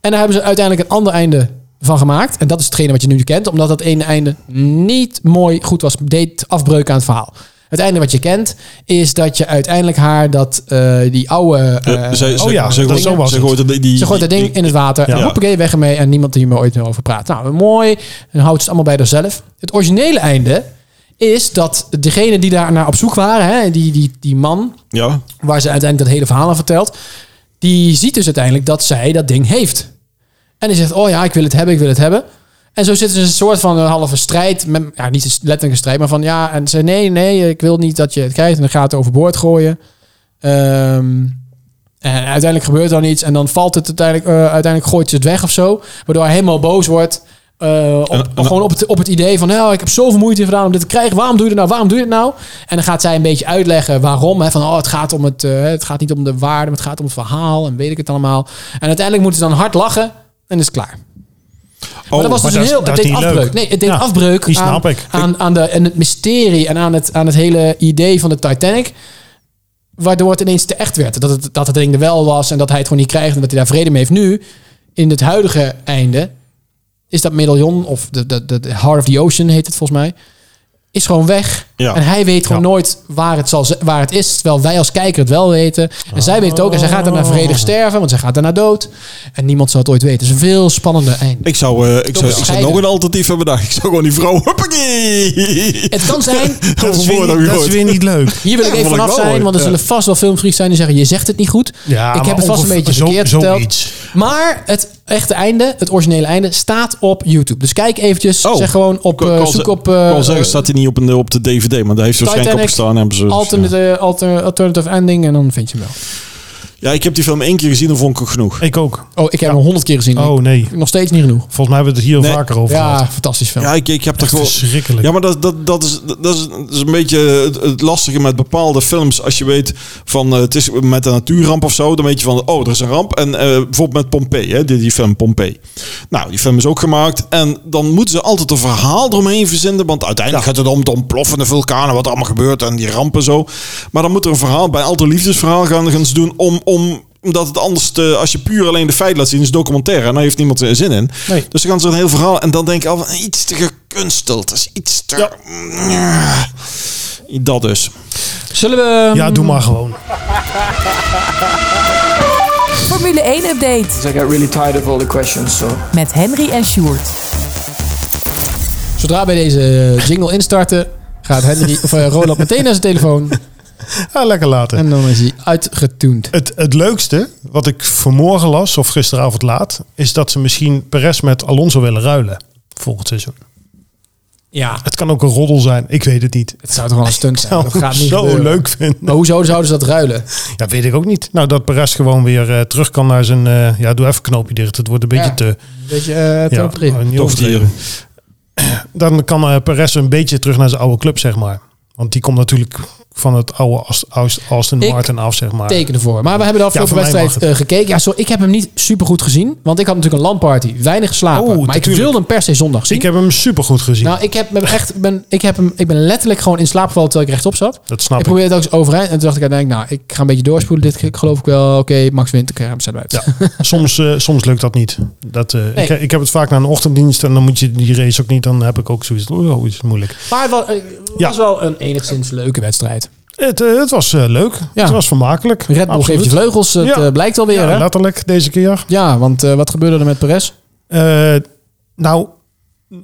Speaker 3: en daar hebben ze uiteindelijk een ander einde van gemaakt. En dat is hetgene wat je nu kent, omdat dat ene einde niet mooi goed was, deed afbreuk aan het verhaal. Het einde wat je kent is dat je uiteindelijk haar dat eh, die oude. eh,
Speaker 2: ze,
Speaker 1: oh ja,
Speaker 2: ze,
Speaker 1: dat-
Speaker 2: ze,
Speaker 1: zo was
Speaker 2: ze
Speaker 1: het.
Speaker 2: gooit het- die,
Speaker 3: ze gooit dat
Speaker 2: die-
Speaker 3: ding in het water.
Speaker 2: Ja.
Speaker 3: En hoppakee, weg ermee. En niemand die er ooit meer over praat. Nou, mooi. Dan houdt ze het allemaal bij zichzelf. Het originele einde is dat degene die daar naar op zoek waren... Hè, die, die, die man
Speaker 2: Ja,
Speaker 3: waar ze uiteindelijk dat hele verhaal aan vertelt... die ziet dus uiteindelijk dat zij dat ding heeft. En die zegt, oh ja, ik wil het hebben, ik wil het hebben. En zo zitten ze in een soort van een halve strijd. Met, ja, niet een letterlijke strijd, maar van ja... En ze nee, nee, ik wil niet dat je het krijgt. En dan gaat het overboord gooien. Ehm, en uiteindelijk gebeurt dan iets en dan valt het uiteindelijk, eh, uiteindelijk gooit ze het weg of zo. Waardoor hij helemaal boos wordt. eh, op,
Speaker 2: En- en-
Speaker 3: gewoon op het, op het idee van, nou, ik heb zoveel moeite gedaan om dit te krijgen. Waarom doe je het nou? Waarom doe je het nou? En dan gaat zij een beetje uitleggen waarom. Hè, van, oh, het gaat om het, eh, het gaat niet om de waarde, maar het gaat om het verhaal en weet ik het allemaal. En uiteindelijk moeten ze dan hard lachen en is het klaar.
Speaker 2: Oh,
Speaker 3: maar dat was
Speaker 1: maar
Speaker 3: dus een
Speaker 1: dat is-
Speaker 3: heel, het
Speaker 1: dat is
Speaker 3: deed
Speaker 1: niet leuk.
Speaker 3: afbreuk. Nee, het deed
Speaker 1: Ja,
Speaker 3: afbreuk
Speaker 1: die
Speaker 3: aan,
Speaker 1: snap ik.
Speaker 3: Aan, aan de, en het mysterie en aan het, aan het hele idee van de Titanic. Waardoor het ineens te echt werd. Dat het, dat het ding er wel was en dat hij het gewoon niet krijgt en dat hij daar vrede mee heeft. Nu, in het huidige einde, is dat medaillon of de, de, de, de Heart of the Ocean heet het volgens mij. Is gewoon weg.
Speaker 2: Ja.
Speaker 3: En hij weet gewoon
Speaker 1: Ja.
Speaker 3: nooit waar het, zal, z- waar het is. Terwijl wij als kijker het wel weten. En
Speaker 1: Ah.
Speaker 3: zij weet het ook. En zij gaat daarna vredig sterven. Want zij gaat daarna dood. En niemand zal het ooit weten. Het is een veel spannender einde.
Speaker 2: ik zou, eh, ik zou, ik zou
Speaker 3: scheiden.
Speaker 2: nog een alternatief hebben bedacht. Ik zou gewoon die vrouw... Hoppakee!
Speaker 3: Het kan zijn.
Speaker 1: Dat is, weer
Speaker 2: Overboord heb je
Speaker 1: niet, dat is
Speaker 2: gooit.
Speaker 1: weer niet leuk.
Speaker 3: Hier wil ik
Speaker 2: Ja,
Speaker 3: even
Speaker 2: vond ik
Speaker 3: vanaf
Speaker 2: wel
Speaker 3: zijn,
Speaker 2: mooi.
Speaker 3: want er
Speaker 2: Ja.
Speaker 3: zullen vast wel filmfreaks zijn die zeggen: je zegt het niet goed.
Speaker 1: Ja,
Speaker 3: ik
Speaker 1: maar
Speaker 3: heb het vast een
Speaker 1: ongeveer
Speaker 3: beetje
Speaker 1: zo-
Speaker 3: verkeerd verteld.
Speaker 1: zoiets.
Speaker 3: Maar het echte einde, het originele einde, staat op YouTube. Dus kijk eventjes,
Speaker 2: Oh.
Speaker 3: zeg gewoon op, eh,
Speaker 2: Ik kan
Speaker 3: zoek
Speaker 2: ze-
Speaker 3: op
Speaker 2: ik
Speaker 3: eh,
Speaker 2: kan zeggen,
Speaker 3: eh,
Speaker 2: staat hij niet op, een, op de DVD, maar daar heeft ze waarschijnlijk op
Speaker 3: Titanic
Speaker 2: gestaan. Hebben ze, dus,
Speaker 3: alternate- eh, alter- alternative ending en dan vind je hem
Speaker 2: ja. ja, ik heb die film één keer gezien en vond ik ook genoeg.
Speaker 1: Ik ook.
Speaker 3: wel. Oh, ik heb hem honderd keer gezien.
Speaker 1: Oh nee,
Speaker 3: Ik- Nog steeds niet genoeg.
Speaker 1: volgens mij hebben we het hier al
Speaker 2: Nee.
Speaker 1: vaker over gehad.
Speaker 3: Ja, fantastisch film.
Speaker 2: Ja, ik, ik heb er gewoon...
Speaker 1: Verschrikkelijk.
Speaker 2: Ja, maar dat, dat, dat, is, dat, is, dat is een beetje het, het lastige met bepaalde films. Als je weet van eh, het is met een natuurramp of zo, dan weet je van oh, er is een ramp. En eh, bijvoorbeeld met Pompeii, hè, die, die film Pompeii. Nou, die film is ook gemaakt. En dan moeten ze altijd een verhaal eromheen verzinnen. Want uiteindelijk gaat het om de ontploffende vulkanen, wat er allemaal gebeurt en die rampen zo. Maar dan moet er een verhaal bij altijd liefdesverhaal gaan, gaan ze doen om. om omdat het anders, te- als je puur alleen de feiten laat zien, is documentaire. En daar heeft niemand eh, zin in.
Speaker 3: Nee.
Speaker 2: Dus dan gaan ze een heel verhaal. En dan denk ik al van, iets te gekunsteld. Dat is iets te. Dat dus.
Speaker 3: Zullen we. ehm,
Speaker 1: Ja, doe maar gewoon.
Speaker 4: Formule 1 update
Speaker 5: 'Cause I got really tired of all the questions, so.
Speaker 4: met Henry en Sjoerd.
Speaker 3: Zodra bij deze eh, jingle instarten, gaat Henry, of, eh, Roland meteen naar zijn telefoon.
Speaker 1: Ja, lekker laten.
Speaker 3: En dan is hij uitgetuned.
Speaker 1: Het, het leukste wat ik vanmorgen las, of gisteravond laat, is dat ze misschien Perez met Alonso willen ruilen volgend seizoen.
Speaker 3: Ja,
Speaker 1: Het kan ook een roddel zijn, ik weet het niet.
Speaker 3: het zou toch wel een stunt zijn.
Speaker 1: Nou,
Speaker 3: Dat gaat niet
Speaker 1: zo
Speaker 3: gebeuren.
Speaker 1: leuk vinden.
Speaker 3: Maar hoezo zouden ze dat ruilen?
Speaker 1: Ja, weet ik ook niet. Nou, dat Perez gewoon weer eh, terug kan naar zijn... eh, ja, doe even knoopje dicht, het wordt een beetje
Speaker 3: Ja.
Speaker 1: te...
Speaker 3: Weet je, eh,
Speaker 1: Ja,
Speaker 3: ten opzichte.
Speaker 1: niet
Speaker 2: Toofdieren.
Speaker 1: overdreven. Dan kan eh, Perez een beetje terug naar zijn oude club, zeg maar. Want die komt natuurlijk van het oude Ast- Ast- Aston
Speaker 3: Ik
Speaker 1: Martin af, zeg maar.
Speaker 3: tekenen voor. Maar we hebben de afgelopen
Speaker 1: voor mij
Speaker 3: wedstrijd
Speaker 1: mag
Speaker 3: eh, gekeken. Ja, zo, ik heb hem niet super goed gezien. Want ik had natuurlijk een landparty. Weinig geslapen.
Speaker 1: Oh,
Speaker 3: maar ik
Speaker 1: natuurlijk.
Speaker 3: wilde hem per se zondag zien.
Speaker 1: Ik heb hem supergoed gezien.
Speaker 3: nou, ik heb hem echt. Ben, ik, heb hem, ik ben letterlijk gewoon in slaap gevallen terwijl ik rechtop zat.
Speaker 1: dat snap
Speaker 3: ik
Speaker 1: ik.
Speaker 3: probeerde het ook eens overeind. En toen dacht ik uiteindelijk, nou, ik ga een beetje doorspoelen. Dit ge- geloof ik wel. Oké, Max wint. Oké, hem zetten we uit.
Speaker 1: Ja. Soms, eh, soms lukt dat niet. Dat, eh,
Speaker 3: Nee.
Speaker 1: ik, ik heb het vaak na een ochtenddienst en dan moet je die race ook niet. Dan heb ik ook zoiets. Oh, is het moeilijk.
Speaker 3: Maar het was, eh,
Speaker 1: Ja.
Speaker 3: was wel een enigszins leuke wedstrijd.
Speaker 1: Het, eh, het was eh, leuk.
Speaker 3: Ja.
Speaker 1: Het was vermakelijk.
Speaker 3: Red Bull
Speaker 1: Absoluut.
Speaker 3: geeft je vleugels. Dat
Speaker 1: Ja.
Speaker 3: eh, blijkt alweer,
Speaker 1: Ja,
Speaker 3: hè?
Speaker 1: letterlijk deze keer.
Speaker 3: Ja, want eh, wat gebeurde er met Perez?
Speaker 1: Eh, nou,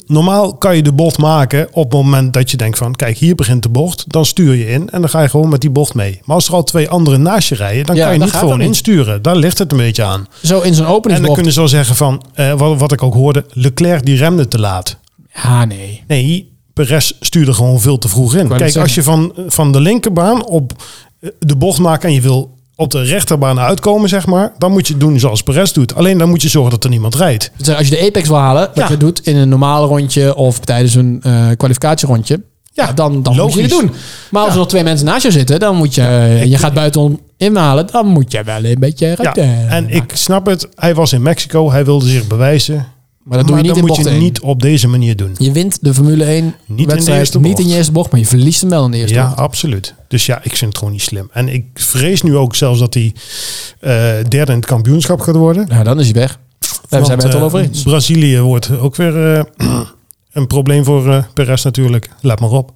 Speaker 1: normaal kan je de bocht maken op het moment dat je denkt van... kijk, hier begint de bocht, dan stuur je in en dan ga je gewoon met die bocht mee. Maar als er al twee anderen naast je rijden, dan
Speaker 3: Ja,
Speaker 1: kan je
Speaker 3: dan
Speaker 1: niet
Speaker 3: gaat dat
Speaker 1: gewoon
Speaker 3: niet.
Speaker 1: insturen. Daar ligt het een beetje aan.
Speaker 3: Zo in zo'n
Speaker 1: En dan
Speaker 3: openingsbocht.
Speaker 1: kunnen ze wel zeggen van, eh, wat, wat ik ook hoorde... Leclerc die remde te laat.
Speaker 3: Ja, nee.
Speaker 1: Nee, Perez stuurde gewoon veel te vroeg in.
Speaker 3: wou
Speaker 1: Kijk,
Speaker 3: net
Speaker 1: als je van, van de linkerbaan op eh, de bocht maakt en je wil op de rechterbaan uitkomen, zeg maar, dan moet je het doen zoals Perez doet. Alleen dan moet je zorgen dat er niemand rijdt.
Speaker 3: Dus Als je de apex wil halen, wat
Speaker 1: Ja.
Speaker 3: je doet in een normaal rondje of tijdens een eh, kwalificatierondje,
Speaker 1: Ja,
Speaker 3: ja, dan, dan moet je het
Speaker 1: logisch.
Speaker 3: doen. Maar als er nog twee mensen naast je zitten, dan moet je, eh, en je gaat buitenom inhalen, dan moet je wel een beetje
Speaker 1: Ja,
Speaker 3: ruimte
Speaker 1: en
Speaker 3: maken.
Speaker 1: ik snap het. Hij was in Mexico, hij wilde zich bewijzen.
Speaker 3: maar dat doe je
Speaker 1: maar
Speaker 3: niet in
Speaker 1: dan moet
Speaker 3: bocht
Speaker 1: je
Speaker 3: één.
Speaker 1: niet op deze manier doen.
Speaker 3: Je wint de Formule 1
Speaker 1: in de
Speaker 3: wedstrijd
Speaker 1: eerste
Speaker 3: niet
Speaker 1: bocht.
Speaker 3: in je eerste bocht, maar je verliest hem wel in de eerste
Speaker 1: Ja,
Speaker 3: bocht.
Speaker 1: absoluut. Dus ja, ik vind het gewoon niet slim. En ik vrees nu ook zelfs dat hij eh, derde in het kampioenschap gaat worden.
Speaker 3: Nou, dan is hij weg. Daar
Speaker 1: Want,
Speaker 3: zijn we het
Speaker 1: eh,
Speaker 3: al over eens.
Speaker 1: Brazilië wordt ook weer eh, een probleem voor eh Perez natuurlijk. Laat maar op.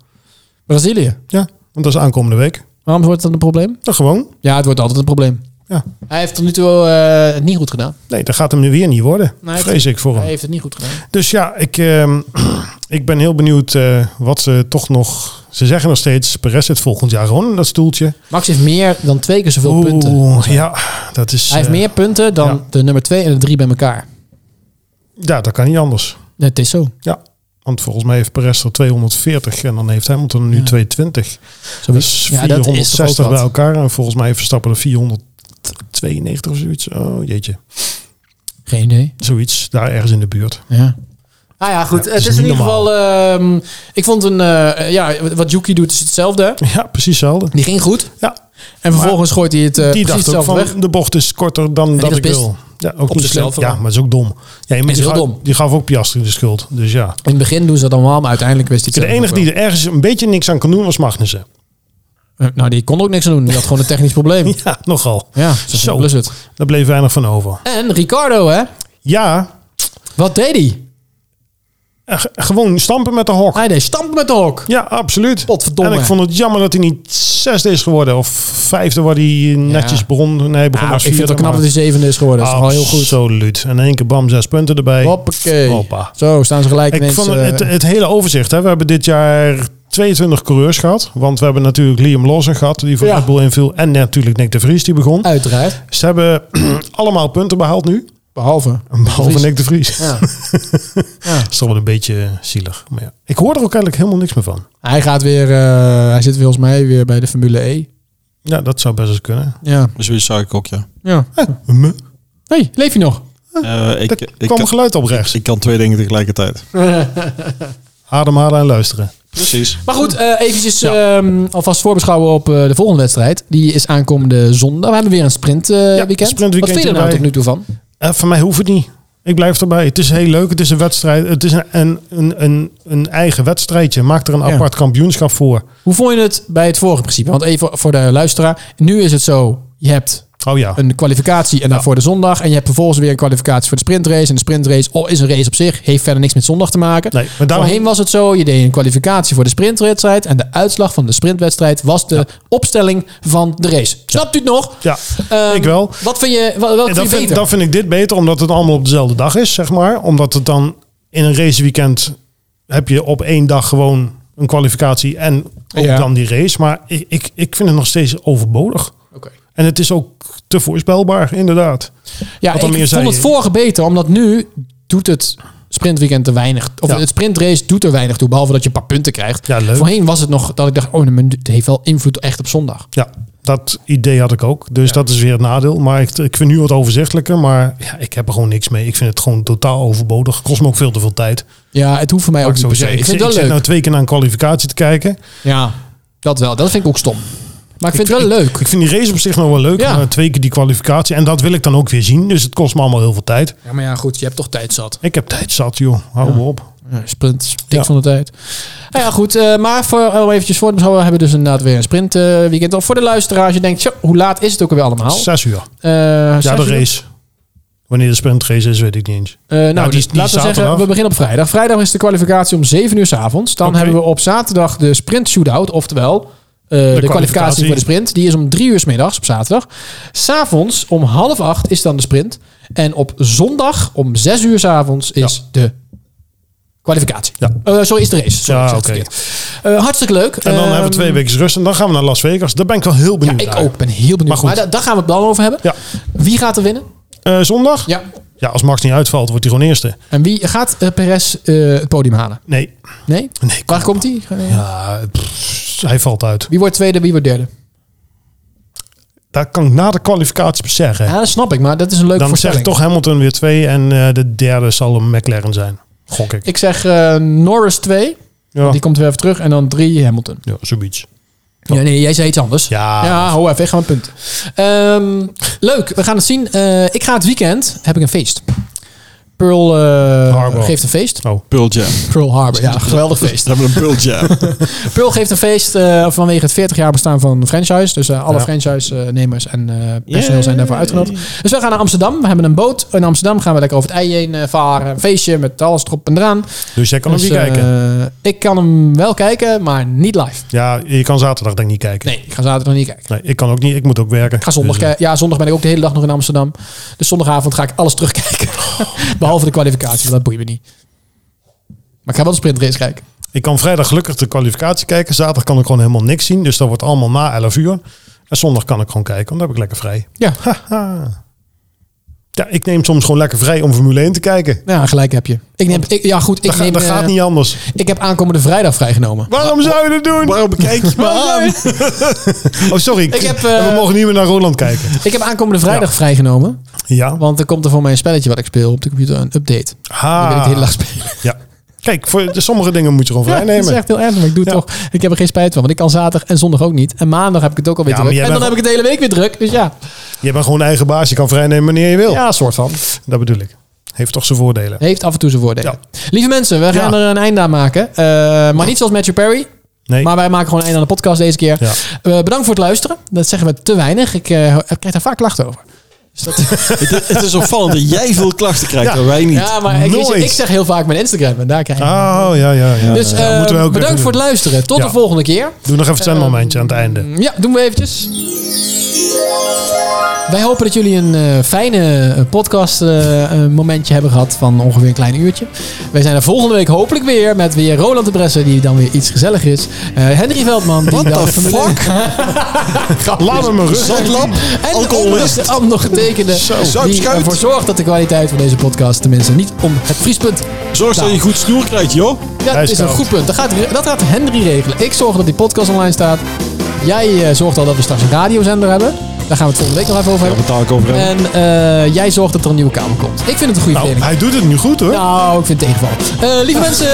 Speaker 3: Brazilië.
Speaker 1: Ja, want dat is aankomende week.
Speaker 3: Waarom wordt dat een probleem?
Speaker 1: Dan gewoon.
Speaker 3: Ja, het wordt altijd een probleem.
Speaker 1: Ja.
Speaker 3: Hij heeft tot nu toe eh, het niet goed gedaan.
Speaker 1: Nee, dat gaat hem nu weer niet worden.
Speaker 3: Nee,
Speaker 1: vrees ik voor hem.
Speaker 3: Hij heeft het niet goed gedaan.
Speaker 1: Dus ja, ik, ehm, ik ben heel benieuwd eh, wat ze toch nog... Ze zeggen nog steeds, Perez zit volgend jaar gewoon in dat stoeltje.
Speaker 3: Max heeft meer dan twee keer zoveel punten.
Speaker 1: Oeh, ja, dat is...
Speaker 3: Hij heeft
Speaker 1: eh,
Speaker 3: meer punten dan
Speaker 1: ja.
Speaker 3: de nummer 2 en de 3 bij elkaar.
Speaker 1: Ja, dat kan niet anders.
Speaker 3: Het is zo.
Speaker 1: Ja, want volgens mij heeft Perez er 240 en dan heeft Hamilton nu
Speaker 3: Ja.
Speaker 1: 220.
Speaker 3: zo
Speaker 1: Dat is
Speaker 3: ja, dat is toch
Speaker 1: 460
Speaker 3: ook
Speaker 1: bij
Speaker 3: wat.
Speaker 1: elkaar en volgens mij heeft Verstappen er 492 of zoiets. Oh jeetje,
Speaker 3: Dus Geen idee.
Speaker 1: zoiets daar ergens in de buurt.
Speaker 3: Ja. Nou ja, goed.
Speaker 1: is
Speaker 3: het is in
Speaker 1: niet
Speaker 3: ieder geval... ehm, ik vond een... eh, ja, wat Yuki doet is hetzelfde. hè?
Speaker 1: Ja, precies hetzelfde.
Speaker 3: Die ging goed.
Speaker 1: Ja,
Speaker 3: En vervolgens gooit hij het eh
Speaker 1: die
Speaker 3: precies
Speaker 1: dacht ook
Speaker 3: hetzelfde
Speaker 1: van
Speaker 3: weg.
Speaker 1: de bocht is korter dan dat
Speaker 3: was
Speaker 1: ik
Speaker 3: best
Speaker 1: wil. Ja, ook niet
Speaker 3: zichzelf
Speaker 1: slim. Ja,
Speaker 3: wel.
Speaker 1: maar het is ook dom. Ja, maar
Speaker 3: is
Speaker 1: die
Speaker 3: heel
Speaker 1: gaf-
Speaker 3: dom.
Speaker 1: Die gaf ook Piastri de schuld. Dus ja.
Speaker 3: In het begin doen ze dat allemaal, maar uiteindelijk wist hij het
Speaker 1: De
Speaker 3: zelf
Speaker 1: enige
Speaker 3: ook
Speaker 1: die er ergens een beetje niks aan kon doen was Magnussen.
Speaker 3: wel. Eh, Nou, die kon er ook niks aan doen. Die had gewoon een technisch probleem.
Speaker 1: Ja, nogal.
Speaker 3: Ja, zo simpel is het.
Speaker 1: Daar bleef weinig van over.
Speaker 3: En Ricardo, hè?
Speaker 1: Ja,
Speaker 3: Wat deed hij?
Speaker 1: eh, g- gewoon stampen met de hok.
Speaker 3: Hij deed stampen met de hok.
Speaker 1: Ja, absoluut.
Speaker 3: Potverdomme.
Speaker 1: En ik vond het jammer dat hij niet zesde is geworden. Of vijfde, waar hij netjes begon. Nee, begon
Speaker 3: Nou, ik
Speaker 1: als
Speaker 3: vind het
Speaker 1: vierde,
Speaker 3: wel knap dat hij zevende is geworden. Dat is
Speaker 1: maar
Speaker 3: al heel goed.
Speaker 1: Absoluut. En in één keer bam, zes punten erbij.
Speaker 3: Hoppakee.
Speaker 1: Hoppa.
Speaker 3: Zo, staan ze gelijk
Speaker 1: Ik
Speaker 3: ineens.
Speaker 1: vond
Speaker 3: eh,
Speaker 1: het, het hele overzicht. Hè. We hebben dit jaar 22 coureurs gehad. Want we hebben natuurlijk Liam Lawson gehad, die voor
Speaker 3: Ja.
Speaker 1: Red Bull inviel. En natuurlijk Nick de Vries, die begon.
Speaker 3: Uiteraard.
Speaker 1: Ze hebben allemaal punten behaald nu.
Speaker 3: Behalve.
Speaker 1: Behalve
Speaker 3: Vries.
Speaker 1: Nick de Vries.
Speaker 3: Ja.
Speaker 1: Dat is toch wel een beetje eh, zielig. Maar ja. Ik hoor er ook eigenlijk helemaal niks meer van.
Speaker 3: Hij gaat weer, eh, hij zit volgens mij weer bij de Formule E.
Speaker 1: Ja, dat zou best eens kunnen.
Speaker 3: Ja.
Speaker 2: Zoiets zou ik ook, ja.
Speaker 3: ja.
Speaker 1: Hm,
Speaker 3: hey, leef je nog?
Speaker 2: Eh, ik,
Speaker 1: Er
Speaker 2: ik, ik,
Speaker 1: kwam
Speaker 2: kan,
Speaker 1: geluid op rechts.
Speaker 2: ik kan twee dingen tegelijkertijd.
Speaker 1: Ademhalen en luisteren.
Speaker 2: Precies.
Speaker 3: Maar goed, eh eventjes ehm, alvast voorbeschouwen op eh, de volgende wedstrijd. Die is aankomende zondag. We hebben weer een sprint, eh,
Speaker 1: Ja,
Speaker 3: weekend. Wat
Speaker 1: sprintweekendje
Speaker 3: vind je er nou
Speaker 1: erbij.
Speaker 3: tot nu toe van?
Speaker 1: Eh, voor mij hoeft het niet. Ik blijf erbij. Het is heel leuk. Het is een wedstrijd. Het is een, een, een, een, een eigen wedstrijdje. Maak er een
Speaker 3: Ja.
Speaker 1: apart kampioenschap voor.
Speaker 3: Hoe vond je het bij het vorige principe? Want even voor de luisteraar. Nu is het zo, je hebt
Speaker 1: Oh ja.
Speaker 3: een kwalificatie en dan voor de zondag. En je hebt vervolgens weer een kwalificatie voor de sprintrace. En de sprintrace oh, is een race op zich. Heeft verder niks met zondag te maken.
Speaker 1: Nee, maar daarom-
Speaker 3: Voorheen was het zo, je deed een kwalificatie voor de sprintwedstrijd. En de uitslag van de sprintwedstrijd was de opstelling van de race. Snapt u het nog?
Speaker 1: Ja,
Speaker 3: Ehm,
Speaker 1: ik wel.
Speaker 3: Wat vind je, wat, wat
Speaker 1: En dan,
Speaker 3: vind je beter?
Speaker 1: vind, dan vind ik dit beter, omdat het allemaal op dezelfde dag is, zeg maar. Omdat het dan in een raceweekend heb je op één dag gewoon een kwalificatie en ook
Speaker 3: Ja.
Speaker 1: dan die race. Maar ik, ik, ik vind het nog steeds overbodig.
Speaker 3: Oké.
Speaker 1: En het is ook te voorspelbaar, inderdaad.
Speaker 3: Ja,
Speaker 1: Wat
Speaker 3: ik
Speaker 1: dan meer
Speaker 3: vond
Speaker 1: zei
Speaker 3: het
Speaker 1: je?
Speaker 3: vorige beter, omdat nu doet het sprintweekend te weinig. Of
Speaker 1: Ja.
Speaker 3: het sprintrace doet er weinig toe, behalve dat je een paar punten krijgt.
Speaker 1: Ja, leuk.
Speaker 3: Voorheen was het nog dat ik dacht, oh, maar het heeft wel invloed echt op zondag.
Speaker 1: Ja, dat idee had ik ook. Dus dat is weer het nadeel. Maar ik, ik vind nu wat overzichtelijker. Maar ja, ik heb er gewoon niks mee. Ik vind het gewoon totaal overbodig. Kost me ook veel te veel tijd.
Speaker 3: Ja, het hoeft voor mij
Speaker 1: Mag
Speaker 3: ook
Speaker 1: ik
Speaker 3: niet
Speaker 1: zo
Speaker 3: per se.
Speaker 1: zeggen. Ik, zit- ik
Speaker 3: Ik vind het wel
Speaker 1: zit
Speaker 3: leuk.
Speaker 1: nou twee keer naar een kwalificatie te kijken.
Speaker 3: Ja, dat wel. Dat vind ik ook stom. Maar ik vind het wel leuk.
Speaker 1: Ik vind die race op zich nog wel leuk.
Speaker 3: Ja.
Speaker 1: Maar twee keer die kwalificatie. En dat wil ik dan ook weer zien. Dus het kost me allemaal heel veel tijd.
Speaker 3: Ja, maar ja, goed, je hebt toch tijd zat.
Speaker 1: Ik heb tijd zat, joh. Hou me op.
Speaker 3: Ja, sprint, dik
Speaker 1: Ja.
Speaker 3: van de tijd. Nou ja, goed. eh, maar voor, oh, eventjes voor te beschouwen, we hebben dus inderdaad weer een sprint eh, weekend. Of voor de luisteraar, als je denkt, "Tjo, hoe laat is het ook alweer allemaal?
Speaker 1: Zes uur.
Speaker 3: Eh,
Speaker 1: Ja,
Speaker 3: zes
Speaker 1: de
Speaker 3: uur?
Speaker 1: race. Wanneer de sprintrace is, weet ik niet eens.
Speaker 3: Eh, nou,
Speaker 1: Ja, die-
Speaker 3: dus
Speaker 1: die
Speaker 3: laten we zeggen,
Speaker 1: zaterdag.
Speaker 3: we beginnen op vrijdag. Vrijdag is de kwalificatie om 7 uur s avonds. Dan
Speaker 1: Oké.
Speaker 3: hebben we op zaterdag de sprint shootout, oftewel eh, de, kwalificatie.
Speaker 1: kwalificatie.
Speaker 3: voor de sprint. Die is om 3 uur s middags op zaterdag. S'avonds om half acht is dan de sprint. En op zondag om 6 uur s avonds is de Kwalificatie.
Speaker 1: Ja.
Speaker 3: Eh, sorry, is de race. Sorry,
Speaker 1: Ja,
Speaker 3: ik zeg het
Speaker 1: oké.
Speaker 3: verkeerd. Eh, hartstikke leuk.
Speaker 1: En dan hebben we
Speaker 3: Ehm,
Speaker 1: twee weken rust en dan gaan we naar Las Vegas. Daar ben ik wel heel
Speaker 3: Ja,
Speaker 1: benieuwd
Speaker 3: ik
Speaker 1: naar.
Speaker 3: ook. ben heel benieuwd. Maar,
Speaker 1: Maar goed.
Speaker 3: da- daar gaan we het dan over hebben.
Speaker 1: Ja.
Speaker 3: Wie gaat er winnen?
Speaker 1: Eh, zondag?
Speaker 3: Ja.
Speaker 1: Ja, als Max niet uitvalt, wordt hij gewoon eerste.
Speaker 3: En wie gaat eh, Perez eh, het podium halen?
Speaker 1: Nee.
Speaker 3: Nee?
Speaker 1: nee kom
Speaker 3: Waar
Speaker 1: op.
Speaker 3: komt hij?
Speaker 1: Ja, pff, hij valt uit.
Speaker 3: Wie wordt tweede, wie wordt derde?
Speaker 1: Daar kan ik na de kwalificatie pas zeggen.
Speaker 3: Ja, dat snap ik, maar dat is een leuke
Speaker 1: Dan
Speaker 3: voorspelling.
Speaker 1: zegt toch Hamilton weer twee en eh, de derde zal een McLaren zijn. Gok ik.
Speaker 3: Ik zeg eh, Norris 2,
Speaker 1: Ja,
Speaker 3: die komt weer even terug, en dan 3 Hamilton.
Speaker 1: ja zoiets.
Speaker 3: Ja, nee, jij zei iets anders.
Speaker 1: Ja.
Speaker 3: Oh. Ja, hou even, ik ga mijn punt. Ehm, leuk, we gaan het zien. Eh, ik ga het weekend, heb ik een feest. Pearl eh,
Speaker 1: Harbor.
Speaker 3: geeft een feest.
Speaker 1: Oh,
Speaker 2: Pearl Jam.
Speaker 3: Pearl Harbor, ja, geweldig feest.
Speaker 2: Ze hebben een Pearl Jam.
Speaker 3: Pearl geeft een feest eh, vanwege het 40 jaar bestaan van de franchise. Dus eh, alle
Speaker 1: Ja.
Speaker 3: franchise-nemers en eh, personeel zijn daarvoor uitgenodigd. Dus we gaan naar Amsterdam. We hebben een boot. In Amsterdam gaan we lekker over het ei heen eh, varen. Een feestje met alles erop en eraan.
Speaker 1: dus jij kan
Speaker 3: Dus,
Speaker 1: hem niet
Speaker 3: eh,
Speaker 1: kijken.
Speaker 3: Ik kan hem wel kijken, maar niet live.
Speaker 1: Ja, je kan zaterdag denk ik niet kijken.
Speaker 3: Nee, ik ga zaterdag niet kijken.
Speaker 1: Nee, ik kan ook niet. Ik moet ook werken.
Speaker 3: Ik ga zondag
Speaker 1: Dus, eh,
Speaker 3: kijken. Ja, zondag ben ik ook de hele dag nog in Amsterdam. Dus zondagavond ga ik alles terugkijken. Behalve de kwalificatie, want dat boeit me niet. Maar ik ga wel de sprintrace kijken.
Speaker 1: eh, Ik kan vrijdag gelukkig de kwalificatie kijken. Zaterdag kan ik gewoon helemaal niks zien. Dus dat wordt allemaal na 11 uur. En zondag kan ik gewoon kijken, want dan heb ik lekker vrij.
Speaker 3: Ja,
Speaker 1: Ja, ik neem soms gewoon lekker vrij om Formule 1 te kijken.
Speaker 3: ja gelijk heb je. Ik neem, ik, ja goed, ik
Speaker 1: Dat, ga-
Speaker 3: neem...
Speaker 1: dat
Speaker 3: eh,
Speaker 1: gaat niet anders.
Speaker 3: Ik heb aankomende vrijdag vrijgenomen.
Speaker 1: Waarom zou je dat doen?
Speaker 2: Waarom kijk je me aan?
Speaker 1: Oh, sorry. Ik
Speaker 3: heb, eh,
Speaker 1: We mogen niet meer naar Roland kijken.
Speaker 3: Ik heb aankomende vrijdag vrijgenomen.
Speaker 1: Ja.
Speaker 3: Want er komt er voor mijn spelletje wat ik speel op de computer een update. Dan
Speaker 1: Ah.
Speaker 3: wil ik de hele dag spelen.
Speaker 1: Ja. Kijk, voor de, sommige dingen moet je gewoon vrij
Speaker 3: dat is
Speaker 1: nemen.
Speaker 3: echt heel erg, maar ik doe het
Speaker 1: Ja.
Speaker 3: toch. Ik heb er geen spijt van, want ik kan zaterdag en zondag ook niet. En maandag heb ik het ook alweer
Speaker 1: Ja, maar
Speaker 3: druk. En
Speaker 1: jij
Speaker 3: dan heb
Speaker 1: bent-
Speaker 3: ik het de hele week weer druk. Dus ja,
Speaker 1: Je bent gewoon eigen baas. Je kan vrij nemen wanneer je wil.
Speaker 3: ja soort van.
Speaker 1: Dat bedoel ik. Heeft toch zijn voordelen.
Speaker 3: Heeft af en toe zijn voordelen. Lieve mensen, we gaan
Speaker 1: Ja.
Speaker 3: er een einde aan maken. Eh, maar niet zoals Matthew Perry.
Speaker 1: Nee.
Speaker 3: Maar wij maken gewoon een einde aan de podcast deze keer.
Speaker 1: Ja.
Speaker 3: Eh, bedankt voor het luisteren. Dat zeggen we te weinig. Ik eh, ik krijg daar vaak klachten over. Dus dat,
Speaker 2: Het, het is opvallend dat jij veel klachten krijgt
Speaker 1: Ja.
Speaker 2: en wij niet.
Speaker 3: ja, maar ik,
Speaker 1: Nooit.
Speaker 3: ik zeg heel vaak mijn Instagram. En daar krijg ik
Speaker 1: Oh, ja, ja. ja.
Speaker 3: Dus
Speaker 1: Ja,
Speaker 3: eh,
Speaker 1: moeten we ook weer
Speaker 3: bedankt
Speaker 1: doen.
Speaker 3: voor het luisteren. Tot
Speaker 1: Ja.
Speaker 3: de volgende keer.
Speaker 1: Doe nog even het zendmomentje aan het einde.
Speaker 3: Ja, doen we eventjes. Wij hopen dat jullie een eh, fijne eh, podcast eh, eh, momentje hebben gehad van ongeveer een klein uurtje. Wij zijn er volgende week hopelijk weer met weer Roland de Bresser die dan weer iets gezelliger is. Eh, Henry Veldman. die
Speaker 2: What
Speaker 3: dan
Speaker 2: the
Speaker 3: Formule
Speaker 2: fuck?
Speaker 3: Ehm,
Speaker 1: Laat me maar rust.
Speaker 2: Zandlap?
Speaker 3: En
Speaker 2: Alcoholist?
Speaker 3: de ondergetekende die
Speaker 2: Zuipschuit.
Speaker 3: ervoor zorgt dat de kwaliteit van deze podcast tenminste niet om het vriespunt
Speaker 2: Zorg dat je een goed snoer krijgt, joh.
Speaker 3: Ja,
Speaker 1: Hij
Speaker 3: dat
Speaker 1: is
Speaker 3: is een
Speaker 1: koud.
Speaker 3: goed punt. Dat gaat, dat gaat Henry regelen. Ik zorg dat die podcast online staat. Jij eh, zorgt al dat we straks een radiozender hebben. Daar gaan we het volgende week nog even over
Speaker 2: Daar
Speaker 3: hebben.
Speaker 2: betaal ik over.
Speaker 3: En eh, jij zorgt dat er een nieuwe kamer komt. Ik vind het een goede
Speaker 1: Nou,
Speaker 3: verdeling.
Speaker 1: hij doet het nu goed hoor.
Speaker 3: Nou, ik vind het tegenval. Eh, lieve mensen,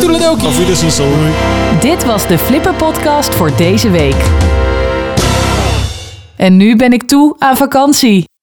Speaker 3: toedeledokie.
Speaker 2: Of jullie zijn zo.
Speaker 4: Dit was de Flipper Podcast voor deze week. En nu ben ik toe aan vakantie.